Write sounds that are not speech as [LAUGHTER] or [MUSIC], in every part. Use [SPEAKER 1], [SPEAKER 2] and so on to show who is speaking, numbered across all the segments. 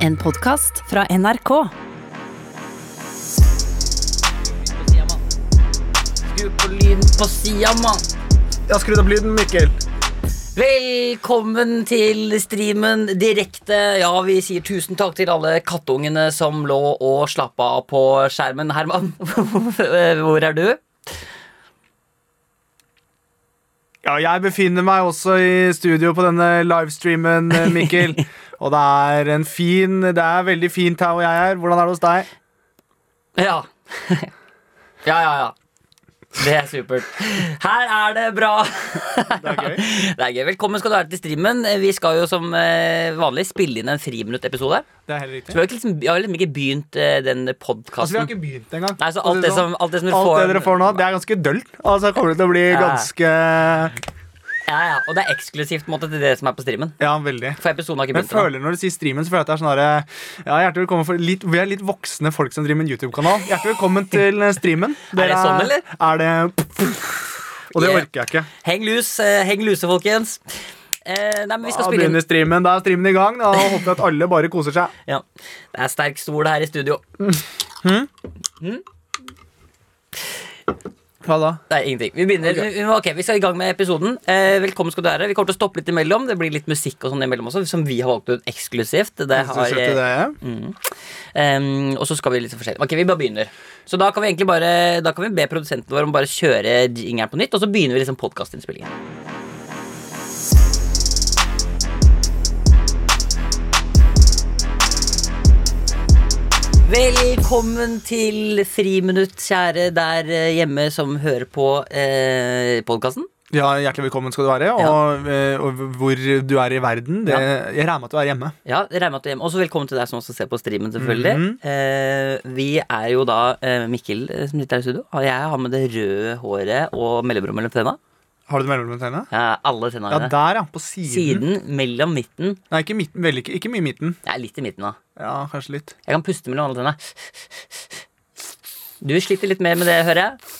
[SPEAKER 1] En podkast fra NRK.
[SPEAKER 2] Skru på lyden på sida, mann.
[SPEAKER 3] Jeg har skrudd opp lyden, Mikkel.
[SPEAKER 2] Velkommen til streamen direkte. Ja, vi sier tusen takk til alle kattungene som lå og slappa av på skjermen. Herman, [LAUGHS] hvor er du?
[SPEAKER 3] Ja, jeg befinner meg også i studio på denne livestreamen, eh, [LAUGHS] Mikkel. Og det er en fin Det er veldig fint her hvor jeg er. Hvordan er det hos deg?
[SPEAKER 2] Ja. [LAUGHS] Ja, ja, ja. Det er supert. Her er det bra.
[SPEAKER 3] Det er gøy.
[SPEAKER 2] Det er gøy. Velkommen skal du være til streamen. Vi skal jo som eh, vanlig spille inn en friminuttepisode.
[SPEAKER 3] Det er helt
[SPEAKER 2] Så Vi
[SPEAKER 3] riktig.
[SPEAKER 2] har jo ikke liksom, vi har jo liksom ikke begynt eh, den
[SPEAKER 3] Altså, vi
[SPEAKER 2] podkasten.
[SPEAKER 3] har ikke begynt engang.
[SPEAKER 2] Nei, så alt det som, alt det som vi
[SPEAKER 3] sånn. Alt
[SPEAKER 2] får
[SPEAKER 3] det dere får nå, det er ganske dølt. Altså, det kommer til å bli
[SPEAKER 2] Ja.
[SPEAKER 3] ganske
[SPEAKER 2] Ja, ja, Og det er eksklusivt på en måte, til det som er på streamen.
[SPEAKER 3] Ja, veldig.
[SPEAKER 2] For episoden har ikke
[SPEAKER 3] Men jeg
[SPEAKER 2] begynt ennå.
[SPEAKER 3] føler når du sier streamen, så føler jeg at det er sånn herre Ja, hjertelig velkommen for litt, Vi er litt voksne folk som driver med en YouTube-kanal. Hjertelig velkommen til eh, streamen.
[SPEAKER 2] det sånn, eller?
[SPEAKER 3] Er
[SPEAKER 2] [LAUGHS]
[SPEAKER 3] det Og det
[SPEAKER 2] Yeah.
[SPEAKER 3] orker jeg ikke.
[SPEAKER 2] Heng lus, eh, heng luse, folkens. Eh, nei, men vi skal
[SPEAKER 3] Da
[SPEAKER 2] spille inn
[SPEAKER 3] begynner streamen. Da er streamen i gang. Da håper jeg at alle bare koser seg.
[SPEAKER 2] ja. Det er sterk stol her i studio.
[SPEAKER 3] Hva da?
[SPEAKER 2] Nei, ingenting. Vi begynner, vi- vi- ok, vi skal i gang med episoden. Eh, velkommen skal du være. Vi kommer til å stoppe litt imellom. Det blir litt musikk og sånn imellom også, som vi har valgt ut eksklusivt. Det har, eh, em, og så skal vi litt forskjellig. Ok, vi bare begynner. Så da kan vi egentlig bare Da kan vi be produsenten vår om bare å kjøre jingeren på nytt, og så begynner vi liksom podkastinnspillingen. Velkommen til Friminutt, kjære der eh, hjemme som hører på eh, podkasten.
[SPEAKER 3] Ja, Hjertelig velkommen skal du være. Og, eh, og hvor du er i verden. Det, Jeg regner med at du er hjemme.
[SPEAKER 2] Ja, det regner med at du er hjemme. Også velkommen til deg som også ser på streamen, selvfølgelig.
[SPEAKER 3] Mhm.
[SPEAKER 2] eh, vi er jo da eh, Mikkel, eh, som sitter her i studio. Og jeg har med det røde håret og mellomrom mellom tenna.
[SPEAKER 3] Har du det mellom tennene?
[SPEAKER 2] Eh, alle tenna
[SPEAKER 3] Ja,
[SPEAKER 2] mine.
[SPEAKER 3] der, ja. På siden.
[SPEAKER 2] Siden, mellom, midten.
[SPEAKER 3] Nei, ikke, midten, vel, ikke, ikke mye i midten.
[SPEAKER 2] Jeg er litt i midten, da.
[SPEAKER 3] Ja, kanskje litt.
[SPEAKER 2] Jeg kan puste mellom alle tenna. Du sliter litt mer med det, hører jeg.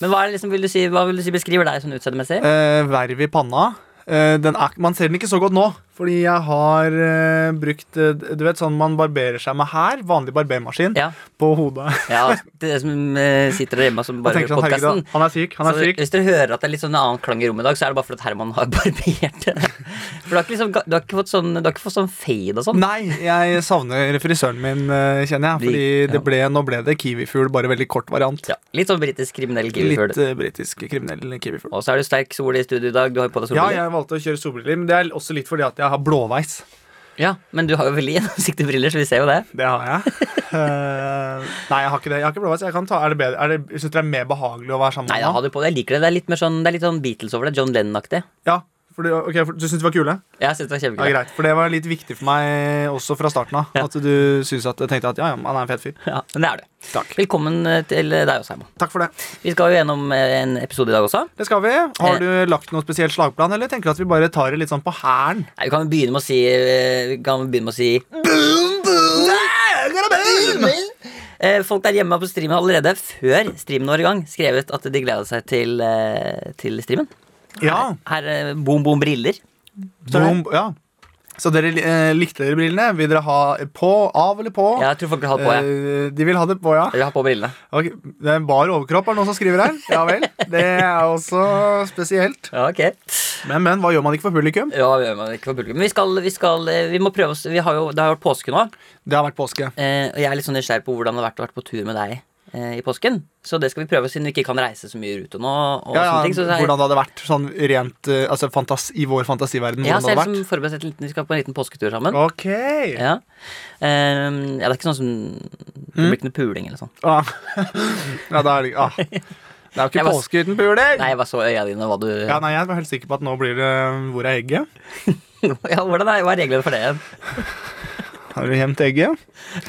[SPEAKER 2] Men hva, er det liksom, vil du si, hva vil du si beskriver deg sånn utseendemessig?
[SPEAKER 3] Eh, verv i panna. Eh, den er, man ser den ikke så godt nå, fordi jeg har eh, brukt eh, Du vet sånn man barberer seg med her. Vanlig barbermaskin.
[SPEAKER 2] Ja.
[SPEAKER 3] På hodet. [LAUGHS]
[SPEAKER 2] Ja, dere som eh, sitter der hjemme som
[SPEAKER 3] Og
[SPEAKER 2] bare
[SPEAKER 3] tenker
[SPEAKER 2] hører
[SPEAKER 3] sånn,
[SPEAKER 2] podkasten.
[SPEAKER 3] herregud, han- han er syk. Han
[SPEAKER 2] Så
[SPEAKER 3] er syk.
[SPEAKER 2] hvis dere hører at det er litt sånn en annen klang i rommet i dag, så er det bare fordi at Herman har [LAUGHS] barbert. For du har ikke, liksom, du har ikke fått sånn Du har ikke fått sånn fade og sånn.
[SPEAKER 3] Nei, jeg savner frisøren min, eh, kjenner jeg. Fordi
[SPEAKER 2] Bli- ja.
[SPEAKER 3] det ble, nå ble det kiwifugl, bare veldig kort variant.
[SPEAKER 2] Ja, litt sånn britisk kriminell kiwifugl.
[SPEAKER 3] Litt eh, britisk kriminell kiwifugl.
[SPEAKER 2] Og så er du sterk sol i studio i dag. Du har jo på deg
[SPEAKER 3] Ja,
[SPEAKER 2] solbriller.
[SPEAKER 3] jeg valgte å kjøre solbriller, men det er også litt fordi at jeg har blåveis.
[SPEAKER 2] Ja, men du har jo veldig [LAUGHS] gjennomsiktige briller, så vi ser jo det.
[SPEAKER 3] Det har
[SPEAKER 2] [LAUGHS]
[SPEAKER 3] jeg. Eh, nei, jeg har ikke det. Jeg har ikke blåveis. Jeg kan ta, er det bedre? Er det, synes dere det er mer behagelig å være sammen
[SPEAKER 2] Nei, jeg
[SPEAKER 3] med
[SPEAKER 2] har det på det. Jeg liker det. Det er litt, mer sånn, det er litt sånn Beatles over det. John Lennon-aktig.
[SPEAKER 3] Ja, for du, ok, for, du syns de var kule?
[SPEAKER 2] Jeg synes det var
[SPEAKER 3] Ja,
[SPEAKER 2] kjempegøy.
[SPEAKER 3] Greit. For det var litt viktig for meg også fra starten av.
[SPEAKER 2] Ja.
[SPEAKER 3] At du synes at, tenkte at ja, ja, han er en fet fyr.
[SPEAKER 2] Ja, men det er det.
[SPEAKER 3] Takk.
[SPEAKER 2] Velkommen eh, til deg også, Herman.
[SPEAKER 3] Takk for det.
[SPEAKER 2] Vi skal jo gjennom eh, en episode i dag også.
[SPEAKER 3] Det skal vi.
[SPEAKER 2] Eh.
[SPEAKER 3] Har du lagt noe spesielt slagplan, eller tenker du at vi bare tar det litt sånn på hæren?
[SPEAKER 2] Nei, vi kan jo begynne med å si eh, Vi kan jo begynne med å si Eh, Folk der hjemme på streamen har allerede før streamen var i gang, skrevet at de gleda seg til, eh, til streamen.
[SPEAKER 3] Ja.
[SPEAKER 2] Her eh, Boom Boom Briller.
[SPEAKER 3] Så,
[SPEAKER 2] Boom.
[SPEAKER 3] ja. så dere eh, likte dere brillene? Vil dere ha på, av eller på?
[SPEAKER 2] Jeg tror folk vil ha det på, jeg.
[SPEAKER 3] Eh, de vil ha det på, ja.
[SPEAKER 2] Eller ha på brillene.
[SPEAKER 3] Ok, Det er bar overkropp, er det noen som skriver her. Ja vel. Det er også spesielt.
[SPEAKER 2] Ja, ok
[SPEAKER 3] Men, men, hva gjør man ikke for publikum?
[SPEAKER 2] Ja, vi, men ikke for publikum. vi skal, vi skal eh, Vi må prøve oss vi har jo, Det har vært påske nå,
[SPEAKER 3] Det har vært påske.
[SPEAKER 2] eh, og jeg er litt sånn nysgjerrig på hvordan det har vært å være på tur med deg eh, i påsken. Så det skal vi prøve, siden vi ikke kan reise så mye i rute nå. Og
[SPEAKER 3] Ja,
[SPEAKER 2] sånne
[SPEAKER 3] ja,
[SPEAKER 2] ting, så det er-
[SPEAKER 3] hvordan det hadde vært sånn rent eh, altså, fantas i vår fantasiverden.
[SPEAKER 2] Ja,
[SPEAKER 3] Hvordan det
[SPEAKER 2] selv
[SPEAKER 3] hadde
[SPEAKER 2] som
[SPEAKER 3] vært.
[SPEAKER 2] forberedt et liten, vi skal på en liten påsketur sammen.
[SPEAKER 3] Ok.
[SPEAKER 2] Ja. Ehm, ja, det er ikke sånn som Det
[SPEAKER 3] Mm.
[SPEAKER 2] blir ikke noe puling eller sånn.
[SPEAKER 3] Ah. [LAUGHS] Ja, da er det ah. Det er jo
[SPEAKER 2] Jeg
[SPEAKER 3] ikke
[SPEAKER 2] var-
[SPEAKER 3] påske uten puling!
[SPEAKER 2] Nei, jeg bare så øya dine hva du
[SPEAKER 3] Ja,
[SPEAKER 2] [LAUGHS] ja,
[SPEAKER 3] nei, jeg var helt sikker på at nå blir det eh, Hvor er egget?
[SPEAKER 2] hvordan er, Hva er reglene for det igjen?
[SPEAKER 3] Har du gjemt egget?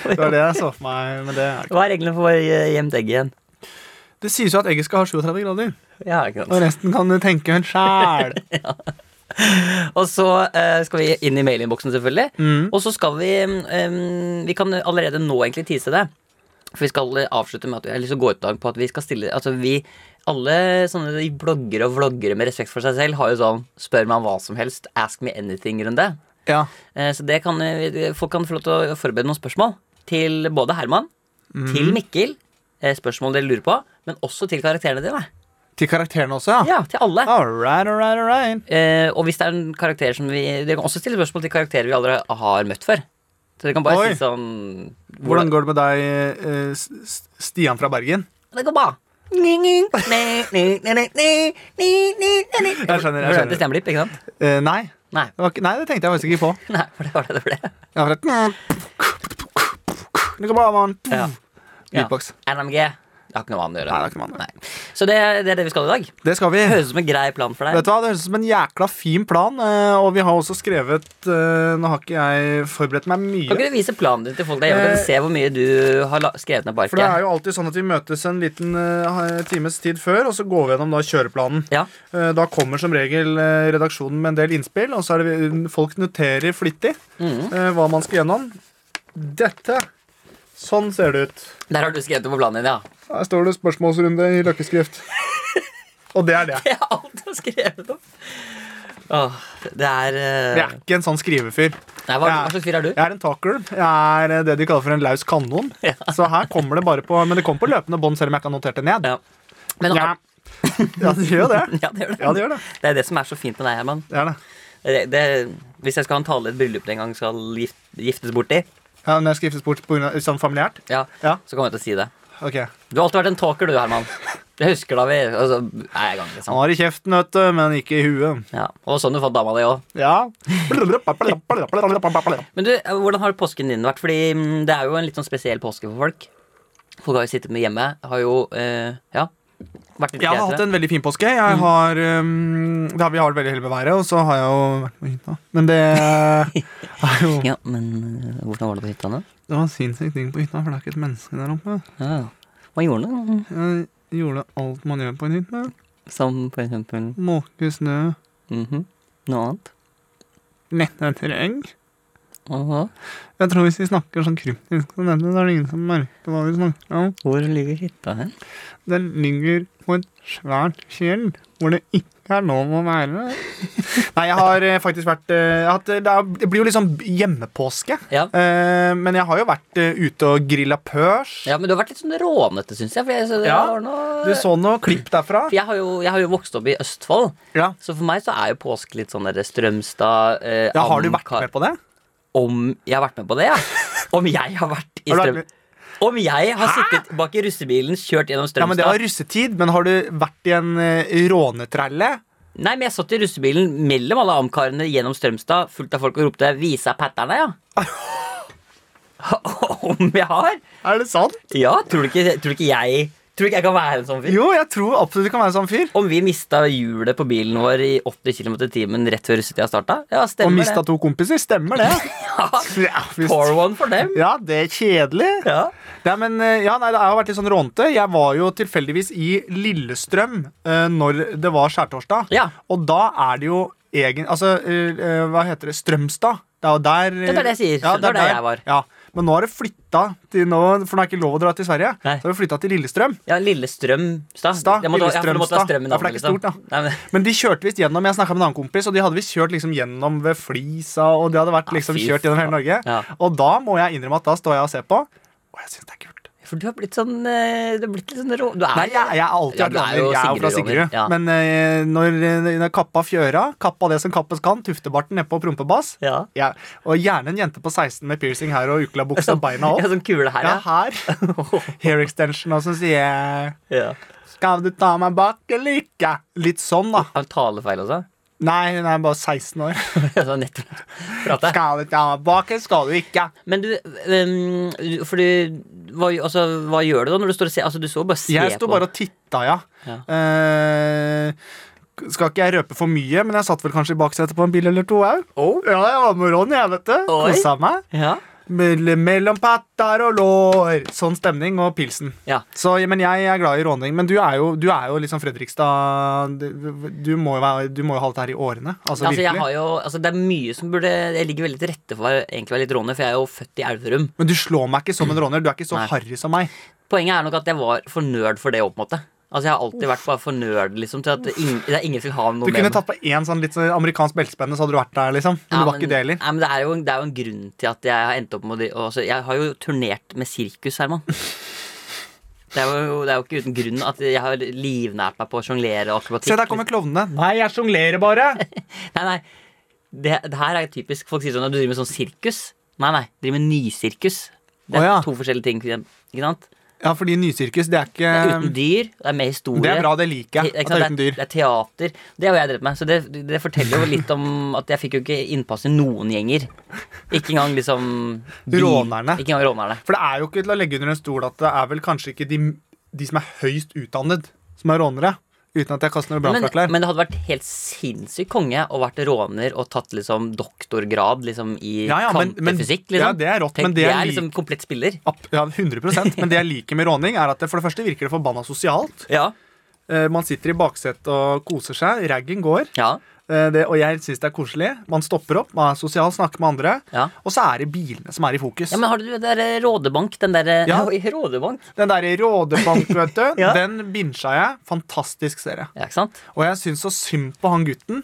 [SPEAKER 3] Det var det jeg så for meg. Men det er
[SPEAKER 2] Hva er reglene for eh, gjemt egg igjen?
[SPEAKER 3] Det sies jo at egget skal ha 37 grader.
[SPEAKER 2] Ja, ikke
[SPEAKER 3] Og
[SPEAKER 2] sant.
[SPEAKER 3] resten kan du tenke en sjæl.
[SPEAKER 2] Og så eh, skal vi inn i mailinnboksen, selvfølgelig.
[SPEAKER 3] Mm.
[SPEAKER 2] Og så skal vi ehm, Vi kan allerede nå egentlig tease det. For vi skal eh, avslutte med at vi har lyst til å gå ut i dag på at vi skal stille Altså vi Alle sånne bloggere og vloggere med respekt for seg selv har jo sånn Spør meg om hva som helst, ask me anything-runde.
[SPEAKER 3] Ja.
[SPEAKER 2] Eh, Så det kan, vi- folk kan få lov til å forberede noen spørsmål til både Herman,
[SPEAKER 3] Mhm.
[SPEAKER 2] til Mikkel, eh, spørsmål dere lurer på, men også til karakterene dine.
[SPEAKER 3] Til karakterene også, ja?
[SPEAKER 2] Ja, til alle.
[SPEAKER 3] All right, all right, all right.
[SPEAKER 2] Eh, og hvis det er en karakter som vi Dere kan også stille spørsmål til karakterer vi aldri har møtt før. Så dere kan bare
[SPEAKER 3] Oi.
[SPEAKER 2] si sånn
[SPEAKER 3] Hvordan går det med deg, eh, S- S- Stian fra Bergen?
[SPEAKER 2] Det går bra. Jeg
[SPEAKER 3] skjønner, jeg skjønner.
[SPEAKER 2] Det stemmer litt, ikke sant?
[SPEAKER 3] Eh, nei.
[SPEAKER 2] Nei. [LAUGHS]
[SPEAKER 3] Det var ikke, nei, det tenkte jeg faktisk ikke på.
[SPEAKER 2] Nei, for det var det det ble.
[SPEAKER 3] Jeg var rett. Det går bra, mann.
[SPEAKER 2] Ja. Ja.
[SPEAKER 3] Beatbox.
[SPEAKER 2] NMG. Det har ikke noe med annet å gjøre.
[SPEAKER 3] Mm. Nei, det har ikke noe med annet å
[SPEAKER 2] Nei. Så det, det er det vi skal i dag.
[SPEAKER 3] Det skal vi.
[SPEAKER 2] Høres ut som en grei plan for
[SPEAKER 3] Vet
[SPEAKER 2] deg.
[SPEAKER 3] du hva, Det høres ut som en jækla fin plan, eh, og vi har også skrevet eh, Nå har ikke jeg forberedt meg
[SPEAKER 2] Kan
[SPEAKER 3] mye.
[SPEAKER 2] ikke du vise planen din til folk der hjemme? Kan de se hvor mye du har la- skrevet ned på
[SPEAKER 3] For det er
[SPEAKER 2] arket?
[SPEAKER 3] jo alltid sånn at vi møtes en liten eh, times tid før, og så går vi gjennom da kjøreplanen.
[SPEAKER 2] Ja.
[SPEAKER 3] Eh, Da kommer som regel eh, redaksjonen med en del innspill, og så er det folk noterer flittig
[SPEAKER 2] Mhm.
[SPEAKER 3] eh, hva man skal gjennom. Dette. Sånn ser det ut.
[SPEAKER 2] Der har du skrevet det på planen din, ja. [LAUGHS]
[SPEAKER 3] Her står det spørsmålsrunde i løkkeskrift. [LAUGHS] og det er det.
[SPEAKER 2] Jeg har alt jeg har skrevet opp. Åh, det er
[SPEAKER 3] Jeg
[SPEAKER 2] eh,
[SPEAKER 3] er ikke en sånn skrivefyr.
[SPEAKER 2] Nei, hva,
[SPEAKER 3] Ja.
[SPEAKER 2] hva slags fyr er du?
[SPEAKER 3] Jeg er en talker. Jeg er eh, det de kaller for en laus kanon. Så her kommer det bare på Men det kommer på løpende bånd, selv om jeg ikke har notert det ned.
[SPEAKER 2] Ja. Men,
[SPEAKER 3] Ja. ja, det gjør jo det.
[SPEAKER 2] [LAUGHS] Ja, det gjør det.
[SPEAKER 3] Ja, det gjør det.
[SPEAKER 2] Det er det som er så fint med deg, Herman.
[SPEAKER 3] det, er det.
[SPEAKER 2] Det, det, hvis jeg skal ha en tale i et bryllup du en gang skal gift, giftes bort i,
[SPEAKER 3] Ja, Når jeg skriftes bort pga. sånn familiært?
[SPEAKER 2] ja,
[SPEAKER 3] Ja,
[SPEAKER 2] så kommer jeg til å si det.
[SPEAKER 3] ok.
[SPEAKER 2] Du har alltid vært en talker, du, Herman. Jeg husker da vi altså, Nei, jeg kan ikke
[SPEAKER 3] Han
[SPEAKER 2] sånn.
[SPEAKER 3] har i kjeften, vet du, men ikke i huet.
[SPEAKER 2] Ja, og sånn du fant dama di òg.
[SPEAKER 3] Ja.
[SPEAKER 2] Men du, hvordan har påsken din vært? Fordi mm, det er jo en litt sånn spesiell påske for folk. Folk har jo sittet med hjemme. Har jo eh, ja, vært litt
[SPEAKER 3] Jeg har hatt
[SPEAKER 2] kreative.
[SPEAKER 3] en veldig fin påske. Jeg
[SPEAKER 2] Mm.
[SPEAKER 3] har, um, da vi har vært veldig heldig med været, og så har jeg jo vært på hytta.
[SPEAKER 2] [LAUGHS]
[SPEAKER 3] Men det er jo
[SPEAKER 2] Ja, men eh, hvordan var det på hytta? da?
[SPEAKER 3] Det var sinnssykt digg på hytta, for det er ikke et menneske der oppe.
[SPEAKER 2] Ja. Hva gjorde du?
[SPEAKER 3] Jeg gjorde alt man gjør på en hytte.
[SPEAKER 2] Som for eksempel
[SPEAKER 3] Måke snø,
[SPEAKER 2] mhm, noe annet?
[SPEAKER 3] lette terreng.
[SPEAKER 2] Aha.
[SPEAKER 3] Jeg tror hvis vi snakker sånn kryptisk om dette, så er det ingen som merker hva vi snakker om.
[SPEAKER 2] Hvor ligger hytta hen?
[SPEAKER 3] Den ligger på et svært fjell hvor det ikke er lov å være. [LAUGHS] Nei, jeg har eh, faktisk vært eh, jeg har hatt, eh, Det er- det blir jo liksom hjemmepåske.
[SPEAKER 2] Ja.
[SPEAKER 3] Eh, men jeg har jo vært eh, ute og grilla pørs.
[SPEAKER 2] ja, men du har vært litt sånn rånete, syns jeg. For jeg, så det
[SPEAKER 3] Ja,
[SPEAKER 2] var noe...
[SPEAKER 3] Du så noe klipp derfra?
[SPEAKER 2] for jeg, har jo, jeg har jo vokst opp i Østfold,
[SPEAKER 3] Ja.
[SPEAKER 2] så for meg så er jo påske litt sånn der Strømstad eh,
[SPEAKER 3] ja har du
[SPEAKER 2] Am-
[SPEAKER 3] vært med på det?
[SPEAKER 2] Om jeg har vært med på
[SPEAKER 3] [LAUGHS]
[SPEAKER 2] det, ja? Om jeg har vært i
[SPEAKER 3] Har du vært
[SPEAKER 2] Strøm...
[SPEAKER 3] med?
[SPEAKER 2] Om jeg har sittet bak i russebilen, kjørt gjennom
[SPEAKER 3] Ja, men Det var
[SPEAKER 2] Strømstad
[SPEAKER 3] russetid, men har du vært i en eh, rånetrelle?
[SPEAKER 2] Nei, men jeg satt i russebilen mellom alle amkarene gjennom Strømstad, fullt av folk og ropte 'Visa patterna',
[SPEAKER 3] [LAUGHS]
[SPEAKER 2] ja. [LAUGHS] Om jeg har?
[SPEAKER 3] Er det sant?
[SPEAKER 2] Ja, tror du ikke, tror du ikke jeg Tror du ikke jeg kan være en sånn fyr?
[SPEAKER 3] Jo, jeg tror absolutt du kan være en sånn fyr.
[SPEAKER 2] Om vi mista hjulet på bilen vår i 80 km i timen rett før russetida starta? Ja,
[SPEAKER 3] Og
[SPEAKER 2] stemmer
[SPEAKER 3] mista
[SPEAKER 2] det.
[SPEAKER 3] to kompiser. Stemmer det?
[SPEAKER 2] [LAUGHS] Ja,
[SPEAKER 3] Ja, visst.
[SPEAKER 2] Pour one for dem.
[SPEAKER 3] ja, det er kjedelig.
[SPEAKER 2] Ja.
[SPEAKER 3] Ja, men, eh, ja, nei, Det har jo vært litt sånn rånete. Jeg var jo tilfeldigvis i Lillestrøm eh, når det var skjærtorsdag.
[SPEAKER 2] Ja.
[SPEAKER 3] Og da er det jo egen... Altså, eh, eh, hva heter det? Strømstad. Det er jo der
[SPEAKER 2] Det er det jeg sier. Det var der jeg var.
[SPEAKER 3] Ja. Men nå har det flytta til nå, For det er ikke lov å dra til Sverige.
[SPEAKER 2] Nei.
[SPEAKER 3] Så har det flytta til Lillestrøm.
[SPEAKER 2] ja Lillestrømstad.
[SPEAKER 3] Stad,
[SPEAKER 2] Jeg måtte- ja, for det måtte ha
[SPEAKER 3] Lillestrømstad.
[SPEAKER 2] strøm i
[SPEAKER 3] Ja, for
[SPEAKER 2] navnet,
[SPEAKER 3] det er ikke
[SPEAKER 2] liksom.
[SPEAKER 3] stort, da.
[SPEAKER 2] Nei, men,
[SPEAKER 3] Men de kjørte visst gjennom. Jeg snakket med en annen kompis, og de hadde visst kjørt liksom gjennom ved Flisa, og det hadde vært liksom
[SPEAKER 2] fy
[SPEAKER 3] kjørt gjennom hele Norge.
[SPEAKER 2] Ja.
[SPEAKER 3] Og da må jeg innrømme at da står jeg og ser på, og jeg syns det er kult.
[SPEAKER 2] for du har blitt sånn eh, Du har blitt litt sånn rå... Du er,
[SPEAKER 3] Nei, jeg, jeg er alltid
[SPEAKER 2] Ja,
[SPEAKER 3] vært
[SPEAKER 2] du er
[SPEAKER 3] råner.
[SPEAKER 2] jo
[SPEAKER 3] Jeg er jo fra
[SPEAKER 2] Sigrid-råner,
[SPEAKER 3] Sigrud.
[SPEAKER 2] ja.
[SPEAKER 3] Men eh, når, eh, når kappa fjøra, kappa det som kappes kan, tuftebarten nedpå og prompebass
[SPEAKER 2] Ja.
[SPEAKER 3] ja, Og gjerne en jente på 16 med piercing her og ukla buksa og
[SPEAKER 2] Jeg
[SPEAKER 3] beina opp.
[SPEAKER 2] har sånn kule her, [LAUGHS]
[SPEAKER 3] Ja,
[SPEAKER 2] ja.
[SPEAKER 3] her.
[SPEAKER 2] [LAUGHS]
[SPEAKER 3] Hair extension, og så sier jeg
[SPEAKER 2] ja.
[SPEAKER 3] Skal du ta meg bak eller ikke? Litt sånn, da.
[SPEAKER 2] Har du talefeil [LAUGHS] også?
[SPEAKER 3] Nei, hun er bare 16 år.
[SPEAKER 2] Jeg sa nettopp prate.
[SPEAKER 3] Skal du ta meg bak, eller skal du ikke?
[SPEAKER 2] Men du, um, for du hva, altså, hva gjør du da når du står og ser? Altså, du så bare se
[SPEAKER 3] Jeg sto
[SPEAKER 2] på.
[SPEAKER 3] bare og titta, ja.
[SPEAKER 2] Ja.
[SPEAKER 3] Eh, skal ikke jeg røpe for mye, men jeg satt vel kanskje i baksetet på en bil eller to òg.
[SPEAKER 2] Oh.
[SPEAKER 3] Ja, jeg var med Ronny, jeg, vet du.
[SPEAKER 2] Oi.
[SPEAKER 3] Kosa meg.
[SPEAKER 2] Ja.
[SPEAKER 3] Mell- Mellom patter og lår. Sånn stemning og pilsen.
[SPEAKER 2] ja.
[SPEAKER 3] Så, ja, men jeg er glad i råning. Men du er jo, du er jo liksom Fredrikstad Du, du, må jo være, du må jo ha dette her i årene. Altså,
[SPEAKER 2] Altså, jeg
[SPEAKER 3] virkelig.
[SPEAKER 2] har jo, altså, det er mye som burde Jeg ligger veldig til rette for å være, egentlig være litt råner, for jeg er jo født i Elverum.
[SPEAKER 3] Men du slår meg ikke som en råner. Du er ikke så
[SPEAKER 2] Nei.
[SPEAKER 3] harry som meg.
[SPEAKER 2] Poenget er nok at jeg var for nerd for det òg, på en måte. Altså Jeg har alltid vært bare for nerd liksom, til at ingen, det er ingen som vil ha noe
[SPEAKER 3] Du
[SPEAKER 2] med
[SPEAKER 3] kunne
[SPEAKER 2] meg.
[SPEAKER 3] tatt på én sånn litt sånn amerikansk beltespenne, så hadde du vært der, liksom. Men
[SPEAKER 2] Ja,
[SPEAKER 3] det var ikke det heller.
[SPEAKER 2] Nei, men det er, jo, det er jo en grunn til at jeg har endt opp med å dri- og altså, Jeg har jo turnert med sirkus,
[SPEAKER 3] [LAUGHS]
[SPEAKER 2] Herman. Det er, jo, det er jo ikke uten grunn at jeg har livnært meg på å sjonglere og akrobatikk.
[SPEAKER 3] Se, der kommer klovnene. Nei, jeg sjonglerer bare.
[SPEAKER 2] Nei, nei. Det, det her er typisk. Folk sier sånn at du driver med sånn sirkus. Nei, nei. Driver med nysirkus. Det
[SPEAKER 3] Å,
[SPEAKER 2] er
[SPEAKER 3] ja.
[SPEAKER 2] to forskjellige ting. Ikke sant?
[SPEAKER 3] [LAUGHS] Ja, fordi nysirkus, det er ikke
[SPEAKER 2] Det er uten dyr. Det er med historie.
[SPEAKER 3] Det er bra, det liker
[SPEAKER 2] Te-
[SPEAKER 3] jeg.
[SPEAKER 2] ikke
[SPEAKER 3] At det
[SPEAKER 2] sant?
[SPEAKER 3] er uten dyr.
[SPEAKER 2] Det er teater. Det har jeg drevet med. Så det, det forteller jo litt om at jeg fikk jo ikke innpass i noen gjenger. Ikke engang liksom bil-
[SPEAKER 3] Rånerne.
[SPEAKER 2] Ikke engang rånerne.
[SPEAKER 3] For det er jo ikke til å legge under en stol at det er vel kanskje ikke de, de som er høyst utdannet, som er rånere. Uten at jeg kaster noe
[SPEAKER 2] Men,
[SPEAKER 3] brannfakler.
[SPEAKER 2] men det hadde vært helt sinnssykt konge å vært råner og tatt liksom doktorgrad liksom i
[SPEAKER 3] Ja, ja, men- men-
[SPEAKER 2] kvantefysikk. Liksom.
[SPEAKER 3] ja, det er rått, men det
[SPEAKER 2] jeg
[SPEAKER 3] er
[SPEAKER 2] er
[SPEAKER 3] lik-
[SPEAKER 2] liksom komplett spiller.
[SPEAKER 3] Ab- Ja, 100 Men det jeg liker med råning, er at det for det første virker det forbanna sosialt.
[SPEAKER 2] Ja.
[SPEAKER 3] Eh, Man sitter i baksetet og koser seg. Raggen går.
[SPEAKER 2] ja.
[SPEAKER 3] Eh, Det, og jeg syns det er koselig. Man stopper opp, man er sosial, snakker med andre.
[SPEAKER 2] Ja.
[SPEAKER 3] Og så er det bilene som er i fokus.
[SPEAKER 2] Ja, men har du det der eh, Rådebank? Den der
[SPEAKER 3] Ja.
[SPEAKER 2] [LAUGHS] ja. Rådebank?
[SPEAKER 3] Den derre
[SPEAKER 2] [LAUGHS]
[SPEAKER 3] Rådebank, vet du,
[SPEAKER 2] Ja.
[SPEAKER 3] den bincha jeg. Fantastisk serie.
[SPEAKER 2] Ja, ikke sant?
[SPEAKER 3] Og jeg syns så synd på han gutten.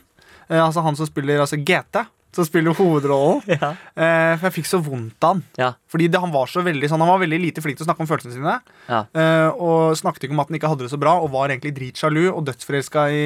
[SPEAKER 3] Eh, altså han som spiller altså GT. Som spiller
[SPEAKER 2] [LAUGHS]
[SPEAKER 3] hovedrollen. Eh, for jeg fikk så vondt av han.
[SPEAKER 2] Ja.
[SPEAKER 3] Fordi det, han var så veldig sånn, han var veldig lite flink til å snakke om følelsene sine.
[SPEAKER 2] Ja.
[SPEAKER 3] eh, og snakket ikke om at han ikke hadde det så bra, og var egentlig dritsjalu og dødsforelska i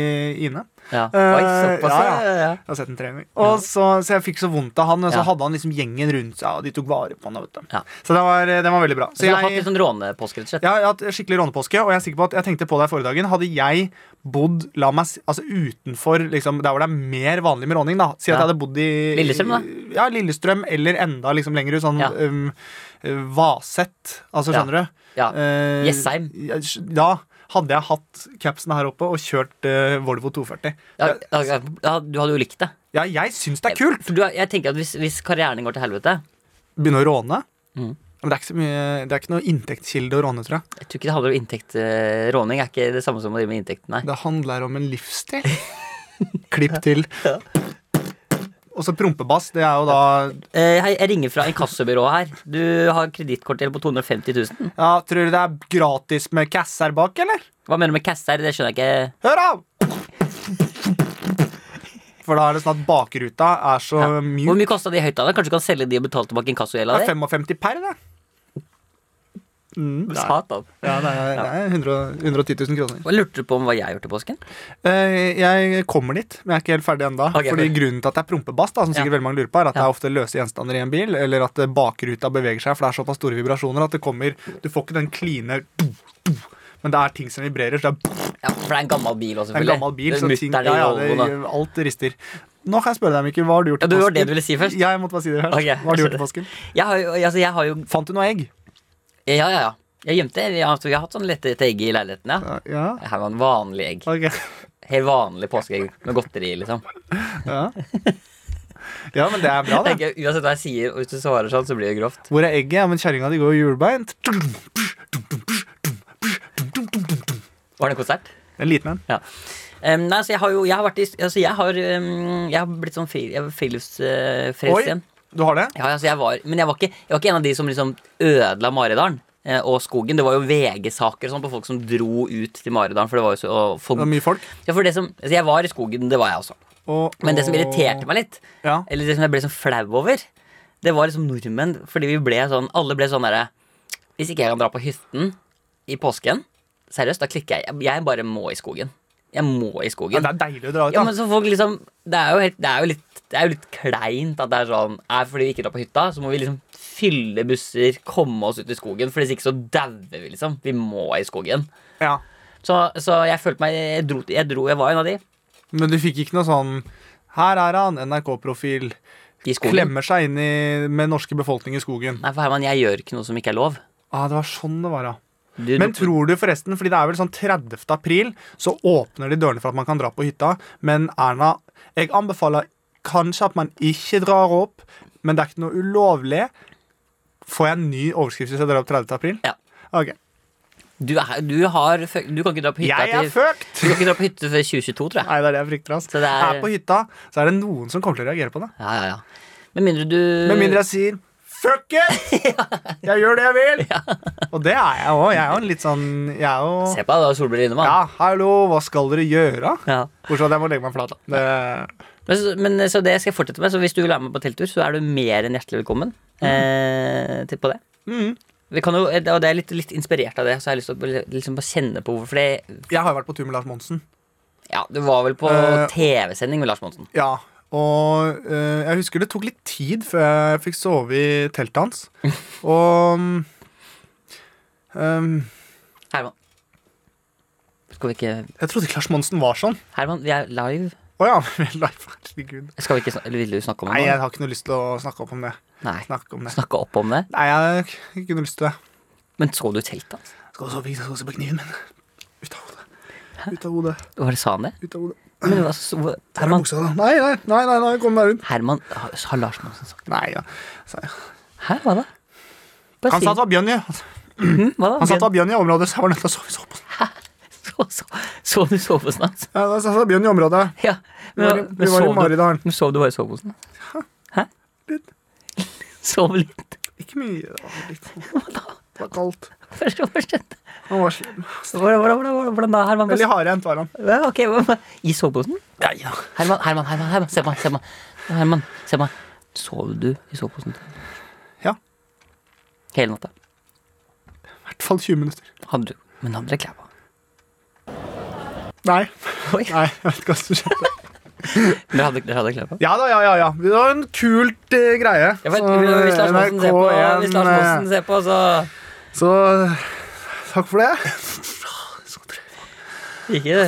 [SPEAKER 3] Ine.
[SPEAKER 2] ja.
[SPEAKER 3] Eh,
[SPEAKER 2] Oi, såpass,
[SPEAKER 3] ja, ja.
[SPEAKER 2] ja, ja.
[SPEAKER 3] Jeg har sett den tre ganger. Og så, så jeg fikk så vondt av han, og så
[SPEAKER 2] Ja.
[SPEAKER 3] hadde han liksom gjengen rundt seg, og de tok vare på han. Vet du.
[SPEAKER 2] Ja.
[SPEAKER 3] Så det var, den var veldig bra.
[SPEAKER 2] Så
[SPEAKER 3] Så
[SPEAKER 2] du har hatt
[SPEAKER 3] jeg,
[SPEAKER 2] litt sånn rånepåske, rett og slett?
[SPEAKER 3] jeg har hatt skikkelig rånepåske, og jeg er sikker på at jeg tenkte på deg forrige dagen. Hadde jeg bodd la meg, si- altså utenfor liksom, der hvor det er mer vanlig med råning, da Si
[SPEAKER 2] Ja.
[SPEAKER 3] at jeg hadde bodd i
[SPEAKER 2] Lillestrøm, da?
[SPEAKER 3] Ja, Lillestrøm, eller enda liksom lenger ut, sånn
[SPEAKER 2] Ja.
[SPEAKER 3] um, Vaset. Altså,
[SPEAKER 2] Ja.
[SPEAKER 3] skjønner du?
[SPEAKER 2] Ja.
[SPEAKER 3] Eh,
[SPEAKER 2] Jessheim.
[SPEAKER 3] Ja. Hadde jeg hatt capsen her oppe og kjørt eh, Volvo 240
[SPEAKER 2] Ja, ja, ja, ja, du hadde jo likt det.
[SPEAKER 3] Ja, jeg syns det er kult!
[SPEAKER 2] For du, er- jeg tenker at hvis, hvis karrieren din går til helvete
[SPEAKER 3] begynne å råne.
[SPEAKER 2] Mm.
[SPEAKER 3] Men det er, ikke så mye, det er ikke noe inntektskilde å råne, tror jeg.
[SPEAKER 2] Jeg tror ikke det handler om inntekt. eh, Råning er ikke det samme som å drive med inntekt. Nei.
[SPEAKER 3] Det handler om en livsstil. Klipp til. Og så prompebass. Det er jo da
[SPEAKER 2] Eh, hei, jeg ringer fra inkassobyrået her. Du har kredittkortgjeld på 250 000.
[SPEAKER 3] ja, Tror du det er gratis med cass her bak, eller?
[SPEAKER 2] Hva mener du med cash her? Det skjønner jeg ikke.
[SPEAKER 3] Hør av! For da er det sånn at bakruta er så
[SPEAKER 2] Ja. Hvor
[SPEAKER 3] mjuk.
[SPEAKER 2] mye kosta de høyttalerne? Kanskje du kan selge de og betale tilbake inkassogjelda
[SPEAKER 3] Det er
[SPEAKER 2] di?
[SPEAKER 3] 55 per, det. Mm, det er,
[SPEAKER 2] Satan.
[SPEAKER 3] ja, det er, det er 100, 110 000 kroner.
[SPEAKER 2] Hva lurte du på om hva jeg gjorde til påsken?
[SPEAKER 3] Eh, Jeg kommer dit, men jeg er ikke helt ferdig ennå.
[SPEAKER 2] Ok,
[SPEAKER 3] fordi
[SPEAKER 2] for-
[SPEAKER 3] grunnen til at det er prompebass, da, som sikkert
[SPEAKER 2] Ja.
[SPEAKER 3] veldig mange lurer på, er at det
[SPEAKER 2] Ja.
[SPEAKER 3] er ofte løse gjenstander i en bil, eller at eh, bakruta beveger seg, for det er såpass store vibrasjoner at det kommer Du får ikke den kline do, do, Men det er ting som vibrerer, så det er
[SPEAKER 2] Ja, for det er en gammel bil også,
[SPEAKER 3] en
[SPEAKER 2] selvfølgelig.
[SPEAKER 3] gammel bil.
[SPEAKER 2] Det er
[SPEAKER 3] Så ting,
[SPEAKER 2] mutteren i
[SPEAKER 3] ja, ja, det,
[SPEAKER 2] Volvoen, da.
[SPEAKER 3] alt rister. Nå kan jeg spørre deg, Mikkel, hva har du gjort
[SPEAKER 2] Ja,
[SPEAKER 3] til
[SPEAKER 2] det var
[SPEAKER 3] påsken?
[SPEAKER 2] det du ville si først.
[SPEAKER 3] Ja, jeg måtte bare si det først.
[SPEAKER 2] Ok,
[SPEAKER 3] hva har du
[SPEAKER 2] jeg
[SPEAKER 3] gjort til påsken?
[SPEAKER 2] Jeg har jo, altså, jeg har jo
[SPEAKER 3] Fant du noe egg?
[SPEAKER 2] Ja, ja, ja. Jeg gjemte jeg, har- jeg har hatt sånn lette egg i leiligheten, ja.
[SPEAKER 3] Ja. ja.
[SPEAKER 2] Her var en vanlig egg.
[SPEAKER 3] Ok.
[SPEAKER 2] Helt vanlig påskeegg med godteri, liksom.
[SPEAKER 3] Ja.
[SPEAKER 2] [LAUGHS]
[SPEAKER 3] ja, men det er bra, det.
[SPEAKER 2] Tenker, uansett hva jeg sier, og hvis du svarer sånn, så blir det grovt.
[SPEAKER 3] Hvor er egget? Ja, men kjerringa di går jo hjulbeint.
[SPEAKER 2] Var det en konsert?
[SPEAKER 3] En liten en.
[SPEAKER 2] Em, nei, så jeg har jo jeg har vært i altså jeg, har, em, jeg har blitt sånn fri, jeg er friluftsfrelst
[SPEAKER 3] Oi,
[SPEAKER 2] igjen.
[SPEAKER 3] du har det?
[SPEAKER 2] Ja, altså jeg var, men jeg var, ikke, jeg var ikke en av de som liksom ødela Maridalen eh, og skogen. Det var jo VG-saker og sånn på folk som dro ut til Maridalen. For det var jo så, og folk,
[SPEAKER 3] Det var mye folk.
[SPEAKER 2] ja, for det som, altså jeg var i skogen, det var jeg også.
[SPEAKER 3] Og,
[SPEAKER 2] Men det som irriterte meg litt,
[SPEAKER 3] Ja.
[SPEAKER 2] eller det som jeg ble sånn flau over, det var liksom nordmenn. Fordi vi ble sånn, alle ble sånn derre Hvis ikke jeg kan dra på hytten i påsken, seriøst, da klikker jeg. Jeg- Jeg bare må i skogen. Jeg må i skogen.
[SPEAKER 3] Ja, det er deilig å dra ut,
[SPEAKER 2] Ja,
[SPEAKER 3] da.
[SPEAKER 2] men så folk liksom Det er jo, helt, det er jo, litt, det er jo litt kleint at det er sånn er Fordi vi ikke drar på hytta, så må vi liksom fylle busser, komme oss ut i skogen. For hvis ikke så dauer vi, liksom. Vi må i skogen.
[SPEAKER 3] ja.
[SPEAKER 2] Så, så jeg følte meg jeg dro, jeg dro, jeg var en av de
[SPEAKER 3] men du fikk ikke noe sånn Her er han, NRK-profil.
[SPEAKER 2] i skogen.
[SPEAKER 3] Klemmer seg inn i, med norske befolkning i skogen.
[SPEAKER 2] Nei, for Herman, jeg gjør ikke noe som ikke er lov.
[SPEAKER 3] Ah, det var sånn det var, ja.
[SPEAKER 2] Du,
[SPEAKER 3] Men
[SPEAKER 2] du,
[SPEAKER 3] tror du forresten, fordi det er vel sånn 30. april, så åpner de dørene for at man kan dra på hytta, men Erna Jeg anbefaler kanskje at man ikke drar opp, men det er ikke noe ulovlig. Får jeg en ny overskrift hvis jeg drar opp 30. april?
[SPEAKER 2] Ja.
[SPEAKER 3] Ok.
[SPEAKER 2] du, er, du, har, fø- du kan ikke dra på hytta
[SPEAKER 3] Jeg er
[SPEAKER 2] til
[SPEAKER 3] fucked!
[SPEAKER 2] Du kan ikke dra på hytte før 2022, tror jeg.
[SPEAKER 3] Nei, det er det jeg frykter. ass.
[SPEAKER 2] Så det er-
[SPEAKER 3] Er på hytta, så er det noen som kommer til å reagere på det.
[SPEAKER 2] Ja, ja, ja. Med mindre du
[SPEAKER 3] Med mindre jeg sier
[SPEAKER 2] [LAUGHS]
[SPEAKER 3] Fuck it! Jeg gjør det jeg vil! Og det er jeg òg. Jeg er jo en litt sånn Jeg er jo
[SPEAKER 2] Se på deg, da, solbriller inne, mann.
[SPEAKER 3] Ja, hallo, hva skal dere gjøre?
[SPEAKER 2] Ja.
[SPEAKER 3] Bortsett fra at jeg må legge meg flat. da. Det,
[SPEAKER 2] Men, så- men så det skal jeg fortsette med. Så hvis du vil være med på telttur, så er du mer enn hjertelig velkommen
[SPEAKER 3] Mm.
[SPEAKER 2] eh, til på det.
[SPEAKER 3] Mhm.
[SPEAKER 2] Vi kan jo, eh, og det er litt, litt inspirert av det, så jeg har lyst til å bare- liksom bare kjenne på hvorfor. For det
[SPEAKER 3] jeg har jo vært på tur med Lars Monsen.
[SPEAKER 2] Ja, du var vel på
[SPEAKER 3] Eh,
[SPEAKER 2] TV-sending med Lars Monsen.
[SPEAKER 3] Ja, og eh, jeg husker det tok litt tid før jeg fikk sove i teltet hans.
[SPEAKER 2] [LAUGHS]
[SPEAKER 3] Og mm, ehm,
[SPEAKER 2] Herman. Skal vi ikke
[SPEAKER 3] jeg trodde ikke Lars Monsen var sånn.
[SPEAKER 2] Herman, vi er live.
[SPEAKER 3] Å ja, [LAUGHS] vel, nei, herregud.
[SPEAKER 2] Skal vi ikke snak- Eller vil du snakke om
[SPEAKER 3] Nei,
[SPEAKER 2] det?
[SPEAKER 3] jeg
[SPEAKER 2] nå?
[SPEAKER 3] har ikke noe lyst til å snakke opp om det.
[SPEAKER 2] Nei.
[SPEAKER 3] Snakke om det.
[SPEAKER 2] Snakke opp om det?
[SPEAKER 3] Nei, jeg har ikke noe lyst til det.
[SPEAKER 2] Men så du teltet hans?
[SPEAKER 3] Skal du sove, skal du se på kniven min. Ut av hodet. Ut av hodet.
[SPEAKER 2] Hva sa han det?
[SPEAKER 3] Ut av hodet.
[SPEAKER 2] Men, hva- så- hvor-
[SPEAKER 3] Hvor er
[SPEAKER 2] Herman,
[SPEAKER 3] buksa, da? Nei, nei, nei, nei, nei, kom deg rundt.
[SPEAKER 2] Herman har, har Lars Monsen sagt
[SPEAKER 3] Nei, ja. Så,
[SPEAKER 2] Hæ, hva da? Bare
[SPEAKER 3] han
[SPEAKER 2] si
[SPEAKER 3] sa det
[SPEAKER 2] det.
[SPEAKER 3] var bjørn i
[SPEAKER 2] Hm, hva da?
[SPEAKER 3] Han sa det var bjørn i området, så jeg var nødt til å sove. sove. på den.
[SPEAKER 2] [LAUGHS] så, så, så du soveposen hans?
[SPEAKER 3] Ja, da sa han det var bjørn i området.
[SPEAKER 2] Ja.
[SPEAKER 3] Vi var i,
[SPEAKER 2] men
[SPEAKER 3] vi var i
[SPEAKER 2] sov du,
[SPEAKER 3] Maridalen.
[SPEAKER 2] men sov du bare i soveposen? Hæ?
[SPEAKER 3] Litt.
[SPEAKER 2] [LAUGHS] Sov litt?
[SPEAKER 3] Ikke mye. det var [LAUGHS] Litt. Det var kaldt.
[SPEAKER 2] Hva skjedde?
[SPEAKER 3] Han var slem.
[SPEAKER 2] Hvordan, hvordan, hvordan, hvordan da, Herman?
[SPEAKER 3] Veldig hardhendt var han.
[SPEAKER 2] Ja, ok, hva- hva- I soveposen?
[SPEAKER 3] Ja, ja.
[SPEAKER 2] Herman, Herman, Herman, Herman, se på meg, se på meg. Herman, se på meg. Sov du i soveposen?
[SPEAKER 3] Ja.
[SPEAKER 2] Hele natta?
[SPEAKER 3] I hvert fall 20 minutter.
[SPEAKER 2] Hadde du? Men hadde dere klær på?
[SPEAKER 3] Nei.
[SPEAKER 2] Oi.
[SPEAKER 3] Nei, jeg vet ikke hva som skjedde.
[SPEAKER 2] Dere hadde, dere hadde klær på?
[SPEAKER 3] Ja da, ja, ja. ja. Det var en kult eh, greie. eh,
[SPEAKER 2] Ja, for, hvis Lars Monsen ser på, hvis Lars
[SPEAKER 3] NRK1,
[SPEAKER 2] Monsen ser på, så
[SPEAKER 3] eh, Så takk for det.
[SPEAKER 2] Ikke det.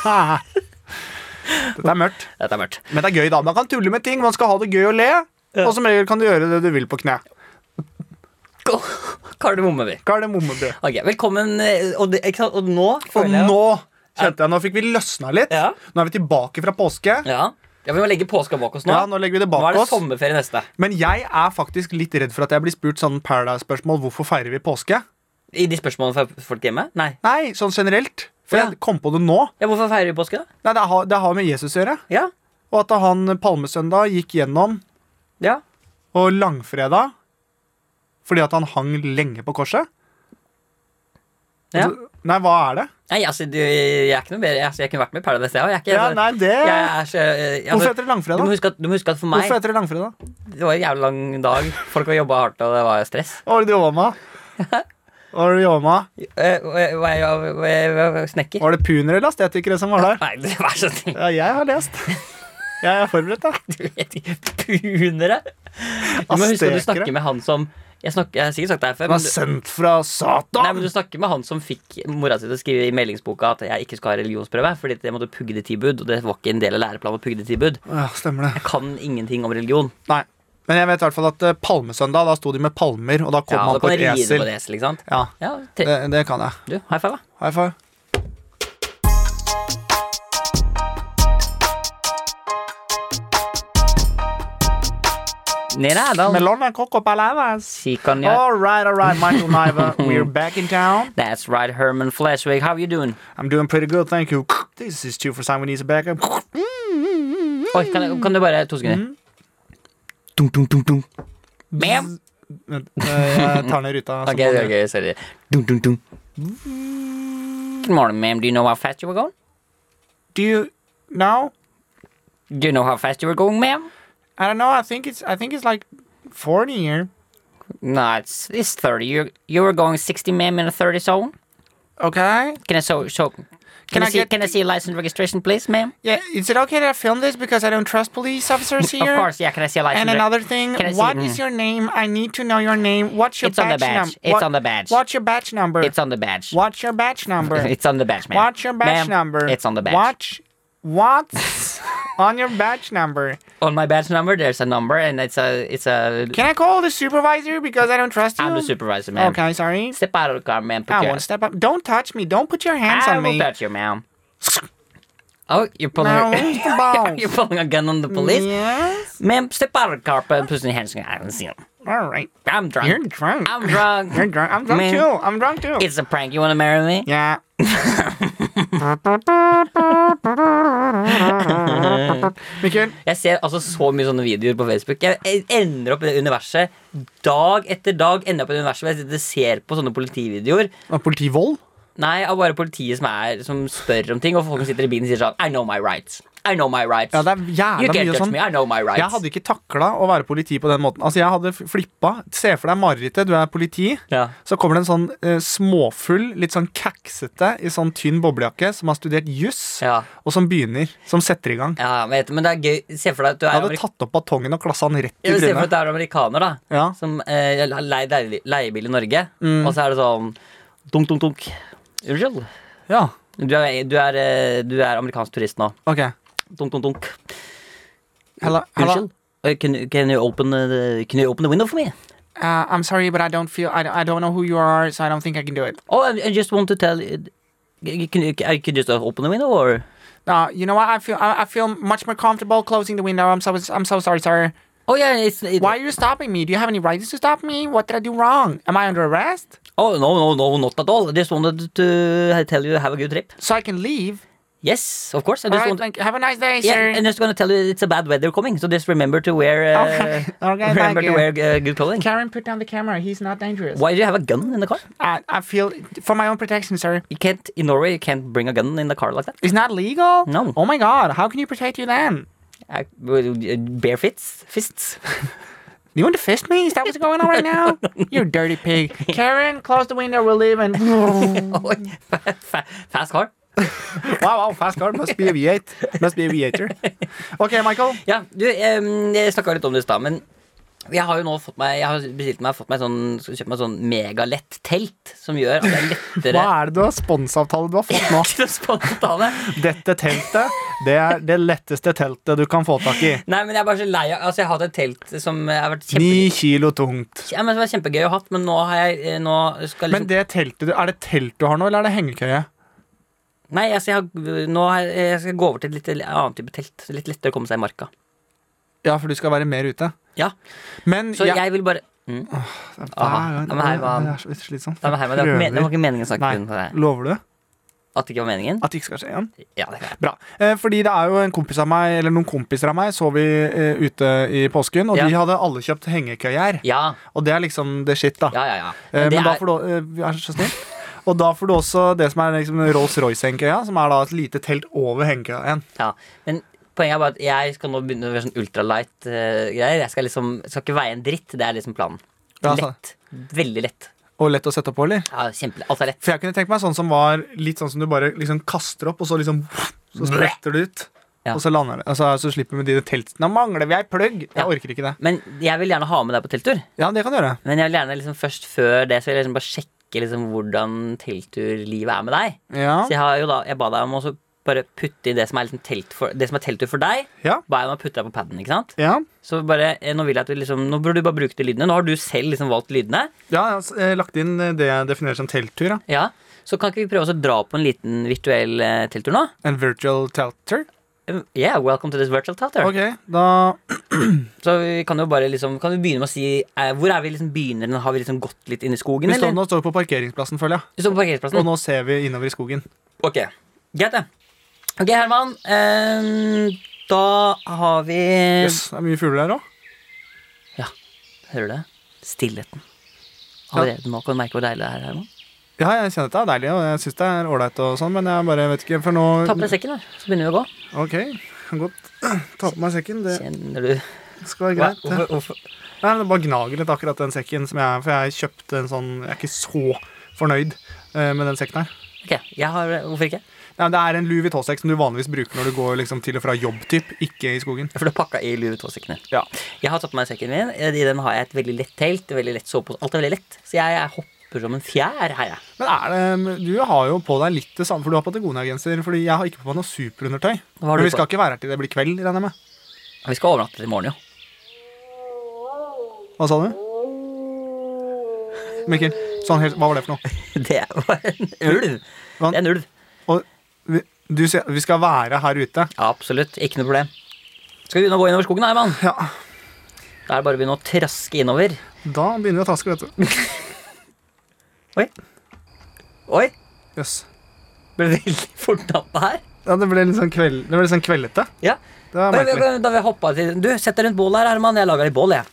[SPEAKER 3] [LAUGHS] Dette er mørkt.
[SPEAKER 2] Dette er mørkt.
[SPEAKER 3] Men det er gøy, da. Man kan tulle med ting. Man skal ha det gøy og le.
[SPEAKER 2] Ja.
[SPEAKER 3] Og som regel kan du gjøre det du vil på kne.
[SPEAKER 2] Kardemomme, vi.
[SPEAKER 3] Kardemommeby.
[SPEAKER 2] Ok, velkommen. eh, Og, det, ikke sant? og nå
[SPEAKER 3] Og
[SPEAKER 2] føler jeg
[SPEAKER 3] nå kjente jeg, nå fikk vi løsna litt.
[SPEAKER 2] Ja.
[SPEAKER 3] Nå er vi tilbake fra påske.
[SPEAKER 2] Ja. ja, vi må legge påska bak oss nå.
[SPEAKER 3] Ja, nå legger vi det
[SPEAKER 2] nå
[SPEAKER 3] bak
[SPEAKER 2] er det
[SPEAKER 3] oss.
[SPEAKER 2] sommerferie neste.
[SPEAKER 3] Men jeg er faktisk litt redd for at jeg blir spurt sånn Paradise-spørsmål hvorfor feirer vi påske.
[SPEAKER 2] I de spørsmålene fra folk hjemme? Nei.
[SPEAKER 3] Nei, sånn generelt. For
[SPEAKER 2] Ja.
[SPEAKER 3] jeg kom på det nå.
[SPEAKER 2] Ja, hvorfor feirer vi påske, da?
[SPEAKER 3] Nei, det har, det har med Jesus å gjøre.
[SPEAKER 2] Ja.
[SPEAKER 3] Og at han palmesøndag gikk gjennom,
[SPEAKER 2] Ja.
[SPEAKER 3] og langfredag fordi at han hang lenge på korset.
[SPEAKER 2] ja.
[SPEAKER 3] Altså, Nei, hva er det?
[SPEAKER 2] Nei, altså, du, jeg er ikke noe mer Jeg, altså, jeg kunne vært med i Paradise, jeg òg. Jeg, er ikke-
[SPEAKER 3] Ja, nei, det...
[SPEAKER 2] jeg er så eh, jeg-
[SPEAKER 3] Hvorfor heter det
[SPEAKER 2] du må,
[SPEAKER 3] langfredag?
[SPEAKER 2] huske at, du må huske at for meg
[SPEAKER 3] Hvorfor heter det langfredag?
[SPEAKER 2] Det var en jævlig lang dag. Folk har jobba hardt, og det var stress.
[SPEAKER 3] Hva var det du jobba
[SPEAKER 2] [LAUGHS]
[SPEAKER 3] med? Hva var det du jobba med?
[SPEAKER 2] Eh, og jeg- og jeg- og jeg- og jeg- Snekker.
[SPEAKER 3] Var det puner eller estetikere som var der?
[SPEAKER 2] Nei, du, vær så snill.
[SPEAKER 3] Ja, jeg har
[SPEAKER 2] [LAUGHS]
[SPEAKER 3] lest. Jeg er forberedt, da.
[SPEAKER 2] sånn, Du vet ikke. Punere. Du må huske at Altså, du snakker med han som Jeg, snakker, jeg har sikkert sagt det her før.
[SPEAKER 3] Han
[SPEAKER 2] Men
[SPEAKER 3] er
[SPEAKER 2] du,
[SPEAKER 3] sendt fra
[SPEAKER 2] nei, men
[SPEAKER 3] Satan!
[SPEAKER 2] du snakker med han som fikk mora si til å skrive i meldingsboka at jeg ikke skal ha religionsprøve, fordi jeg måtte pugge det ti bud, og det var ikke en del av læreplanen å pugge det ti bud.
[SPEAKER 3] Ja, stemmer det.
[SPEAKER 2] Jeg kan ingenting om religion.
[SPEAKER 3] Nei. Men jeg vet i hvert fall at eh, Palmesøndag, da sto de med palmer, og da kom
[SPEAKER 2] Ja, da
[SPEAKER 3] han på
[SPEAKER 2] kan
[SPEAKER 3] et
[SPEAKER 2] jeg ride på
[SPEAKER 3] esel.
[SPEAKER 2] det eselet, ikke sant?
[SPEAKER 3] Ja,
[SPEAKER 2] Ja, tre.
[SPEAKER 3] det, det kan jeg.
[SPEAKER 2] Du, high five, da.
[SPEAKER 3] High five.
[SPEAKER 2] Ned her, da.
[SPEAKER 3] Melon and coco palavas.
[SPEAKER 2] Si konjakk.
[SPEAKER 3] All right, all right,
[SPEAKER 2] [LAUGHS]
[SPEAKER 3] Michael Niva, we're back in town.
[SPEAKER 2] That's right, Herman Flesvig. How you doing?
[SPEAKER 3] I'm doing pretty good, thank you. This is two for someone needs a backup.
[SPEAKER 2] Oi, kan, jeg- kan du bare to sekunder? Mm. Dum, dum, dum, dum. Bam!
[SPEAKER 3] Vent,
[SPEAKER 2] [LAUGHS]
[SPEAKER 3] eh, Jeg tar ned ruta.
[SPEAKER 2] Ok, ok, ok, sorry. Dum, dum, dum. Good morning, ma'am. Do you know how fast you were going?
[SPEAKER 3] Do you know?
[SPEAKER 2] Do you know how fast you were going, ma'am?
[SPEAKER 3] I don't know, I think it's, I think it's like 40 here.
[SPEAKER 2] No, it's, it's 30. You you were going 60, ma'am, in a 30 zone.
[SPEAKER 3] Okay.
[SPEAKER 2] Can I so so? Can,
[SPEAKER 3] Can
[SPEAKER 2] I,
[SPEAKER 3] I
[SPEAKER 2] see
[SPEAKER 3] get-
[SPEAKER 2] Can I see a license registration, please, ma'am?
[SPEAKER 3] Yeah, is it okay that I film this because I don't trust police officers
[SPEAKER 2] [LAUGHS]
[SPEAKER 3] here?
[SPEAKER 2] Of course, yeah. Can I see a license?
[SPEAKER 3] And
[SPEAKER 2] re-
[SPEAKER 3] another thing,
[SPEAKER 2] Can I see
[SPEAKER 3] what
[SPEAKER 2] it? Mm-hmm.
[SPEAKER 3] is your name? I need to know your name. What's your
[SPEAKER 2] It's on the badge.
[SPEAKER 3] num-
[SPEAKER 2] It's
[SPEAKER 3] what-
[SPEAKER 2] on the badge.
[SPEAKER 3] What's your badge number?
[SPEAKER 2] It's on the badge.
[SPEAKER 3] What's your badge number?
[SPEAKER 2] [LAUGHS] It's on the badge, ma'am.
[SPEAKER 3] What's your badge
[SPEAKER 2] Ma'am,
[SPEAKER 3] number?
[SPEAKER 2] It's on the badge.
[SPEAKER 3] Watch, what's [LAUGHS] on your badge number?
[SPEAKER 2] On my badge number, there's a number, and it's a it's a.
[SPEAKER 3] Can I call the supervisor because I don't trust you?
[SPEAKER 2] I'm the supervisor, ma'am.
[SPEAKER 3] Okay, sorry.
[SPEAKER 2] Step out of the car, ma'am. Put
[SPEAKER 3] I
[SPEAKER 2] your-
[SPEAKER 3] won't step up. Don't touch me. Don't put your hands
[SPEAKER 2] I
[SPEAKER 3] on
[SPEAKER 2] will
[SPEAKER 3] me.
[SPEAKER 2] touch you, ma'am. Oh, you're pulling.
[SPEAKER 3] Now,
[SPEAKER 2] a-
[SPEAKER 3] where's
[SPEAKER 2] [LAUGHS]
[SPEAKER 3] the balls?
[SPEAKER 2] you're pulling a gun on the police,
[SPEAKER 3] Yes.
[SPEAKER 2] ma'am. Step out of the car, put put your hands. on- I don't see him.
[SPEAKER 3] All right.
[SPEAKER 2] I'm drunk.
[SPEAKER 3] You're drunk.
[SPEAKER 2] I'm drunk.
[SPEAKER 3] You're drunk. I'm drunk
[SPEAKER 2] Ma'am,
[SPEAKER 3] [LAUGHS] too. I'm drunk too.
[SPEAKER 2] [LAUGHS]
[SPEAKER 3] [LAUGHS]
[SPEAKER 2] It's a prank. You want to marry me?
[SPEAKER 3] yeah. Mikkel,
[SPEAKER 2] Jeg ser altså så mye sånne videoer på Facebook. Jeg jeg ender opp i det universet dag etter dag. ender opp i det universet hvor Jeg sitter og ser på sånne politivideoer.
[SPEAKER 3] var det politivold?
[SPEAKER 2] Nei, av bare politiet som, er, som spør om ting, og folk som sitter i bilen sier sånn I know my rights. I know my rights.
[SPEAKER 3] Ja, det er
[SPEAKER 2] you
[SPEAKER 3] jævla
[SPEAKER 2] can't
[SPEAKER 3] mye
[SPEAKER 2] touch
[SPEAKER 3] sånn.
[SPEAKER 2] me. I know my rights.
[SPEAKER 3] Jeg hadde ikke takla å være politi på den måten. Altså, jeg hadde flippa. Se for deg marerittet, du er politi.
[SPEAKER 2] ja.
[SPEAKER 3] Så kommer det en sånn eh, småfull, litt sånn kaksete i sånn tynn boblejakke som har studert juss,
[SPEAKER 2] Ja.
[SPEAKER 3] og som begynner. Som setter i gang.
[SPEAKER 2] ja, men vet du, men det er gøy. Se for deg at du
[SPEAKER 3] Jeg
[SPEAKER 2] er,
[SPEAKER 3] hadde
[SPEAKER 2] amerik
[SPEAKER 3] tatt opp batongen og klassa han rett
[SPEAKER 2] Ja,
[SPEAKER 3] i
[SPEAKER 2] men se for deg at
[SPEAKER 3] trynet.
[SPEAKER 2] du er amerikaner, da.
[SPEAKER 3] Ja.
[SPEAKER 2] Som eh, har leid leie- leiebil i Norge. Og så er det sånn dunk, dunk, dunk. Unnskyld.
[SPEAKER 3] ja,
[SPEAKER 2] Du er, du, er, eh, du er amerikansk turist nå.
[SPEAKER 3] ok
[SPEAKER 2] Dunk, dunk, dunk.
[SPEAKER 3] Hello, hello.
[SPEAKER 2] Unnskyld. Eh, Can, can, you open, the- can you open the window for me?
[SPEAKER 3] Uh, I'm sorry, but I don't feel I, I don't know who you are, so I don't think I can do it.
[SPEAKER 2] Oh, I, I just want to tell you Can you, I can just open the window, or
[SPEAKER 3] Uh, you know what? I feel I, I feel much more comfortable closing the window. I'm so I'm so sorry, sir.
[SPEAKER 2] Oh, yeah, it's, it,
[SPEAKER 3] Why are you stopping me? Do you have any rights to stop me? What did I do wrong? Am I under arrest?
[SPEAKER 2] Oh, no, no, no, not at all. I just wanted to tell you have a good trip.
[SPEAKER 3] So I can leave.
[SPEAKER 2] Yes, of course. I
[SPEAKER 3] All
[SPEAKER 2] just
[SPEAKER 3] right,
[SPEAKER 2] want
[SPEAKER 3] thank you. Have a nice day,
[SPEAKER 2] Yeah,
[SPEAKER 3] sir.
[SPEAKER 2] and just gonna tell you it's a bad weather coming, so just remember to wear uh,
[SPEAKER 3] Okay. [LAUGHS] Okay,
[SPEAKER 2] remember
[SPEAKER 3] thank
[SPEAKER 2] to
[SPEAKER 3] you.
[SPEAKER 2] wear uh, good clothing.
[SPEAKER 3] Karen, put down the camera. He's not dangerous.
[SPEAKER 2] Why do you have a gun in the car?
[SPEAKER 3] I, I feel for my own protection, sir.
[SPEAKER 2] You can't in Norway. You can't bring a gun in the car like that.
[SPEAKER 3] It's not legal.
[SPEAKER 2] No.
[SPEAKER 3] Oh my God! How can you protect you then?
[SPEAKER 2] I, Uh, bare fists, fists. [LAUGHS]
[SPEAKER 3] You want to fist me? Is that what's going on right now? you dirty pig. Karen, close the window. We're
[SPEAKER 2] [LAUGHS]
[SPEAKER 3] leaving.
[SPEAKER 2] Oi, fa- fa- Fast car.
[SPEAKER 3] wow, wow, fast car. Must be a V8. Must be
[SPEAKER 2] [LAUGHS]
[SPEAKER 3] a V8er. Okay, Michael.
[SPEAKER 2] Ja, du, em, jeg snakka litt om det i stad, men jeg har jo nå fått meg Jeg har bestilt meg fått meg sånn, skal kjøpe meg sånn megalett telt som gjør at det er lettere
[SPEAKER 3] Hva er det du har sponsavtale du har fått nå?
[SPEAKER 2] [LAUGHS] til å spontane.
[SPEAKER 3] Dette teltet, det er det letteste teltet du kan få tak i.
[SPEAKER 2] Nei, men jeg er bare så lei av Altså, jeg har hatt et telt som har vært kjempe...
[SPEAKER 3] Ni kilo tungt.
[SPEAKER 2] Ja, men som er kjempegøy å ha hatt, men nå har jeg eh, nå skal
[SPEAKER 3] Men
[SPEAKER 2] liksom,
[SPEAKER 3] det teltet, du- er det telt du har nå, eller er det hengekøye?
[SPEAKER 2] Nei, altså, jeg, har, nå har, jeg- jeg skal gå over til et litt annet type telt. så Litt lettere å komme seg i marka.
[SPEAKER 3] Ja, for du skal være mer ute.
[SPEAKER 2] Ja,
[SPEAKER 3] Men
[SPEAKER 2] Så
[SPEAKER 3] jeg,
[SPEAKER 2] jeg vil bare mm. Nei, Aha.
[SPEAKER 3] Hver gang-
[SPEAKER 2] Ja, men her var-
[SPEAKER 3] Det er så slitsomt.
[SPEAKER 2] men Herman, det, var ikke men, det var
[SPEAKER 3] Prøver.
[SPEAKER 2] ikke meningen å snakke
[SPEAKER 3] Nei.
[SPEAKER 2] pund på deg.
[SPEAKER 3] Lover du
[SPEAKER 2] At det ikke var meningen?
[SPEAKER 3] at det ikke skal skje igjen?
[SPEAKER 2] Ja, det kan jeg.
[SPEAKER 3] Bra. Eh, fordi det er jo en kompis av meg, eller noen kompiser av meg, så vi eh, ute i påsken, og
[SPEAKER 2] Ja.
[SPEAKER 3] de hadde alle kjøpt hengekøyer.
[SPEAKER 2] Ja,
[SPEAKER 3] Og det er liksom the shit, da.
[SPEAKER 2] ja, ja. ja.
[SPEAKER 3] Eh,
[SPEAKER 2] det
[SPEAKER 3] Men da
[SPEAKER 2] er-
[SPEAKER 3] får du eh, Vær så snill. Og da får du også det som er liksom Rolls-Royce-hengekøya, som er da et lite telt over hengekøya igjen.
[SPEAKER 2] Ja, men poenget er bare at jeg skal nå begynne med sånn ultralight eh, greier. Jeg skal liksom, skal ikke veie en dritt. Det er liksom planen.
[SPEAKER 3] Ja, altså.
[SPEAKER 2] Lett. Veldig lett.
[SPEAKER 3] Og lett å sette på, eller?
[SPEAKER 2] Ja, kjempe, alt er lett.
[SPEAKER 3] For jeg kunne tenkt meg sånn som var litt sånn som du bare liksom kaster opp, og så liksom Så spretter det ut.
[SPEAKER 2] Ja.
[SPEAKER 3] Og så lander det. Altså, så slipper vi med de teltene. Nå mangler vi ei plugg! Jeg
[SPEAKER 2] Ja.
[SPEAKER 3] orker ikke det.
[SPEAKER 2] Men jeg vil gjerne ha med deg på telttur.
[SPEAKER 3] Ja, det kan du gjøre.
[SPEAKER 2] Men jeg vil gjerne liksom først før det Så vil jeg liksom bare sjekke liksom hvordan teltturlivet er med deg.
[SPEAKER 3] Ja.
[SPEAKER 2] Så jeg, har jo da, jeg ba deg om å så bare putte inn det som er, liksom telt for, det som er telttur for deg.
[SPEAKER 3] Ja.
[SPEAKER 2] Ba jeg om å putte deg på paden. ikke sant?
[SPEAKER 3] Ja,
[SPEAKER 2] Så bare, eh, Nå vil jeg at du liksom, nå burde du bare bruke de lydene. Nå har du selv liksom valgt lydene.
[SPEAKER 3] ja jeg har s- eh, lagt inn eh, det jeg definerer som telttur. Da.
[SPEAKER 2] Ja, Så kan ikke vi prøve oss å dra på en liten virtuell eh, telttur nå?
[SPEAKER 3] En virtual telttur.
[SPEAKER 2] Um, Yeah, welcome to this virtual theater.
[SPEAKER 3] Ok, da
[SPEAKER 2] Så vi kan jo bare liksom Kan vi begynne med å si eh, Hvor er vi liksom begynner? Har vi liksom gått litt inn i skogen,
[SPEAKER 3] Vi står
[SPEAKER 2] eller?
[SPEAKER 3] nå står vi på parkeringsplassen, føler jeg.
[SPEAKER 2] Vi står på
[SPEAKER 3] Og
[SPEAKER 2] parkeringsplassen.
[SPEAKER 3] nå ser vi innover i skogen.
[SPEAKER 2] Ok, greit det. Ok, Herman. ehm, da har vi
[SPEAKER 3] Yes, det er mye fugler her òg.
[SPEAKER 2] Hører du det? Stillheten. Allerede nå kan du merke hvor deilig det er, Herman.
[SPEAKER 3] Ja, jeg kjenner at det er deilig, og jeg syns det er ålreit og sånn, men jeg bare vet ikke, for nå
[SPEAKER 2] Ta på deg sekken, da. Så begynner vi å gå.
[SPEAKER 3] Ok, jeg kan godt [CLEARS THROAT] ta på meg sekken. Det
[SPEAKER 2] Kjenner du
[SPEAKER 3] skal være
[SPEAKER 2] Hva?
[SPEAKER 3] greit.
[SPEAKER 2] Hvorfor, hvorfor?
[SPEAKER 3] Nei, men Det bare gnager litt, akkurat den sekken som jeg For jeg kjøpte en sånn Jeg er ikke så fornøyd eh, med den sekken her.
[SPEAKER 2] Ok, jeg har Hvorfor ikke?
[SPEAKER 3] Nei, men Det er en Louis Vuitton-sekk som du vanligvis bruker når du går liksom til og fra jobb, typ. Ikke i skogen.
[SPEAKER 2] For du har pakka i Louis Vuitton-sekkene.
[SPEAKER 3] Ja.
[SPEAKER 2] Jeg har tatt på meg sekken min. I den har jeg et veldig lett telt. Veldig lett sovepose. Alt er veldig lett. Så jeg, jeg hopper som en fjær her, jeg.
[SPEAKER 3] Men er det, du har jo på deg litt det samme, for du har Patagonia-genser. Fordi jeg har ikke på meg noe superundertøy.
[SPEAKER 2] Hva har
[SPEAKER 3] Men
[SPEAKER 2] du
[SPEAKER 3] vi skal
[SPEAKER 2] på?
[SPEAKER 3] ikke være her til det blir kveld, regner jeg med.
[SPEAKER 2] Vi skal overnatte til i morgen, jo. [LAUGHS]
[SPEAKER 3] Hva sa du? Mikkel, sånn helt, hva var det for noe?
[SPEAKER 2] Det var en ulv.
[SPEAKER 3] Hva?
[SPEAKER 2] Det er en ulv.
[SPEAKER 3] Og vi, du sier vi skal være her ute.
[SPEAKER 2] Absolutt. Ikke noe problem. Skal vi begynne å gå innover skogen, da, Herman?
[SPEAKER 3] Ja,
[SPEAKER 2] Da er det bare å begynne å traske innover.
[SPEAKER 3] da begynner vi å traske, vet du.
[SPEAKER 2] Oi.
[SPEAKER 3] Jøss.
[SPEAKER 2] ble det veldig [LAUGHS] fort natt her.
[SPEAKER 3] Ja, det ble litt sånn, kveld, det ble litt sånn kveldete.
[SPEAKER 2] Ja.
[SPEAKER 3] Det var
[SPEAKER 2] Da
[SPEAKER 3] merkelig.
[SPEAKER 2] vi, da vi hoppet til Du, sett deg rundt bålet her, Herman. Jeg lager litt bål, jeg.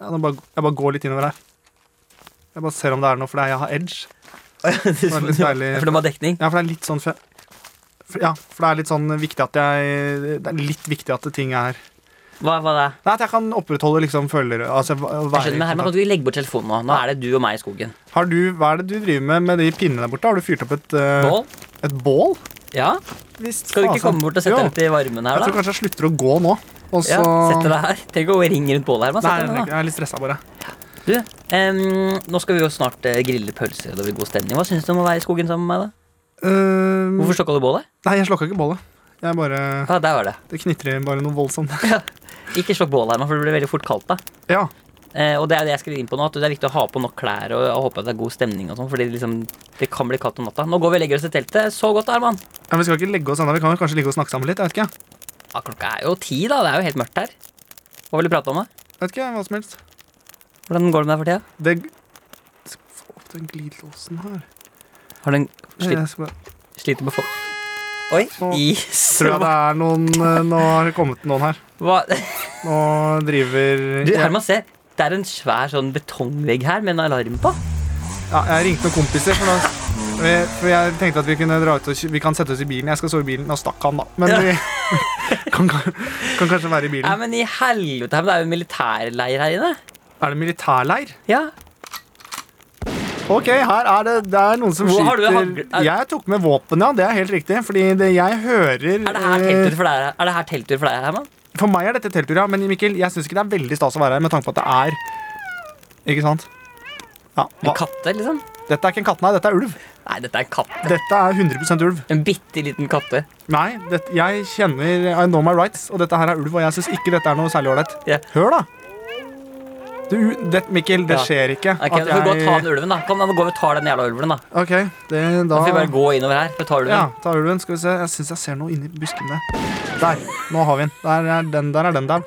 [SPEAKER 3] Ja, nå bare, jeg bare går litt innover her. Jeg bare ser om det er noe, for det er- jeg har edge. [LAUGHS] Det var litt deilig.
[SPEAKER 2] [LAUGHS] For det var dekning.
[SPEAKER 3] Ja, for det er litt sånn for, for, Ja, for det er litt sånn viktig at jeg Det er litt viktig at ting er
[SPEAKER 2] Hva var det?
[SPEAKER 3] Nei, at jeg kan opprettholde liksom følere altså, hva-
[SPEAKER 2] Jeg
[SPEAKER 3] være, i
[SPEAKER 2] skjønner, men Herman,
[SPEAKER 3] kontakt.
[SPEAKER 2] kan du ikke legge bort telefonen nå? Nå er det du og meg i skogen.
[SPEAKER 3] Har du, Hva er det du driver med med de pinnene der borte? Har du fyrt opp et eh,
[SPEAKER 2] Bål?
[SPEAKER 3] Et bål?
[SPEAKER 2] Ja?
[SPEAKER 3] Visst,
[SPEAKER 2] Skal du ikke
[SPEAKER 3] fasen.
[SPEAKER 2] komme bort og sette
[SPEAKER 3] Jo.
[SPEAKER 2] deg ut i varmen
[SPEAKER 3] Jeg
[SPEAKER 2] her,
[SPEAKER 3] tror
[SPEAKER 2] da?
[SPEAKER 3] kanskje jeg slutter å gå nå. Og så
[SPEAKER 2] Ja, Sette deg her. Trenger ikke å ringe rundt bålet, Herman.
[SPEAKER 3] Nei,
[SPEAKER 2] Sett deg
[SPEAKER 3] jeg,
[SPEAKER 2] ned, da.
[SPEAKER 3] jeg er litt stressa, bare.
[SPEAKER 2] Du, em, nå skal vi jo snart eh, grille pølser, og det blir god stemning. Hva syns du om å være i skogen sammen med meg, da?
[SPEAKER 3] Ehm,
[SPEAKER 2] Hvorfor slokka du bålet?
[SPEAKER 3] Nei, jeg slokka ikke bålet. Jeg bare
[SPEAKER 2] Ja, der var det.
[SPEAKER 3] Det knitrer bare noe voldsomt.
[SPEAKER 2] Ikke slokk bålet, Herman, for det blir veldig fort kaldt, da.
[SPEAKER 3] [LAUGHS] Ja.
[SPEAKER 2] Eh, og det er det jeg skriver inn på nå, at det er viktig å ha på nok klær og, og håpe at det er god stemning og sånn, fordi liksom, det kan bli kaldt om natta. Nå går vi og legger oss i teltet. Så godt, Arman.
[SPEAKER 3] Men vi skal ikke legge oss ennå. Vi kan jo kanskje ligge og snakke sammen litt. Jeg vet ikke.
[SPEAKER 2] Ja, klokka er jo ti, da. Det er jo helt mørkt her. Hva vil du prate om, da?
[SPEAKER 3] Jeg Vet ikke, hva som helst.
[SPEAKER 2] Hvordan går det med deg for tida?
[SPEAKER 3] Det Skal Få opp den glidelåsen her.
[SPEAKER 2] Har du en
[SPEAKER 3] Nei,
[SPEAKER 2] slit,
[SPEAKER 3] Jeg skal bare
[SPEAKER 2] sliter med å få Oi,
[SPEAKER 3] Nå
[SPEAKER 2] is.
[SPEAKER 3] Tror jeg det er noen eh, Nå har det kommet noen her.
[SPEAKER 2] Hva?
[SPEAKER 3] Nå driver
[SPEAKER 2] Du,
[SPEAKER 3] jeg,
[SPEAKER 2] Herman, se. Det er en svær sånn betongvegg her med en alarm på.
[SPEAKER 3] ja, jeg ringte noen kompiser, for, da, vi- for jeg tenkte at vi kunne dra ut og kjø- Vi kan sette oss i bilen. Jeg skal sove i bilen. Nå stakk han, da. Men
[SPEAKER 2] Ja.
[SPEAKER 3] vi [LAUGHS] kan, kan, kan kanskje være i
[SPEAKER 2] Ja,
[SPEAKER 3] bilen.
[SPEAKER 2] men i helvete, Herman, det er jo en militærleir her inne.
[SPEAKER 3] Er det militærleir?
[SPEAKER 2] Ja.
[SPEAKER 3] Ok, her er det, det er noen som
[SPEAKER 2] Hvor har du
[SPEAKER 3] skyter.
[SPEAKER 2] hagle- er-
[SPEAKER 3] Jeg tok med våpen, ja. Det er helt riktig. Fordi det jeg hører
[SPEAKER 2] Er det her
[SPEAKER 3] eh,
[SPEAKER 2] telttur for deg, er det her telttur for deg Herman?
[SPEAKER 3] For meg er dette telttur, ja. Men Mikkel, jeg syns ikke det er veldig stas å være her med tanke på at det er Ikke sant? Ja,
[SPEAKER 2] En
[SPEAKER 3] hva?
[SPEAKER 2] katte, liksom?
[SPEAKER 3] Dette er ikke en katt, nei. Dette er ulv.
[SPEAKER 2] Nei, dette er en katt.
[SPEAKER 3] Dette er 100 ulv.
[SPEAKER 2] En bitte liten katte.
[SPEAKER 3] Nei, dette, jeg kjenner I know my rights, og dette her er ulv, og jeg syns ikke dette er noe særlig ålreit.
[SPEAKER 2] Ja.
[SPEAKER 3] Hør, da. Du, det, Mikkel, det
[SPEAKER 2] Ja.
[SPEAKER 3] skjer ikke.
[SPEAKER 2] Ok, Du får gå og ta den ulven, da. Kom, da går vi og tar den jævla ulven, da.
[SPEAKER 3] OK, det
[SPEAKER 2] Da
[SPEAKER 3] da
[SPEAKER 2] får vi bare gå innover her. Vi tar ulven.
[SPEAKER 3] Ja, ta ulven. Skal vi se. Jeg syns jeg ser noe inni buskene. Der. Nå har vi den. Der er den der. Er den der.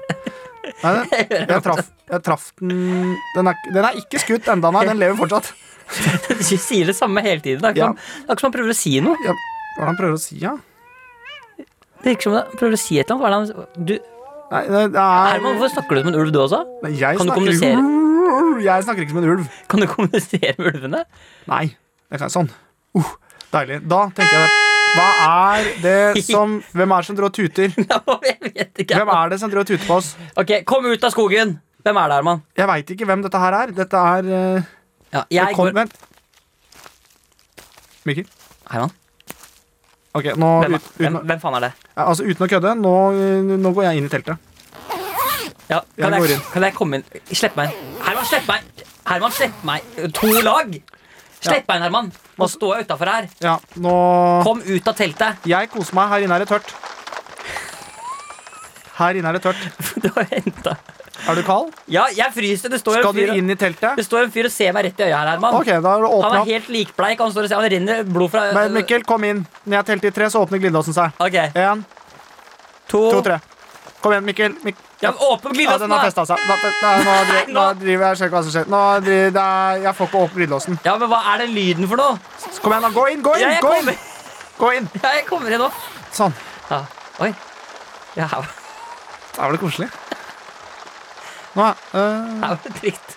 [SPEAKER 3] Nei,
[SPEAKER 2] [LAUGHS]
[SPEAKER 3] den- jeg traff jeg traff den den er, den er ikke skutt enda, nei. Den lever fortsatt.
[SPEAKER 2] [LAUGHS] Du sier det samme hele tiden. Det er ikke
[SPEAKER 3] Ja.
[SPEAKER 2] som- det er ikke som han prøver å si noe.
[SPEAKER 3] Ja, hva er det han prøver å si, ja?
[SPEAKER 2] Det virker som han prøver å si et eller annet. Hva er det han- Du,
[SPEAKER 3] Nei, det det er
[SPEAKER 2] Herman, hvorfor snakker du som en ulv, du også?
[SPEAKER 3] Nei, jeg
[SPEAKER 2] Kan du
[SPEAKER 3] snakker ikke- Jeg snakker ikke som en ulv.
[SPEAKER 2] Kan du kommunisere med ulvene? [LAUGHS]
[SPEAKER 3] Nei. Jeg kan, sånn. Uh, deilig. Da tenker jeg Hva er det
[SPEAKER 2] [LAUGHS]
[SPEAKER 3] som Hvem er det som drar og tuter?
[SPEAKER 2] Nei, Jeg vet ikke.
[SPEAKER 3] Hvem er det som drar og tuter på oss?
[SPEAKER 2] Ok, Kom ut av skogen! Hvem er det, Herman?
[SPEAKER 3] Jeg veit ikke hvem dette her er. Dette er eh,
[SPEAKER 2] Ja, jeg
[SPEAKER 3] det kom,
[SPEAKER 2] går
[SPEAKER 3] Vent. Mikkel?
[SPEAKER 2] Herman,
[SPEAKER 3] Ok, nå
[SPEAKER 2] hvem,
[SPEAKER 3] ut, uten,
[SPEAKER 2] hvem,
[SPEAKER 3] å-
[SPEAKER 2] hvem faen er det?
[SPEAKER 3] ja, altså, uten å kødde, nå, eh, nå går jeg inn i teltet.
[SPEAKER 2] Ja, kan,
[SPEAKER 3] Jeg
[SPEAKER 2] jeg,
[SPEAKER 3] går inn.
[SPEAKER 2] kan jeg komme inn? Slipp meg inn. Herman, slipp meg! Herman, slipp meg! To lag! Slipp meg inn, Herman! Nå står jeg utafor her.
[SPEAKER 3] Ja, nå
[SPEAKER 2] Kom ut av
[SPEAKER 3] [LAUGHS]
[SPEAKER 2] teltet!
[SPEAKER 3] Jeg koser meg. Her inne er det tørt. Her inne er det tørt.
[SPEAKER 2] Du har hentet
[SPEAKER 3] Er du kald?
[SPEAKER 2] Ja, jeg fryser. Det står,
[SPEAKER 3] Skal
[SPEAKER 2] en
[SPEAKER 3] du
[SPEAKER 2] fyr,
[SPEAKER 3] inn i
[SPEAKER 2] det
[SPEAKER 3] teltet?
[SPEAKER 2] står en fyr og ser meg rett i øya her, Herman.
[SPEAKER 3] Ok, da er det
[SPEAKER 2] Han
[SPEAKER 3] åpna
[SPEAKER 2] er
[SPEAKER 3] opp.
[SPEAKER 2] helt likbleik. og Han står og ser, han renner blod fra
[SPEAKER 3] Men Mikkel, kom inn. Når jeg teller til tre, så åpner glidelåsen seg.
[SPEAKER 2] Ok,
[SPEAKER 3] Én,
[SPEAKER 2] to,
[SPEAKER 3] to, tre. Kom igjen, Mikkel. Mik
[SPEAKER 2] Ja, åpen
[SPEAKER 3] ja,
[SPEAKER 2] glidelåsen,
[SPEAKER 3] den har festa seg. Da, da, nå, driver, nå driver jeg og ser hva som skjer. Nå driver, da, jeg får ikke opp glidelåsen.
[SPEAKER 2] Ja, men hva er den lyden for noe? [LAUGHS]
[SPEAKER 3] Kom igjen, da. Gå inn, gå
[SPEAKER 2] Ja,
[SPEAKER 3] inn!
[SPEAKER 2] jeg
[SPEAKER 3] Gå inn!
[SPEAKER 2] kommer,
[SPEAKER 3] Gå inn.
[SPEAKER 2] ja, jeg kommer inn nå.
[SPEAKER 3] Sånn.
[SPEAKER 2] Ja. Oi. Ja, her var-
[SPEAKER 3] Da var det koselig. Nå, øh,
[SPEAKER 2] her var det trygt.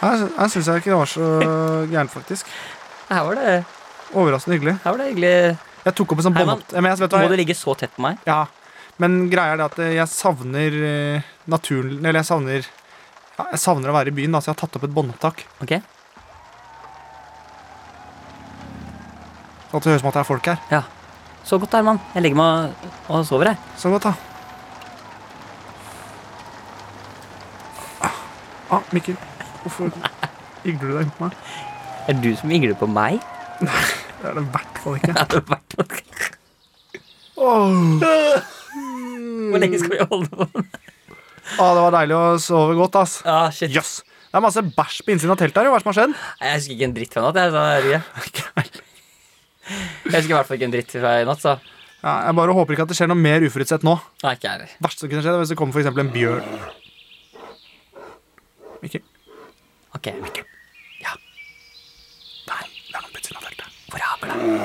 [SPEAKER 3] her her syns jeg ikke det var så gærent, faktisk.
[SPEAKER 2] Her var det,
[SPEAKER 3] Overraskende hyggelig.
[SPEAKER 2] her var det hyggelig.
[SPEAKER 3] Jeg tok opp en sånn
[SPEAKER 2] Herman,
[SPEAKER 3] båndopp... Men, jeg, vet du
[SPEAKER 2] Må
[SPEAKER 3] hva,
[SPEAKER 2] du ligge så tett på meg?
[SPEAKER 3] ja, men greia er det at jeg savner eh, naturen Eller jeg savner ja, Jeg savner å være i byen, da, så jeg har tatt opp et båndopptak.
[SPEAKER 2] Ok?
[SPEAKER 3] Sånn at det høres ut som at det er folk her.
[SPEAKER 2] Ja. Så godt, Herman. Jeg legger meg og- og sover, jeg.
[SPEAKER 3] Så godt, da. Ah, Ah, Mikkel. Hvorfor igler du deg rundt meg?
[SPEAKER 2] Er det du som igler på meg? [LAUGHS]
[SPEAKER 3] Det er det i hvert fall ikke.
[SPEAKER 2] Ja, det var hvert fall-
[SPEAKER 3] Åh.
[SPEAKER 2] Hvor lenge skal vi holde på?
[SPEAKER 3] Ah, det var deilig å sove godt, ass.
[SPEAKER 2] Ja, shit.
[SPEAKER 3] Jøss! Det er masse bæsj på innsiden av teltet her. jo. Hva er det som har skjedd?
[SPEAKER 2] Nei, Jeg husker ikke en dritt fra i natt. Jeg, så det er ikke- jeg husker i hvert fall ikke en dritt fra i natt, så.
[SPEAKER 3] Ja, jeg bare håper ikke at det skjer noe mer uforutsett nå.
[SPEAKER 2] Nei, ikke jeg heller.
[SPEAKER 3] Verst som kunne skjedd er hvis det kommer for eksempel en bjørn. Mikkel,
[SPEAKER 2] Ok.
[SPEAKER 3] der, det er noen på utsiden av teltet.
[SPEAKER 2] Hvor er hagla?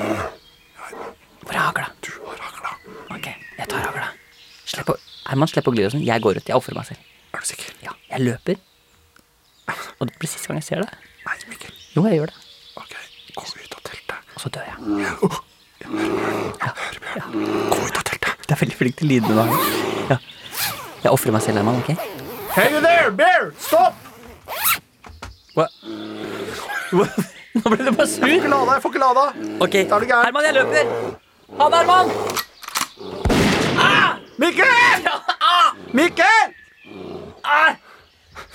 [SPEAKER 2] Herman, slipp å gli deg sånn. Jeg går ut. Jeg ofrer meg selv.
[SPEAKER 3] Er du sikker?
[SPEAKER 2] Ja, jeg løper. Og det blir siste gang jeg ser deg.
[SPEAKER 3] Nei, Mikkel.
[SPEAKER 2] Jo, jeg gjør det.
[SPEAKER 3] OK, gå ut av teltet.
[SPEAKER 2] Og så dør jeg.
[SPEAKER 3] Hør, Bjørn. Gå ut av teltet.
[SPEAKER 2] Det er veldig flink til lydene du har. Ja. Jeg ofrer meg selv, Herman. ok?
[SPEAKER 3] Hey you there, bear! Stopp!
[SPEAKER 2] Hva? Hva? Nå ble du bare
[SPEAKER 3] Jeg får
[SPEAKER 2] sur.
[SPEAKER 3] ikke lada, jeg får ikke lada.
[SPEAKER 2] Ok,
[SPEAKER 3] Da er du gæren.
[SPEAKER 2] Herman, jeg løper. Ha det, Herman!
[SPEAKER 3] Mikkel! Mikkel!
[SPEAKER 2] Ah!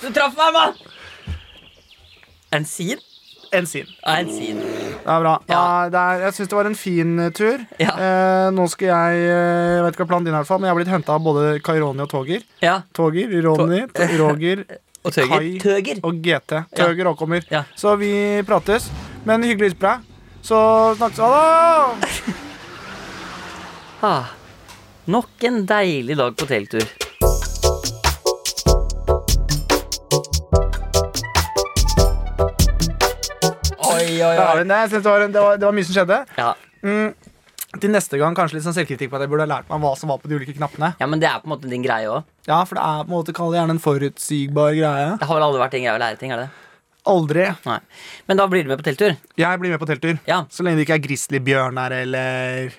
[SPEAKER 2] Du traff meg, mann! En sin?
[SPEAKER 3] En sin.
[SPEAKER 2] Ja, en sin.
[SPEAKER 3] Det er bra.
[SPEAKER 2] Ja.
[SPEAKER 3] Nei, det er, jeg syns det var en fin eh, tur.
[SPEAKER 2] Ja.
[SPEAKER 3] Eh, nå skal jeg eh, Jeg vet ikke hva planen din er, for, men jeg har blitt henta av både Kaironi og Toger.
[SPEAKER 2] Ja.
[SPEAKER 3] Toger, Ronny,
[SPEAKER 2] To-
[SPEAKER 3] Roger
[SPEAKER 2] [LAUGHS] Og tøger.
[SPEAKER 3] Kai.
[SPEAKER 2] Tøger.
[SPEAKER 3] og GT. Tøger òg kommer.
[SPEAKER 2] Ja.
[SPEAKER 3] Så vi prates. Men hyggelig å hilse på deg. Så snakkes vi. Ha det!
[SPEAKER 2] Ah, nok en deilig dag på teltur. Oi, oi,
[SPEAKER 3] Ja,
[SPEAKER 2] oi.
[SPEAKER 3] men jeg synes det, var en, det, var, det var mye som skjedde. Mm,
[SPEAKER 2] Ja.
[SPEAKER 3] Til neste gang kanskje litt sånn selvkritikk på at jeg burde ha lært meg hva som var på de ulike knappene.
[SPEAKER 2] ja, men det er på en måte din greie òg.
[SPEAKER 3] Ja, for det er på en måte kall det gjerne en forutsigbar greie.
[SPEAKER 2] Det har vel aldri vært din greie å lære ting, er det det?
[SPEAKER 3] Aldri.
[SPEAKER 2] Nei. Men da blir du med på teltur.
[SPEAKER 3] Jeg blir med på telttur.
[SPEAKER 2] Ja.
[SPEAKER 3] Så lenge det ikke er grizzlybjørn her, eller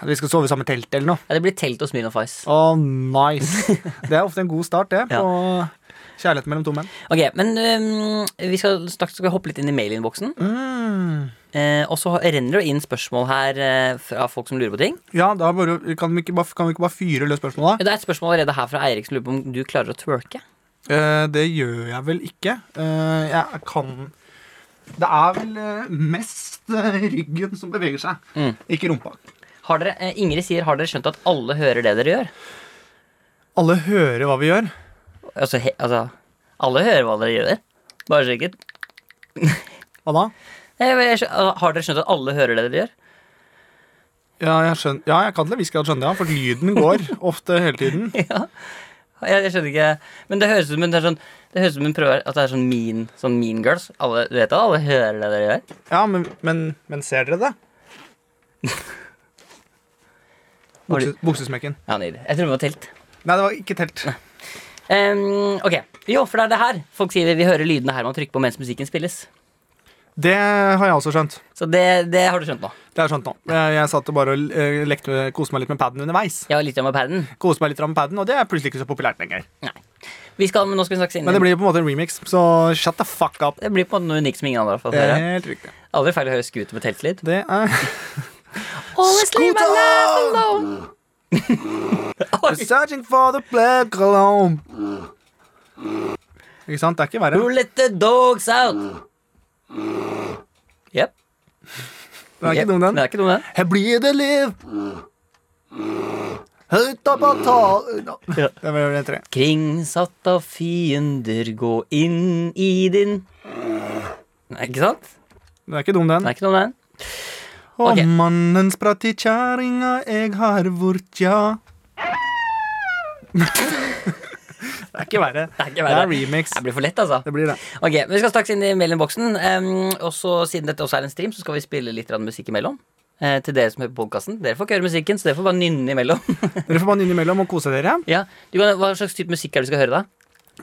[SPEAKER 3] at vi skal sove i samme telt eller noe.
[SPEAKER 2] ja det blir telt og smil og fais.
[SPEAKER 3] Å, nice. Det er ofte en god [LAUGHS] start, det.
[SPEAKER 2] Ja.
[SPEAKER 3] På kjærlighet mellom to menn.
[SPEAKER 2] Ok, men øhm, vi skal straks skal vi hoppe litt inn i mailinnboksen.
[SPEAKER 3] Mm.
[SPEAKER 2] Eh, og så renner det inn spørsmål her eh, fra folk som lurer på ting.
[SPEAKER 3] Ja, da bare, kan, vi ikke bare, kan vi ikke bare fyre løs spørsmålet?
[SPEAKER 2] Det er et spørsmål allerede her fra Eirik som lurer på om du klarer å twerke.
[SPEAKER 3] Eh, det gjør jeg vel ikke. Eh, jeg kan Det er vel eh, mest eh, ryggen som beveger seg,
[SPEAKER 2] Mm.
[SPEAKER 3] ikke rumpa.
[SPEAKER 2] Har dere, eh, Ingrid sier har dere skjønt at alle hører det dere gjør?
[SPEAKER 3] Alle hører hva vi gjør.
[SPEAKER 2] Altså, he, altså alle hører hva dere gjør. Bare sikkert.
[SPEAKER 3] Hva da?
[SPEAKER 2] Jeg, jeg, skjø- altså, har dere skjønt at alle hører det dere gjør?
[SPEAKER 3] Ja, jeg, skjøn... ja, jeg kan til en viss grad skjønne det, ja, for lyden går [LAUGHS] ofte hele tiden.
[SPEAKER 2] [LAUGHS] Jeg, jeg skjønner ikke Men det høres ut som hun- det er sånn Det høres ut som hun prøver at det er sånn mean, sånn mean girls. Alle, du vet at alle hører det dere gjør?
[SPEAKER 3] Ja, men, men, men ser dere det?
[SPEAKER 2] Har
[SPEAKER 3] Bukse,
[SPEAKER 2] du-
[SPEAKER 3] buksesmekken.
[SPEAKER 2] Ja, nydelig. Jeg tror det var telt.
[SPEAKER 3] Nei, det var ikke telt.
[SPEAKER 2] Ehm, ok, vi ofrer deg det her. Folk sier vi hører lydene Herman trykker på mens musikken spilles.
[SPEAKER 3] Det har jeg også skjønt.
[SPEAKER 2] Så det, det har du skjønt nå.
[SPEAKER 3] Det har jeg skjønt nå. Jeg, jeg satt og bare og eh, lekte med, koste meg litt med paden underveis.
[SPEAKER 2] Jeg var litt med paden.
[SPEAKER 3] Koste meg litt med paden, og det er plutselig ikke så populært lenger.
[SPEAKER 2] Vi skal, men nå skal vi snakke inn.
[SPEAKER 3] Men det blir jo på en måte en remix, så shut the fuck up.
[SPEAKER 2] det blir på en måte noe unikt som ingen andre har fått
[SPEAKER 3] Det er
[SPEAKER 2] høre.
[SPEAKER 3] helt riktig.
[SPEAKER 2] Aldri feil å høre Scooter med teltlyd.
[SPEAKER 3] [LAUGHS] Det er
[SPEAKER 1] Always leave my life
[SPEAKER 3] Scooter!
[SPEAKER 1] alone.
[SPEAKER 2] Oi,
[SPEAKER 3] Searching for the black cologne. Ikke sant? Det er ikke verre.
[SPEAKER 2] Who let the dogs out? Yep.
[SPEAKER 3] Den er ikke dum, den.
[SPEAKER 2] Det er ikke dum, den.
[SPEAKER 3] Her blir det liv. Høyt opp av talen
[SPEAKER 2] Ja.
[SPEAKER 3] Det var det tre.
[SPEAKER 2] Kringsatt av fiender, gå inn i din Nei, Ikke sant?
[SPEAKER 3] Den er ikke dum,
[SPEAKER 2] Det
[SPEAKER 3] den.
[SPEAKER 2] er ikke dum, den.
[SPEAKER 3] Og
[SPEAKER 2] ok.
[SPEAKER 3] mannen spratt i kjerringa, jeg har vort, ja. [LAUGHS] det er ikke verre.
[SPEAKER 2] Det er ikke verre.
[SPEAKER 3] Det er remix.
[SPEAKER 2] Det blir for lett, altså.
[SPEAKER 3] Det blir det.
[SPEAKER 2] Ok, men Vi skal straks inn i mailinnboksen. Um, og så Siden dette også er en stream, så skal vi spille litt grann musikk imellom. Eh, til dere som hører på podkasten. Dere får ikke høre musikken, så dere får bare nynne imellom. [LAUGHS]
[SPEAKER 3] Dere får bare innimellom og kose dere.
[SPEAKER 2] ja, du kan, Hva slags type musikk er det du skal høre, da?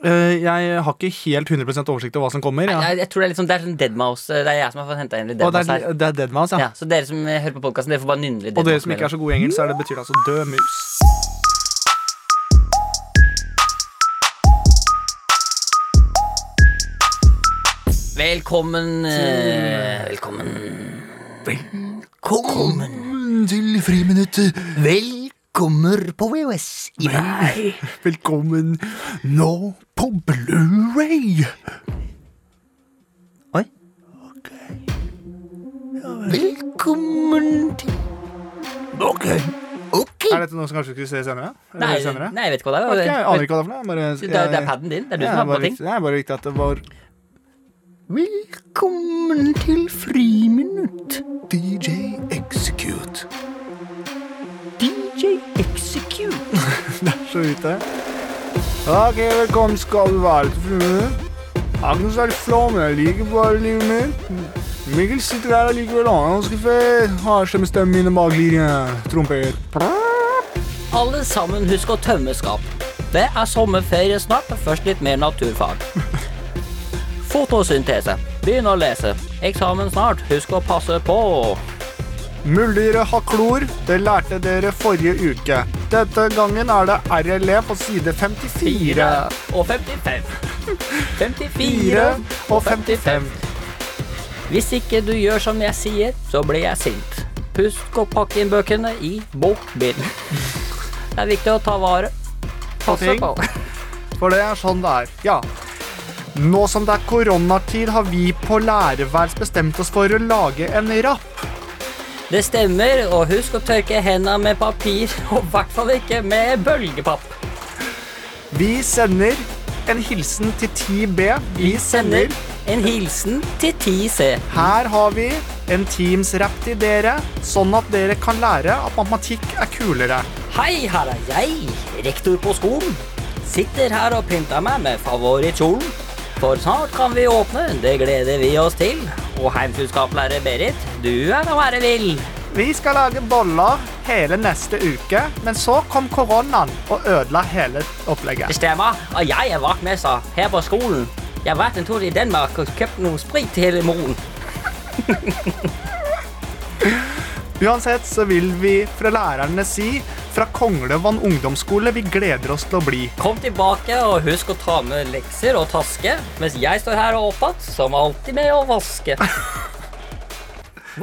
[SPEAKER 3] Eh, Jeg har ikke helt 100 oversikt over hva som kommer. Ja.
[SPEAKER 2] Jeg, jeg tror Det er litt sånn, det er sånn Deadmouth. Det er jeg som har fått henta inn litt
[SPEAKER 3] Og det
[SPEAKER 2] Deadmouth her.
[SPEAKER 3] er, det er Deadmans, ja.
[SPEAKER 2] Ja, så dere som eh, hører på podkasten, dere får bare nynne litt
[SPEAKER 3] Og dere
[SPEAKER 2] Deadmau5
[SPEAKER 3] som ikke er
[SPEAKER 2] imellom.
[SPEAKER 3] så gode i engelsk, så er det betyr det altså død mus.
[SPEAKER 2] Velkommen eh, Velkommen. Velkommen.
[SPEAKER 3] Velkommen til friminuttet.
[SPEAKER 2] Velkommer på VHS i meg.
[SPEAKER 3] Velkommen nå på Blu-ray.
[SPEAKER 2] Oi. Velkommen til
[SPEAKER 3] Ok.
[SPEAKER 2] Ok.
[SPEAKER 3] Er dette noe som kanskje skulle se senere? Eller
[SPEAKER 2] Nei,
[SPEAKER 3] senere?
[SPEAKER 2] nei, jeg vet ikke hva
[SPEAKER 3] Ok,
[SPEAKER 2] det
[SPEAKER 3] jeg
[SPEAKER 2] er.
[SPEAKER 3] aner ikke hva det er for noe. jeg Bare, eh,
[SPEAKER 2] Det er, det er paden din. Det er du
[SPEAKER 3] Ja,
[SPEAKER 2] som har
[SPEAKER 3] bare
[SPEAKER 2] på ting.
[SPEAKER 3] viktig- Det er bare viktig at det var
[SPEAKER 2] Velkommen til friminutt.
[SPEAKER 3] DJ Execute.
[SPEAKER 2] DJ Execute.
[SPEAKER 3] Så ute. Ok, velkommen skal du være til fruen. Agnes er flå, men jeg liker bare livet mitt. Mikkel sitter her allikevel, han er ganske fet. Har stemmestemmen mine bak linjen. Trompet.
[SPEAKER 2] alle sammen huske å tømme skap. Det er sommerferie snart, først litt mer naturfag. Fotosyntese. Begynn å lese. Eksamen snart. Husk å passe på.
[SPEAKER 3] Muldyret har klor. Det lærte dere forrige uke. Dette gangen er det RLE på side 54.
[SPEAKER 2] og 55. 54
[SPEAKER 3] 4 og 55.
[SPEAKER 2] Hvis ikke du gjør som jeg sier, så blir jeg sint. Husk å pakke inn bøkene i bokbilen. Det er viktig å ta vare. Passe
[SPEAKER 3] ting.
[SPEAKER 2] på.
[SPEAKER 3] For det er sånn det er. Ja. Nå som det er koronatid, har vi på lærerværelset bestemt oss for å lage en rapp.
[SPEAKER 2] Det stemmer, og husk å tørke hendene med papir, [LAUGHS] og i hvert fall ikke med bølgepapp.
[SPEAKER 3] Vi sender en hilsen til 10B. Vi sender
[SPEAKER 2] en hilsen til 10C.
[SPEAKER 3] Her har vi en Teams-rapp til dere, sånn at dere kan lære at matematikk er kulere.
[SPEAKER 2] Hei, her er jeg, rektor på skolen. Sitter her og pynter meg med favorittkjolen. For snart kan vi åpne, det gleder vi oss til. Og heimkunnskapslærer Berit, du er å være vill.
[SPEAKER 3] Vi skal lage boller hele neste uke, men så kom koronaen og ødela hele
[SPEAKER 2] Det
[SPEAKER 3] opplegget.
[SPEAKER 2] stemmer, og jeg er vaktmester her på skolen. Jeg har vært en tur i Danmark og kjøpt noe sprit til hele moren.
[SPEAKER 3] Uansett så vil vi fra lærerne si fra Konglevann ungdomsskole vi gleder oss til å bli.
[SPEAKER 2] Kom tilbake og husk å ta med lekser og taske, mens jeg står her og opptatt, som alltid med å
[SPEAKER 3] [LAUGHS]
[SPEAKER 2] vaske.
[SPEAKER 3] Knallbra.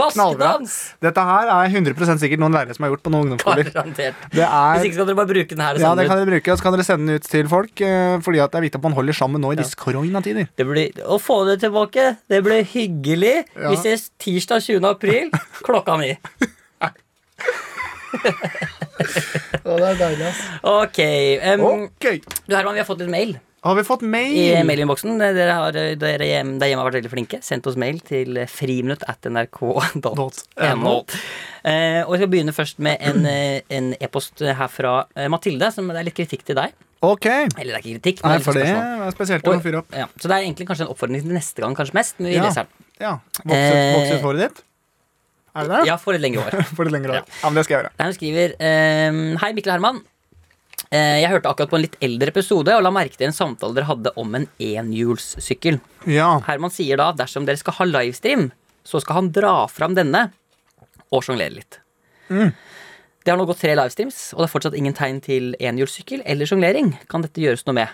[SPEAKER 2] Vaskedans!
[SPEAKER 3] Dette her er 100 sikkert noen lærere som har gjort på noen ungdomsskoler.
[SPEAKER 2] Garantert.
[SPEAKER 3] Det
[SPEAKER 2] Hvis
[SPEAKER 3] er
[SPEAKER 2] ikke skal dere bare bruke den her.
[SPEAKER 3] ja,
[SPEAKER 2] sammen.
[SPEAKER 3] det kan dere bruke, og så kan dere sende den ut til folk. eh, Fordi at det er viktig at man holder sammen nå i disse koronatider.
[SPEAKER 2] Det blir, å få det tilbake, det blir hyggelig.
[SPEAKER 3] Ja.
[SPEAKER 2] Vi ses tirsdag 20. april klokka ni.
[SPEAKER 3] det er deilig, ass.
[SPEAKER 2] Ok. em,
[SPEAKER 3] Ok.
[SPEAKER 2] Du Herman, vi har fått en mail
[SPEAKER 3] Har vi fått mail?
[SPEAKER 2] Mm. i mailinnboksen. Eh, Dere, har- dere hjem- der hjemme har vært veldig flinke. Sendt oss mail til friminutt at nrk.no.
[SPEAKER 3] .no.
[SPEAKER 2] Eh, og jeg skal begynne først med en, eh, en e-post her fra eh, Mathilde. Som det er litt kritikk til deg.
[SPEAKER 3] Ok.
[SPEAKER 2] Eller det er ikke kritikk. men
[SPEAKER 3] Nei,
[SPEAKER 2] litt
[SPEAKER 3] for det
[SPEAKER 2] spørsmål.
[SPEAKER 3] er spesielt å
[SPEAKER 2] Og-
[SPEAKER 3] fyre opp.
[SPEAKER 2] Ja, så det er egentlig kanskje en oppfordring til neste gang, kanskje mest. Men vi
[SPEAKER 3] Ja.
[SPEAKER 2] leser den.
[SPEAKER 3] Ja. Vokset,
[SPEAKER 2] Eh,
[SPEAKER 3] vokset håret ditt? Er det det?
[SPEAKER 2] Ja, for et lengre år.
[SPEAKER 3] For det lengre
[SPEAKER 2] Ja.
[SPEAKER 3] år. Ja, men det skal jeg gjøre.
[SPEAKER 2] Der hun skriver ehm, Hei, Mikkel og Herman. Eh, Jeg hørte akkurat på en litt eldre episode og la merke til en samtale dere hadde om en enhjulssykkel.
[SPEAKER 3] Ja.
[SPEAKER 2] Herman sier da at dersom dere skal ha livestream, så skal han dra fram denne og sjonglere litt. Mm. Det har nå gått tre livestreams, og det er fortsatt ingen tegn til enhjulssykkel eller sjonglering. Kan dette gjøres noe med?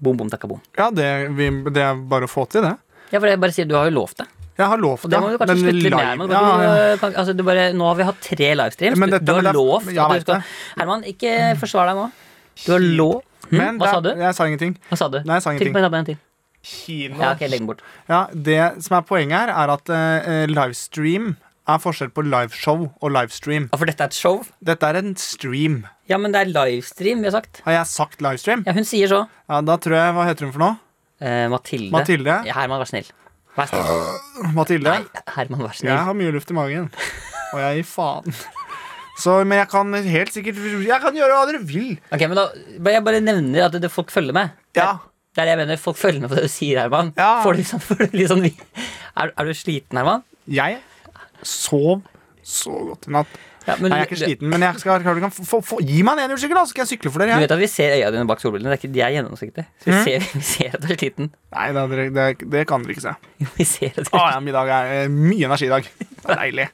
[SPEAKER 2] Bom, bom, takka, bom.
[SPEAKER 3] ja det, vi, det er bare å få til det.
[SPEAKER 2] Ja, for jeg bare sier, Du har jo lovt det.
[SPEAKER 3] Jeg har lovt
[SPEAKER 2] Og det må du kanskje slutte litt med. Herman.
[SPEAKER 3] ja,
[SPEAKER 2] Kan
[SPEAKER 3] ja.
[SPEAKER 2] du, kan, altså, du bare, nå har vi hatt tre livestreams.
[SPEAKER 3] Men
[SPEAKER 2] Du,
[SPEAKER 3] dette-
[SPEAKER 2] du har
[SPEAKER 3] men det er-
[SPEAKER 2] lovt
[SPEAKER 3] jeg
[SPEAKER 2] at
[SPEAKER 3] vet
[SPEAKER 2] du skal
[SPEAKER 3] det.
[SPEAKER 2] Herman, ikke forsvar deg nå. Du har lov hm?
[SPEAKER 3] Men
[SPEAKER 2] Hva
[SPEAKER 3] det-
[SPEAKER 2] sa du?
[SPEAKER 3] Jeg sa ingenting.
[SPEAKER 2] Hva sa du?
[SPEAKER 3] Nei, jeg sa
[SPEAKER 2] Trykk
[SPEAKER 3] ingenting.
[SPEAKER 2] på knappen en til.
[SPEAKER 3] Kino.
[SPEAKER 2] Ja, ok, legg den bort.
[SPEAKER 3] Ja, det som er poenget her, er at eh, livestream er forskjell på liveshow og livestream.
[SPEAKER 2] Ja, for dette er et show.
[SPEAKER 3] Dette er en stream.
[SPEAKER 2] Ja, men det er livestream, vi har sagt.
[SPEAKER 3] Har jeg sagt livestream?
[SPEAKER 2] Ja, hun sier så.
[SPEAKER 3] Ja, da tror jeg Hva heter hun for noe?
[SPEAKER 2] Eh, Mathilde.
[SPEAKER 3] Mathilde?
[SPEAKER 2] Ja, Herman, vær snill. Vær snill.
[SPEAKER 3] Mathilde?
[SPEAKER 2] Herman, vær snill.
[SPEAKER 3] Jeg har mye luft i magen.
[SPEAKER 2] [LAUGHS]
[SPEAKER 3] Og jeg gir faen. Så, men jeg kan helt sikkert Jeg kan gjøre hva dere vil.
[SPEAKER 2] Ok, men da, bare- Jeg bare nevner at det, det folk følger med.
[SPEAKER 3] Ja.
[SPEAKER 2] Det er det jeg mener. Folk følger med på det du sier, Herman.
[SPEAKER 3] Ja.
[SPEAKER 2] Får du liksom, får du liksom, er, er du sliten, Herman?
[SPEAKER 3] Jeg sov så godt i natt.
[SPEAKER 2] Ja, men du-
[SPEAKER 3] Nei, jeg er ikke
[SPEAKER 2] du-
[SPEAKER 3] sliten, men jeg skal, kan, få, få, gi meg en enhjulssykkel, da, så skal jeg sykle for dere.
[SPEAKER 2] Du
[SPEAKER 3] Jeg.
[SPEAKER 2] vet at vi ser øya dine bak solbrillene. Det er ikke, de er gjennomsiktige. Så vi,
[SPEAKER 3] Mm.
[SPEAKER 2] ser, vi ser at du er sliten. [LAUGHS]
[SPEAKER 3] Nei, da, dere, det, det kan dere ikke se.
[SPEAKER 2] Vi ser at du
[SPEAKER 3] Å, ja, middag er eh, mye energi i dag. Det er deilig.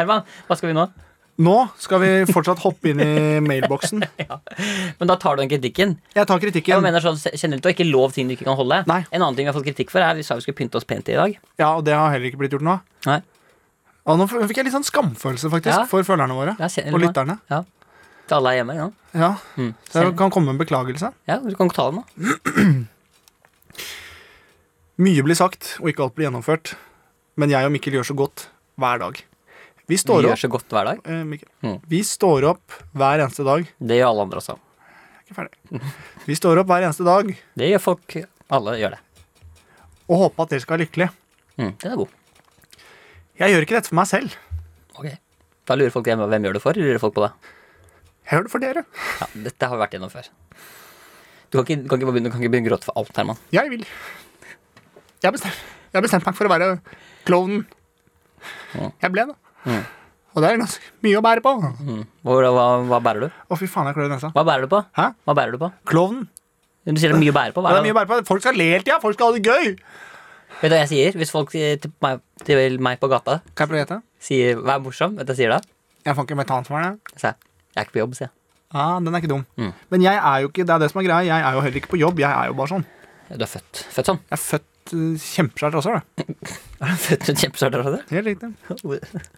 [SPEAKER 2] Herman, hva skal vi nå?
[SPEAKER 3] Nå skal vi fortsatt hoppe inn i mailboksen.
[SPEAKER 2] Men da tar du den kritikken.
[SPEAKER 3] Jeg tar
[SPEAKER 2] Jeg
[SPEAKER 3] kritikken.
[SPEAKER 2] mener sånn generelt Du har ikke lov ting du ikke kan holde.
[SPEAKER 3] Nei.
[SPEAKER 2] En annen ting vi har fått kritikk for, er vi sa vi skulle pynte oss pent i dag.
[SPEAKER 3] Ja, Og det har heller ikke blitt gjort nå.
[SPEAKER 2] Nei.
[SPEAKER 3] Og nå fikk jeg litt sånn skamfølelse faktisk
[SPEAKER 2] Ja.
[SPEAKER 3] for følgerne våre.
[SPEAKER 2] Ja, se-
[SPEAKER 3] Og lytterne.
[SPEAKER 2] Ja. Til alle er hjemme. Ja.
[SPEAKER 3] Ja,
[SPEAKER 2] Mm.
[SPEAKER 3] Så det kan komme en beklagelse.
[SPEAKER 2] ja, du kan ta den, da.
[SPEAKER 3] Mye blir sagt, og ikke alt blir gjennomført. Men jeg og Mikkel gjør så godt hver dag. Vi
[SPEAKER 2] Du
[SPEAKER 3] står
[SPEAKER 2] gjør
[SPEAKER 3] opp,
[SPEAKER 2] så godt hver dag.
[SPEAKER 3] eh, Mikkel.
[SPEAKER 2] Mm.
[SPEAKER 3] Vi står opp hver eneste dag. Jeg
[SPEAKER 2] Det gjør alle andre også.
[SPEAKER 3] er ikke ferdig. Vi står opp hver eneste dag
[SPEAKER 2] Det gjør folk. Alle gjør det.
[SPEAKER 3] og håper at dere skal være lykkelige.
[SPEAKER 2] Mm, den er god.
[SPEAKER 3] Jeg gjør ikke dette for meg selv.
[SPEAKER 2] Ok. Da lurer folk hjemme hvem gjør det for. Lurer folk på det.
[SPEAKER 3] Jeg gjør det for dere.
[SPEAKER 2] Ja, dette har vi vært gjennom før. Du kan ikke, du kan ikke bare begynne, du kan ikke begynne å gråte for alt, Herman.
[SPEAKER 3] Jeg vil. Jeg har bestemt, jeg har bestemt meg for å være klovnen.
[SPEAKER 2] Ja.
[SPEAKER 3] Jeg ble det. Og det er ganske mye å bære på. Å,
[SPEAKER 2] Hvor, hva, hva bærer du?
[SPEAKER 3] fy faen, jeg klør i nesa.
[SPEAKER 2] Hva bærer du på?
[SPEAKER 3] Hæ?
[SPEAKER 2] Hva bærer du på?
[SPEAKER 3] Klovnen.
[SPEAKER 2] Du sier det er mye å bære på.
[SPEAKER 3] Ja,
[SPEAKER 2] Hva er
[SPEAKER 3] det er mye
[SPEAKER 2] det?
[SPEAKER 3] å bære på. Folk skal le hele tida. Folk skal ha det gøy.
[SPEAKER 2] Vet du hva jeg sier? Hvis folk sier til meg, til meg på gata
[SPEAKER 3] Hva er det
[SPEAKER 2] sier 'vær morsom', vet du hva jeg sier da?
[SPEAKER 3] Jeg fant ikke metansvaret.
[SPEAKER 2] Jeg sier 'jeg er ikke på jobb', sier jeg.
[SPEAKER 3] Ah, den er ikke dum.
[SPEAKER 2] Mm.
[SPEAKER 3] Men jeg er jo ikke, det er det som er greia. Jeg er jo heller ikke på jobb. Jeg er jo bare sånn.
[SPEAKER 2] Du er født, født sånn. [LAUGHS]
[SPEAKER 3] Jeg er født uh, kjempeskjært også, da.
[SPEAKER 2] Født med kjempesvart hår.
[SPEAKER 3] Helt riktig.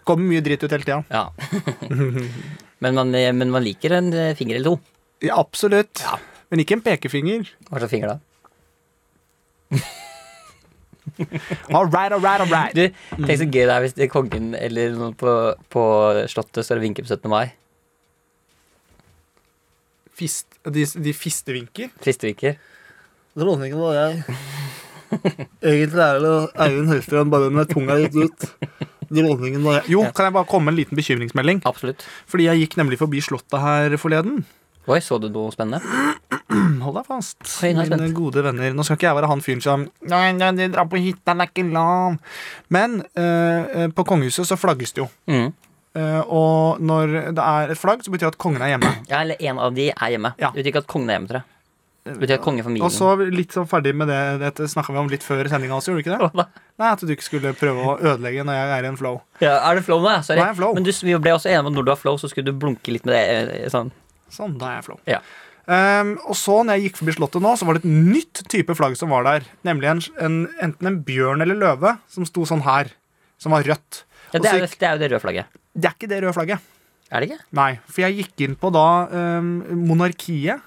[SPEAKER 3] Kommer mye dritt ut hele tida.
[SPEAKER 2] Ja. [LAUGHS] men, man, men man liker en eh, finger eller to.
[SPEAKER 3] Ja, absolutt. Men ikke en pekefinger.
[SPEAKER 2] Hva slags finger da?
[SPEAKER 3] All right, all right, all right.
[SPEAKER 2] Du, Tenk så gøy det er hvis det er kongen eller noen på, på Slottet står og vinker på 17. mai.
[SPEAKER 3] Fist, de, de fistevinker.
[SPEAKER 2] Fistevinker.
[SPEAKER 3] Dronningen var jeg. Egentlig er det Eivind Høystrand bare med tunga litt ut. Dronningen var jeg. Jo, kan jeg bare komme med en liten bekymringsmelding?
[SPEAKER 2] Absolutt.
[SPEAKER 3] Fordi jeg gikk nemlig forbi Slottet her forleden.
[SPEAKER 2] Oi, så du noe spennende?
[SPEAKER 3] Hold deg fast,
[SPEAKER 2] Oi, nå er jeg
[SPEAKER 3] mine
[SPEAKER 2] spent.
[SPEAKER 3] gode venner. Nå skal ikke jeg være han fyren som Nei, nei, de drar på hytta, den er ikke lav. Men eh, eh, på kongehuset så flagges det jo.
[SPEAKER 2] Mm.
[SPEAKER 3] Eh, og når det er et flagg, så betyr det at kongen er hjemme.
[SPEAKER 2] Ja, eller en av de er hjemme.
[SPEAKER 3] Ja.
[SPEAKER 2] Det betyr ikke at kongen er hjemme, tror jeg. Det betyr at kongefamilien
[SPEAKER 3] Og så litt sånn ferdig med det dette snakka vi om litt før sendinga også, gjorde du ikke
[SPEAKER 2] [LAUGHS] Hva
[SPEAKER 3] det?
[SPEAKER 2] da?
[SPEAKER 3] Nei, At du ikke skulle prøve å ødelegge når jeg er i en flow.
[SPEAKER 2] ja, Er det flow nå, ja? Sorry.
[SPEAKER 3] Nå er jeg flow.
[SPEAKER 2] Men du, vi ble også enige om at når du har flow, så skulle du blunke litt med det. eh, eh, Sånn.
[SPEAKER 3] Sånn, da er jeg flow.
[SPEAKER 2] Ja.
[SPEAKER 3] Ehm, og så, når jeg gikk forbi Slottet nå, så var det et nytt type flagg som var der. Nemlig en, en, enten en bjørn eller løve som sto sånn her. Som var rødt.
[SPEAKER 2] Ja,
[SPEAKER 3] Og
[SPEAKER 2] det,
[SPEAKER 3] så
[SPEAKER 2] er, jo- det er jo det røde flagget.
[SPEAKER 3] gikk- det er ikke det røde flagget.
[SPEAKER 2] Er det ikke?
[SPEAKER 3] Nei, for jeg gikk inn på da ehm, monarkiet.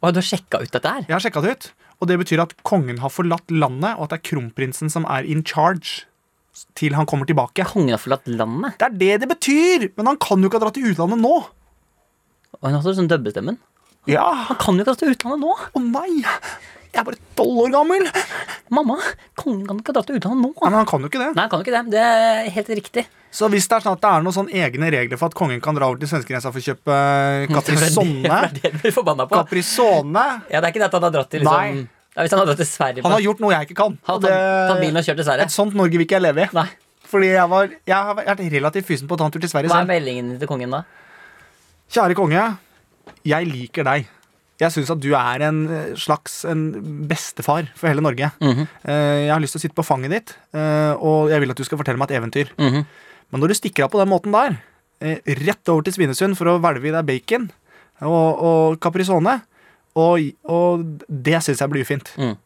[SPEAKER 2] Å, du har sjekka ut dette her?
[SPEAKER 3] Jeg har sjekka det ut. Og det betyr at kongen har forlatt landet, og at det er kronprinsen som er in charge til han kommer tilbake.
[SPEAKER 2] Kongen har forlatt landet?
[SPEAKER 3] Det er det det betyr! Men han kan jo ikke ha dratt til utlandet nå.
[SPEAKER 2] Og han har også sånn døbbestemmen.
[SPEAKER 3] Ja.
[SPEAKER 2] Han kan jo ikke dra til utlandet nå!
[SPEAKER 3] Å nei! Jeg er bare tolv år gammel! Nei,
[SPEAKER 2] Mamma, kongen kan ikke dra til utlandet nå!
[SPEAKER 3] men han kan jo ikke det.
[SPEAKER 2] Nei, han kan jo ikke det. Det er helt riktig.
[SPEAKER 3] Så hvis det er sånn at det er noen sånne egne regler for at kongen kan dra over til svenskegrensa for å kjøpe
[SPEAKER 2] [LAUGHS]
[SPEAKER 3] eh,
[SPEAKER 2] Det
[SPEAKER 3] Caprisonne
[SPEAKER 2] er [LAUGHS] det du blir forbanna på.
[SPEAKER 3] Caprisonne
[SPEAKER 2] Ja, det er ikke det at han har dratt til liksom
[SPEAKER 3] Nei.
[SPEAKER 2] ja, Hvis han har dratt til Sverige
[SPEAKER 3] Han har gjort noe jeg ikke kan.
[SPEAKER 2] Han
[SPEAKER 3] og
[SPEAKER 2] har tatt, tatt bilen og kjørt til Sverige.
[SPEAKER 3] et sånt Norge vil ikke jeg leve i.
[SPEAKER 2] Nei.
[SPEAKER 3] Fordi jeg, var, jeg har vært relativt fysen på å ta en tur til Sverige
[SPEAKER 2] Hva er
[SPEAKER 3] selv.
[SPEAKER 2] meldingen til kongen, da?
[SPEAKER 3] Kjære konge, jeg liker deg. Jeg syns at du er en eh, slags en bestefar for hele Norge.
[SPEAKER 2] Mhm,
[SPEAKER 3] Eh, Jeg har lyst til å sitte på fanget ditt, eh, og jeg vil at du skal fortelle meg et eventyr.
[SPEAKER 2] Mhm.
[SPEAKER 3] Men når du stikker av på den måten der, eh, rett over til Svinesund for å hvelve i deg bacon og, og caprisone, og, og det syns jeg blir ufint.
[SPEAKER 2] Mhm.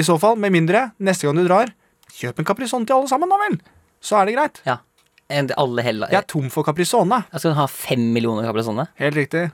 [SPEAKER 3] I så fall, med mindre, neste gang du drar, kjøp en caprisone til alle sammen, da vel! Så er det greit.
[SPEAKER 2] Ja. En, alle hella
[SPEAKER 3] Jeg er tom for caprisone.
[SPEAKER 2] Jeg Skal han ha fem millioner kaplasone?
[SPEAKER 3] Helt riktig.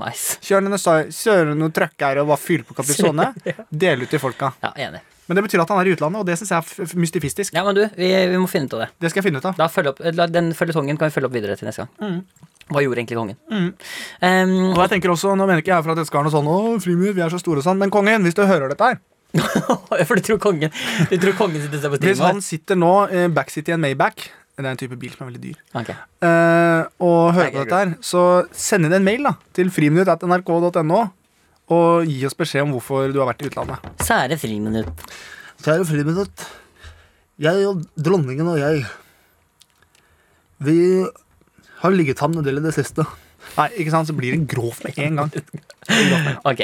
[SPEAKER 2] Nice.
[SPEAKER 3] Kjør ned noen, kjør noen trøkker og bare fyll på Caprisone. Del ut til folka.
[SPEAKER 2] Ja, enig.
[SPEAKER 3] Men det betyr at han er i utlandet, og det syns jeg er f- f- mystifistisk.
[SPEAKER 2] Ja, men du, vi, vi må finne ut av det.
[SPEAKER 3] Det skal jeg finne ut av. Mm,
[SPEAKER 2] Da følge opp, la- den føljetongen kan vi følge opp videre til neste gang. Hva gjorde egentlig kongen? [LAUGHS] Ehm,
[SPEAKER 3] Og jeg tenker også, Nå mener ikke jeg for at jeg skal ha noe sånn, å, friminutt, vi er så store og sånn, men kongen, hvis du hører dette her
[SPEAKER 2] for du tror kongen Du tror kongen sitter og ser på
[SPEAKER 3] Hvis
[SPEAKER 2] streamen?
[SPEAKER 3] han sitter nå eh, backseat i en Maybach, det er en type bil som er veldig dyr,
[SPEAKER 2] vår? Ok.
[SPEAKER 3] eh, og hører
[SPEAKER 2] Nei,
[SPEAKER 3] på dette her, så send inn en mail da, til friminutt.nrk.no, og gi oss beskjed om hvorfor du har vært i utlandet.
[SPEAKER 2] Sære friminutt.
[SPEAKER 4] Kjære friminutt. Jeg og dronningen og jeg Vi har ligget sammen en del i det siste.
[SPEAKER 3] Nei, ikke sant, så blir det grov med en gang.
[SPEAKER 2] Ok.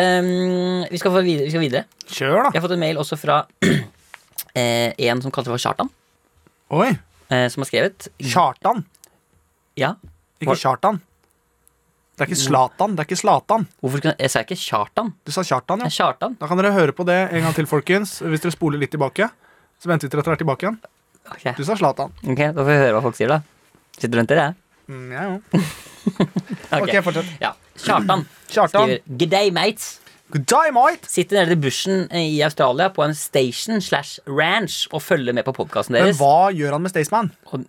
[SPEAKER 2] Ehm, vi, skal få videre, vi skal videre.
[SPEAKER 3] Kjør,
[SPEAKER 2] Jeg
[SPEAKER 3] da.
[SPEAKER 2] har fått en mail også fra [CLEARS THROAT] eh, en som kalte seg for Kjartan,
[SPEAKER 3] Oi.
[SPEAKER 2] eh, som har skrevet
[SPEAKER 3] Kjartan.
[SPEAKER 2] Ja.
[SPEAKER 3] Ikke Kjartan. Det er ikke Slatan. Det er ikke Slatan.
[SPEAKER 2] Hvorfor skulle Jeg sa ikke Kjartan.
[SPEAKER 3] Du sa Kjartan,
[SPEAKER 2] Det
[SPEAKER 3] ja.
[SPEAKER 2] er Kjartan.
[SPEAKER 3] Da kan dere høre på det en gang til, folkens. Hvis dere spoler litt tilbake. Så venter vi til dere er tilbake igjen.
[SPEAKER 2] Ok,
[SPEAKER 3] Du sa Slatan.
[SPEAKER 2] Ok, Da får vi høre hva folk sier, da. Sitter du rundt dere?
[SPEAKER 3] Mm,
[SPEAKER 2] [LAUGHS]
[SPEAKER 3] jeg òg.
[SPEAKER 2] Ok.
[SPEAKER 3] OK, fortsett.
[SPEAKER 2] Ja. Kjartan
[SPEAKER 3] [CLEARS THROAT] Kjartan.
[SPEAKER 2] skriver G'day, mates.
[SPEAKER 3] Good day, mate!
[SPEAKER 2] Sitter nede i bushen i Australia på en station slash ranch og følger med på podkasten
[SPEAKER 3] Men
[SPEAKER 2] deres.
[SPEAKER 3] hva gjør han med Staysman?
[SPEAKER 2] Han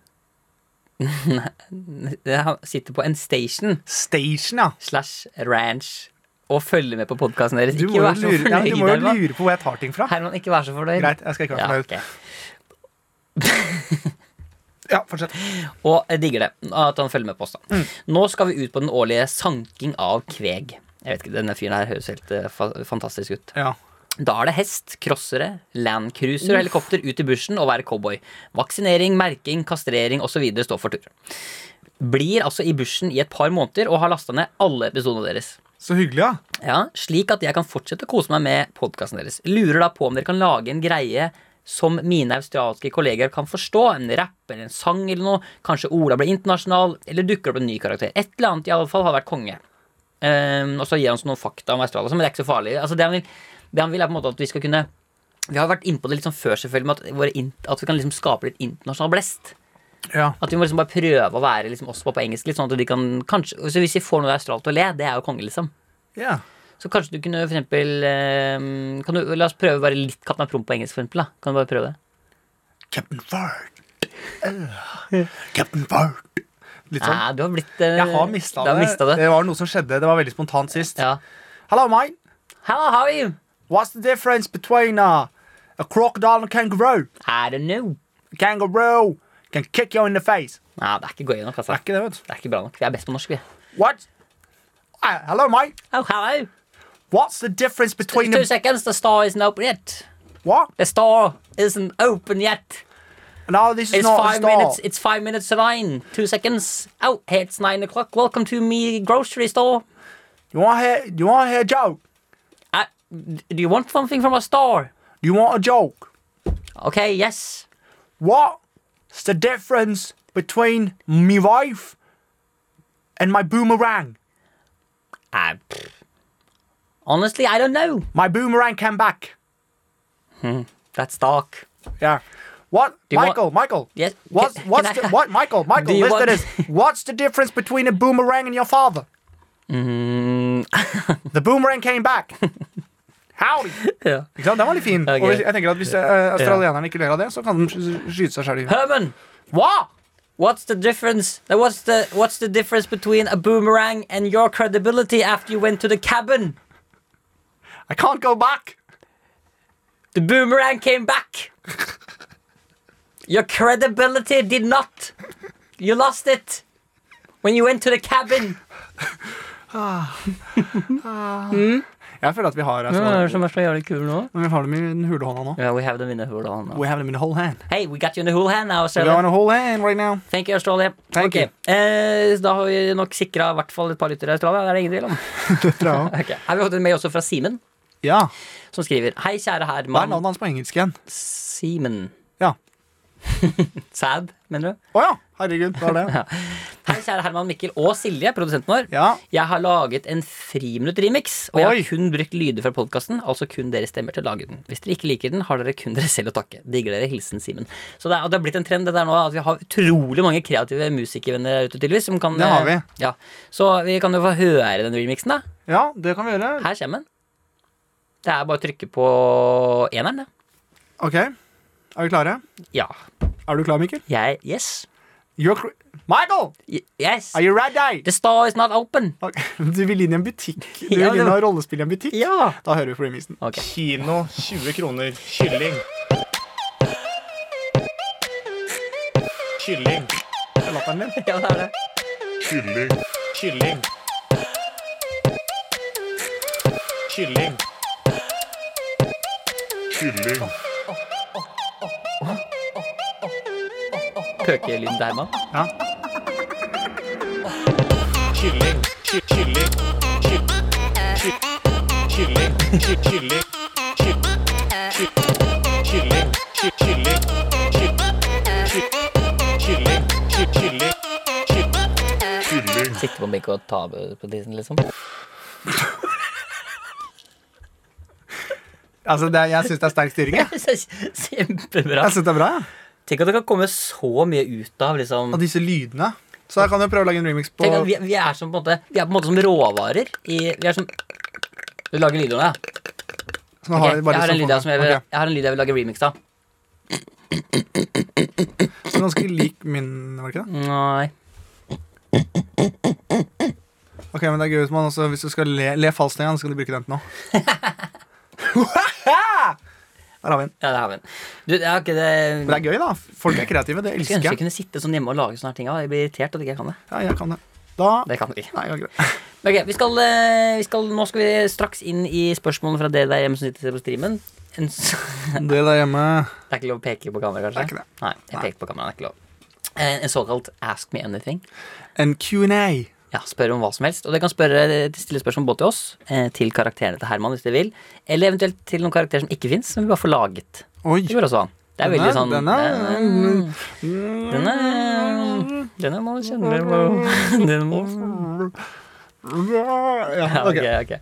[SPEAKER 2] sitter på en station
[SPEAKER 3] Station, ja.
[SPEAKER 2] slash ranch og følger med på podkasten deres.
[SPEAKER 3] Du
[SPEAKER 2] Ikke
[SPEAKER 3] må, jo
[SPEAKER 2] vær så
[SPEAKER 3] lure, ja, men
[SPEAKER 2] fornøyd,
[SPEAKER 3] du må jo
[SPEAKER 2] Herman.
[SPEAKER 3] lure på hvor jeg tar ting fra.
[SPEAKER 2] Herman, ikke vær så fornøyd.
[SPEAKER 3] Greit, jeg skal ikke være
[SPEAKER 2] Ja,
[SPEAKER 3] fornøyd.
[SPEAKER 2] ok.
[SPEAKER 3] Ja, fortsett.
[SPEAKER 2] Og jeg digger det. At han følger med på oss. da Nå skal vi ut på den årlige sanking av kveg. Jeg vet ikke, Denne fyren her høres helt eh, fa fantastisk ut.
[SPEAKER 3] Ja.
[SPEAKER 2] Da er det hest, crossere, landcruiser og helikopter ut i bushen og være cowboy. Vaksinering, merking, kastrering osv. står for tur. Blir altså i bushen i et par måneder og har lasta ned alle episodene deres.
[SPEAKER 3] Så hyggelig, ja.
[SPEAKER 2] Ja, Slik at jeg kan fortsette å kose meg med podkasten deres. Lurer da på om dere kan lage en greie som mine australske kolleger kan forstå. En rapp eller en sang eller noe. Kanskje Ola blir internasjonal, eller dukker opp en ny karakter. Et eller annet i alle fall hadde vært konge. Ehm, og så gir han oss noen fakta om Australia, og sånn, men det er ikke så farlig. Altså, det, han vil, det han vil er på en måte at vi skal kunne Vi har jo vært innpå det litt sånn før, selvfølgelig, med at, våre, int- at vi kan liksom skape litt internasjonal blest.
[SPEAKER 3] ja.
[SPEAKER 2] At vi må liksom bare prøve å være liksom også på engelsk. Litt sånn at de kan kanskje, så Hvis vi får noe australsk til å le, det er jo konge, liksom.
[SPEAKER 3] Ja.
[SPEAKER 2] Så kanskje du kunne for eksempel ehm, kan du, La oss prøve bare litt Kaptein Promp på engelsk, for eksempel. Da. Kan du bare prøve det?
[SPEAKER 4] Captain Fart. Eh, Captain Fart.
[SPEAKER 3] Litt sånn.
[SPEAKER 2] Nei, du har blitt eh,
[SPEAKER 3] Jeg har mista
[SPEAKER 2] du har
[SPEAKER 3] det.
[SPEAKER 2] mistet det.
[SPEAKER 3] Det var noe som skjedde. Det var veldig spontant sist.
[SPEAKER 2] Ja.
[SPEAKER 3] Hello, mate.
[SPEAKER 2] Hello, how are you?
[SPEAKER 3] What's the difference between uh, a crocodile and kangaroo?
[SPEAKER 2] I don't know.
[SPEAKER 3] Kangaroo can kick you in the face.
[SPEAKER 2] Nei, det er ikke gøy nok,
[SPEAKER 3] Det
[SPEAKER 2] altså.
[SPEAKER 3] er ikke det, vet du.
[SPEAKER 2] Det er ikke bra nok. Vi er best på norsk, vi.
[SPEAKER 3] What? Uh, hello, mate.
[SPEAKER 2] Oh, hello.
[SPEAKER 3] What's the difference between
[SPEAKER 2] Two
[SPEAKER 3] the...
[SPEAKER 2] seconds, the store isn't open yet.
[SPEAKER 3] What?
[SPEAKER 2] The store isn't open yet.
[SPEAKER 3] No, this is
[SPEAKER 2] It's
[SPEAKER 3] not a
[SPEAKER 2] five
[SPEAKER 3] star.
[SPEAKER 2] minutes. It's five minutes to nine. Two seconds. Oh, hey, it's nine o'clock. Welcome to me grocery store.
[SPEAKER 3] You want to hear? You want to hear a joke?
[SPEAKER 2] Uh, do you want something from a store?
[SPEAKER 3] Do you want a joke?
[SPEAKER 2] Okay, yes.
[SPEAKER 3] What's the difference between me wife and my boomerang?
[SPEAKER 2] Uh, pff. honestly, I don't know.
[SPEAKER 3] My boomerang came back.
[SPEAKER 2] That's dark.
[SPEAKER 3] Yeah. What,
[SPEAKER 2] you want-
[SPEAKER 3] Michael? Michael.
[SPEAKER 2] Yes,
[SPEAKER 3] What's
[SPEAKER 2] can-
[SPEAKER 3] what's
[SPEAKER 2] can I- [LAUGHS]
[SPEAKER 3] the, what, Michael? Michael,
[SPEAKER 2] Do you
[SPEAKER 3] listen to
[SPEAKER 2] want-
[SPEAKER 3] this. What's the difference between a boomerang and your father?
[SPEAKER 2] Mm,
[SPEAKER 3] the boomerang
[SPEAKER 2] [LAUGHS]
[SPEAKER 3] came back. Howdy.
[SPEAKER 2] Yeah.
[SPEAKER 3] Ikke sant? Den var litt fin.
[SPEAKER 2] Ok.
[SPEAKER 3] Og hvis- jeg tenker at Hvis eh, australienerne ikke ler av det, så kan de sky- skyte seg selv i
[SPEAKER 2] Herman,
[SPEAKER 3] What?
[SPEAKER 2] what's the difference? uh, What's the what's the difference between a boomerang and your credibility after you went to the cabin?
[SPEAKER 3] I can't go back.
[SPEAKER 2] The boomerang came back. Your credibility did not. You lost it when you went to the cabin.
[SPEAKER 3] Jeg føler at vi har altså,
[SPEAKER 2] som er så jævlig kul nå?
[SPEAKER 3] Men vi har dem i den hule hånda nå.
[SPEAKER 2] we have them in the whole hand now.
[SPEAKER 3] We have them in the whole hand.
[SPEAKER 2] Hey, we got you in the whole hand now,
[SPEAKER 3] We are in
[SPEAKER 2] Australia.
[SPEAKER 3] the whole hand right now.
[SPEAKER 2] Thank you, Australia.
[SPEAKER 3] Thank
[SPEAKER 2] Ok, Eh, da har vi nok sikra i hvert fall et par lyttere i Australia. Det er [LAUGHS] det ingen tvil
[SPEAKER 3] [LAUGHS]
[SPEAKER 2] om. Ok, Her har vi fått en mail også fra Simen,
[SPEAKER 3] Ja.
[SPEAKER 2] som skriver Hei, kjære
[SPEAKER 3] Hva er
[SPEAKER 2] Herman.
[SPEAKER 3] navnet hans på engelsk igjen?
[SPEAKER 2] Simen.
[SPEAKER 3] Ja.
[SPEAKER 2] Sad,
[SPEAKER 3] [LAUGHS]
[SPEAKER 2] mener du?
[SPEAKER 3] Å ja. Herregud, hva er
[SPEAKER 2] [LAUGHS]
[SPEAKER 3] det?
[SPEAKER 2] Hei, kjære Herman, Mikkel og Silje, produsenten vår.
[SPEAKER 3] Ja.
[SPEAKER 2] Jeg har laget en friminutt-remix, og jeg
[SPEAKER 3] Oi.
[SPEAKER 2] har kun brukt lyder fra podkasten, altså kun dere stemmer til å lage den. Hvis dere ikke liker den, har dere kun dere selv å takke. Digger dere. Hilsen Simen. Så det, er, og det har blitt en trend det der nå, at vi har utrolig mange kreative musikervenner der ute, tydeligvis. Som kan,
[SPEAKER 3] Det har
[SPEAKER 2] eh, Ja. Så vi kan jo få høre den remixen, da.
[SPEAKER 3] Ja, det kan vi gjøre.
[SPEAKER 2] Her kommer den. Det er bare å trykke på eneren, det.
[SPEAKER 3] OK. Er vi klare?
[SPEAKER 2] Ja.
[SPEAKER 3] Er du klar, Mikkel?
[SPEAKER 2] Jeg Yes.
[SPEAKER 3] You're cr Michael!
[SPEAKER 2] Y- Yes.
[SPEAKER 3] Are you ready?
[SPEAKER 2] The store is not open.
[SPEAKER 3] Ok, [LAUGHS] Du vil inn i en butikk? Du vil
[SPEAKER 2] Ja, det
[SPEAKER 3] inn og
[SPEAKER 2] var-
[SPEAKER 3] ha rollespill i en butikk?
[SPEAKER 2] Ja.
[SPEAKER 3] Da hører vi på remisen.
[SPEAKER 2] Ok.
[SPEAKER 5] Kino 20 kroner. Kylling. Kylling.
[SPEAKER 3] Det er latteren din.
[SPEAKER 2] Ja, det er det.
[SPEAKER 5] Kylling. Kylling. Kylling. Kylling.
[SPEAKER 2] Pøkelyden der, mann.
[SPEAKER 3] Ja.
[SPEAKER 5] Kylling. Ky- Kylling. Ky- ky- Kylling. Ky- Kylling. Ky- ky- Kylling. Ky- Kylling. Ky- ky- Kylling. Ky- Kylling. Ky- Kylling.
[SPEAKER 2] Sitte på en benk og ta på tissen, [LAUGHS] liksom.
[SPEAKER 3] Altså, det er, jeg syns det er sterk styring. Jeg,
[SPEAKER 2] Kjempebra.
[SPEAKER 3] jeg synes det er bra. jeg.
[SPEAKER 2] Altså, Tenk at det kan komme så mye ut av liksom
[SPEAKER 3] Og disse lydene. Så jeg kan jo prøve å lage en remix på
[SPEAKER 2] Tenk at vi, vi, er som, på en måte, vi er på en måte som råvarer i Vi er som Du lager lyder nå, ja?
[SPEAKER 3] som
[SPEAKER 2] Ok,
[SPEAKER 3] har
[SPEAKER 2] jeg,
[SPEAKER 3] bare
[SPEAKER 2] har en lyd
[SPEAKER 3] sånn-
[SPEAKER 2] her som jeg, vil,
[SPEAKER 3] Ok,
[SPEAKER 2] jeg har en lyd jeg vil lage remix av.
[SPEAKER 3] så Ganske lik min, var det ikke det?
[SPEAKER 2] Nei.
[SPEAKER 3] Ok, men det er gøy hvis man også, Hvis du skal le, le falskt en gang, så skal du bruke den til noe.
[SPEAKER 2] [LAUGHS]
[SPEAKER 3] Der har vi den.
[SPEAKER 2] Ja, det har vi den. Du, jeg har ikke det
[SPEAKER 3] Men det er gøy, da. Folk er kreative. Det
[SPEAKER 2] Jeg skulle
[SPEAKER 3] elsker
[SPEAKER 2] ønske jeg
[SPEAKER 3] jeg.
[SPEAKER 2] kunne sitte sånn hjemme og lage sånne her ting. ja. Jeg blir irritert at ikke jeg kan det.
[SPEAKER 3] Ja, jeg kan det. Da
[SPEAKER 2] Det kan vi.
[SPEAKER 3] Nei, jeg kan ikke det.
[SPEAKER 2] Ok, vi skal, eh, vi skal, Nå skal vi straks inn i spørsmålene fra dere der hjemme som sitter og ser på streamen. En, s- [LAUGHS]
[SPEAKER 3] Det der hjemme
[SPEAKER 2] det er ikke lov å peke på kamera, kanskje?
[SPEAKER 3] Det er ikke det.
[SPEAKER 2] Nei, jeg peker på kamera, det er ikke lov. Eh, En, en såkalt ask me anything.
[SPEAKER 3] En Q&A.
[SPEAKER 2] Ja, Spør om hva som helst. Og dere kan spørre, eh, stille spørsmål både til oss, eh, til karakterene til Herman hvis dere vil, eller eventuelt til noen karakterer som ikke fins, som vi bare får laget.
[SPEAKER 3] Oi.
[SPEAKER 2] Det går også an. Det er
[SPEAKER 3] Den
[SPEAKER 2] veldig
[SPEAKER 3] er-
[SPEAKER 2] sånn
[SPEAKER 3] den er-
[SPEAKER 2] den er- Den er Den er må du
[SPEAKER 3] [LAUGHS]
[SPEAKER 2] kjenne den må- Den må
[SPEAKER 3] Ja,
[SPEAKER 2] ja,
[SPEAKER 3] ok.
[SPEAKER 2] ok, ok.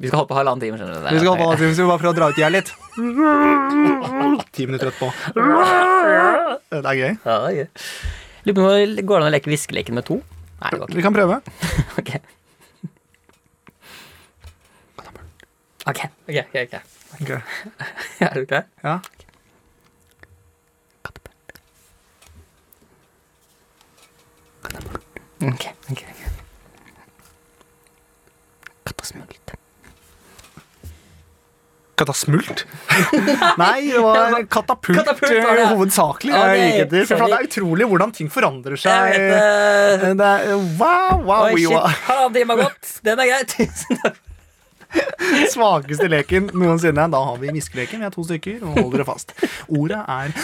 [SPEAKER 2] Vi skal holde på halvannen time, skjønner du.
[SPEAKER 3] Vi skal holde på halvtimen, så vi bare prøver å dra ut jeg litt. Ti minutter etterpå. Det er gøy.
[SPEAKER 2] Ja, det er gøy. Lurer på om det går an å leke viskeleken med to? Nei, det går ikke.
[SPEAKER 3] Vi kan prøve.
[SPEAKER 2] Ok. Ok, ok, ok. ok.
[SPEAKER 3] Ok.
[SPEAKER 2] Er du klar?
[SPEAKER 3] Ja.
[SPEAKER 2] Ok, ok, ok. Kattesmult.
[SPEAKER 3] Katasmult? [LAUGHS] Nei, det var katapult,
[SPEAKER 2] Katapult var det, ja.
[SPEAKER 3] eh, hovedsakelig.
[SPEAKER 2] Ja,
[SPEAKER 3] jeg
[SPEAKER 2] det-
[SPEAKER 3] liker det, for
[SPEAKER 2] sorry.
[SPEAKER 3] det er utrolig hvordan ting forandrer
[SPEAKER 2] Jeg
[SPEAKER 3] seg.
[SPEAKER 2] vet det.
[SPEAKER 3] Det er, wow, wow,
[SPEAKER 2] Oi,
[SPEAKER 3] we
[SPEAKER 2] shit.
[SPEAKER 3] were-
[SPEAKER 2] Halvannen time har gått. Den er grei. Tusen takk.
[SPEAKER 3] [LAUGHS] Svakeste leken noensinne. Da har vi viskeleken. Vi er to stykker. og Hold dere fast. Ordet er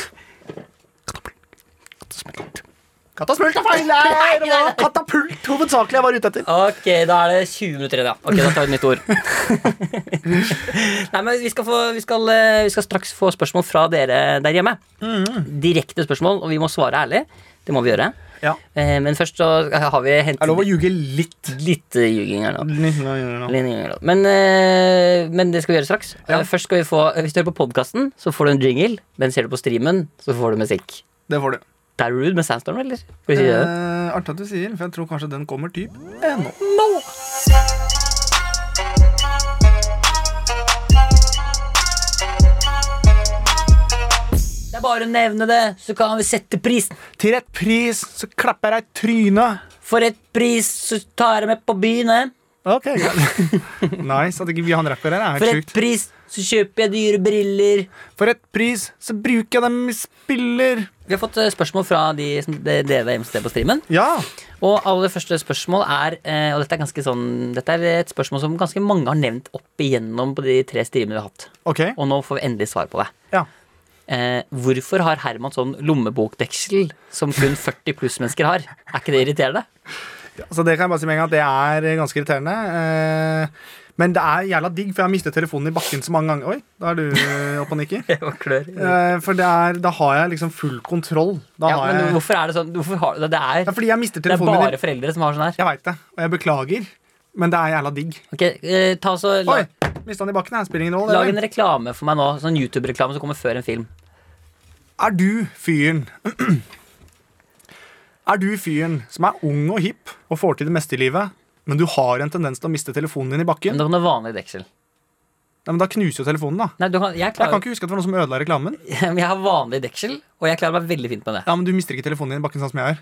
[SPEAKER 3] Katasmult er feil! Nei, det var katapult hovedsakelig jeg var ute etter.
[SPEAKER 2] Ok, da er det 20 minutter igjen, ja. Ok, da tar vi et
[SPEAKER 3] [LAUGHS]
[SPEAKER 2] nytt ord. Nei, men vi skal, få, vi, skal, eh, vi skal straks få spørsmål fra dere der hjemme.
[SPEAKER 3] Mm.
[SPEAKER 2] Direkte spørsmål, og vi må svare ærlig. Det må vi gjøre.
[SPEAKER 3] Ja.
[SPEAKER 2] Eh, Men først så har vi
[SPEAKER 3] Er det lov å
[SPEAKER 2] hentet
[SPEAKER 3] ljuge litt?
[SPEAKER 2] litt eh, ljuging her nå.
[SPEAKER 3] Nei,
[SPEAKER 2] Litt ljuging her nå. Men, eh, men det skal vi gjøre straks.
[SPEAKER 3] Ja.
[SPEAKER 2] Eh, Først skal vi få, Hvis du hører på podkasten, så får du en jingle. Men ser du på streamen, så får du musikk.
[SPEAKER 3] Det får du.
[SPEAKER 2] Det er rude med Sandstorm, eller? Skal vi si det? sånn.
[SPEAKER 3] Eh, Artig at du sier, for jeg tror kanskje den kommer typ eh, nå.
[SPEAKER 2] Det er bare å nevne det, så kan vi sette prisen.
[SPEAKER 3] Til rett pris så klapper jeg deg i trynet.
[SPEAKER 2] For et pris så tar jeg med på byen. eh.
[SPEAKER 3] Ok, greit. [LAUGHS] Nice at ikke vi har en rapper her. Det er
[SPEAKER 2] For
[SPEAKER 3] helt
[SPEAKER 2] et
[SPEAKER 3] sjukt.
[SPEAKER 2] pris så kjøper jeg dyre briller.
[SPEAKER 3] For et pris så bruker jeg dem i spiller.
[SPEAKER 2] Vi har fått eh, spørsmål fra de som de- dere der hjemme som ser på streamen.
[SPEAKER 3] Ja.
[SPEAKER 2] Og aller første spørsmål er eh, Og dette er ganske sånn Dette er et spørsmål som ganske mange har nevnt opp igjennom på de tre streamene vi har hatt.
[SPEAKER 3] Ok.
[SPEAKER 2] Og nå får vi endelig svar på det.
[SPEAKER 3] Ja.
[SPEAKER 2] Eh, hvorfor har Herman sånn lommebokdeksel som kun 40 pluss-mennesker har? Er ikke det irriterende?
[SPEAKER 3] Så det kan jeg bare si med en gang at det er ganske irriterende. Eh, men det er jævla digg, for jeg har mistet telefonen i bakken så mange ganger. Oi, da er du eh, oppe
[SPEAKER 2] [LAUGHS]
[SPEAKER 3] og nikker. Eh, for det er, da har jeg liksom full kontroll. Da
[SPEAKER 2] Ja,
[SPEAKER 3] har
[SPEAKER 2] men
[SPEAKER 3] jeg,
[SPEAKER 2] hvorfor er det sånn? Hvorfor har, det,
[SPEAKER 3] det
[SPEAKER 2] er,
[SPEAKER 3] er fordi jeg mister
[SPEAKER 2] det er
[SPEAKER 3] telefonen
[SPEAKER 2] bare
[SPEAKER 3] min.
[SPEAKER 2] foreldre som har sånn her.
[SPEAKER 3] Jeg veit det, og jeg beklager, men det er jævla digg.
[SPEAKER 2] Ok, eh, ta så la,
[SPEAKER 3] Oi, mista den i bakken. her, Spiller ingen rolle.
[SPEAKER 2] Lag en
[SPEAKER 3] det, vel?
[SPEAKER 2] reklame for meg nå. Sånn YouTube-reklame som kommer før en film.
[SPEAKER 3] Er du fyren [CLEARS THROAT] Er du fyren som er ung og hipp og får til det meste i livet, men du har en tendens til å miste telefonen din i bakken?
[SPEAKER 2] Men da kan du ha vanlig deksel.
[SPEAKER 3] Nei, men Da knuser jo telefonen, da.
[SPEAKER 2] Nei, du kan, jeg,
[SPEAKER 3] Jeg kan
[SPEAKER 2] klarer,
[SPEAKER 3] ikke huske at det var noen som ødela reklamen.
[SPEAKER 2] [LAUGHS] Men jeg har vanlig deksel, og jeg klarer meg veldig fint med det.
[SPEAKER 3] Ja, men Du mister ikke telefonen din i bakken sånn som jeg gjør.